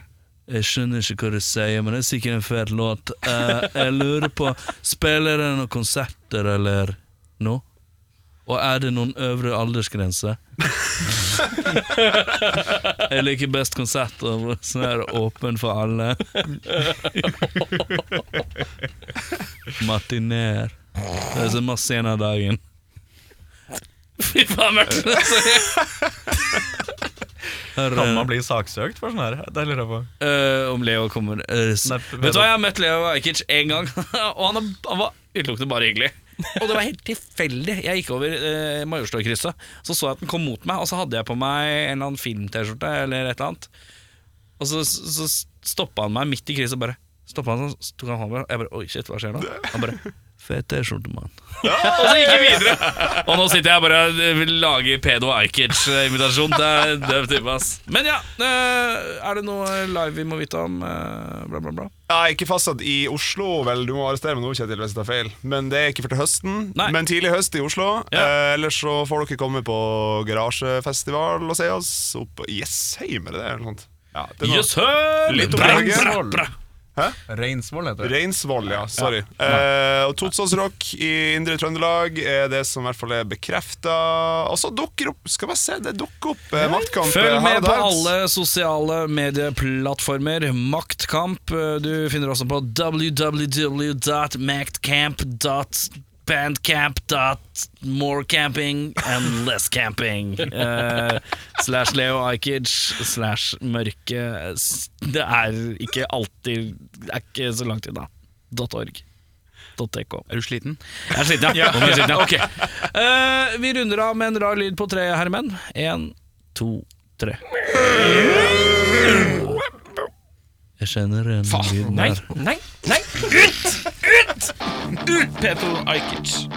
S9: Jeg skjønner ikke hva du sier, men det er sikkert en fet låt. Eh, jeg lurer på Spiller dere noen konserter eller noe? Og er det noen øvre aldersgrense? jeg liker best konserter hvor sånn er det åpen for alle. Matineer. Det er så masse igjen av dagen.
S3: Fy faen, mørkt.
S9: Her,
S5: Kan
S9: eh,
S5: man bli saksøkt for sånn her? Det lurer jeg på.
S9: Eh, om Leo kommer eh, s-
S5: Nei,
S3: Vet du hva, jeg har møtt Leo Ajkic én gang, og han, er, han var utelukkende bare hyggelig. Og det var helt tilfeldig. Jeg gikk over eh, Majorstadkrysset, så så jeg at den kom mot meg, og så hadde jeg på meg en eller annen film-T-skjorte eller et eller annet. Og så, så stoppa han meg midt i krysset og bare Stoppa han sånn, så tok han hånda og jeg bare Oi, shit, hva skjer nå? Han bare
S9: Fet T-skjorte, mann.
S3: Og så gikk vi videre. Og nå sitter jeg bare og eh, vil lage Pedo Ajkic-invitasjon. Det er døv type, ass. Men ja, eh, er det noe live vi må vite om? eh, Bla, bla, bla.
S6: Ja, ikke fastsatt i Oslo, vel. Du må arrestere meg nå, Kjetil, hvis jeg tar feil. Men det er ikke før til høsten.
S3: Nei.
S6: Men tidlig høst i Oslo.
S3: Ja.
S6: Eh, ellers så får dere komme på garasjefestival og se oss opp på Jessheim, er det det? Eller noe sånt? Ja, det er noe-
S3: Yes, sir!
S6: Litt
S3: Bra,
S6: opplegget.
S3: bra, bra.
S5: Reinsvoll heter det.
S6: Reinsvoll, ja. Sorry. Eh, og Totsåsrock i Indre Trøndelag er det som i hvert fall er bekrefta. Og så dukker opp Skal bare se, det dukker opp eh, maktkamp
S3: Følg
S6: her
S3: med
S6: og
S3: på
S6: der.
S3: alle sosiale medieplattformer. Maktkamp. eh, Du finner også på www.maktcamp.bandcamp.morecampingandlesscamping. Eh, slash Leo Ajkic slash mørke s- Det er ikke alltid Det er ikke så langt unna. .org. .tk.
S7: Er du sliten?
S3: Jeg er sliten, ja. Jeg er sliten, ja. Ok. Eh, vi runder av med en rar lyd på tre, herremenn. Én, to, tre.
S9: Jeg kjenner en lyd
S1: Nei,
S9: der.
S1: nei, nei!
S7: Peter Ajkic.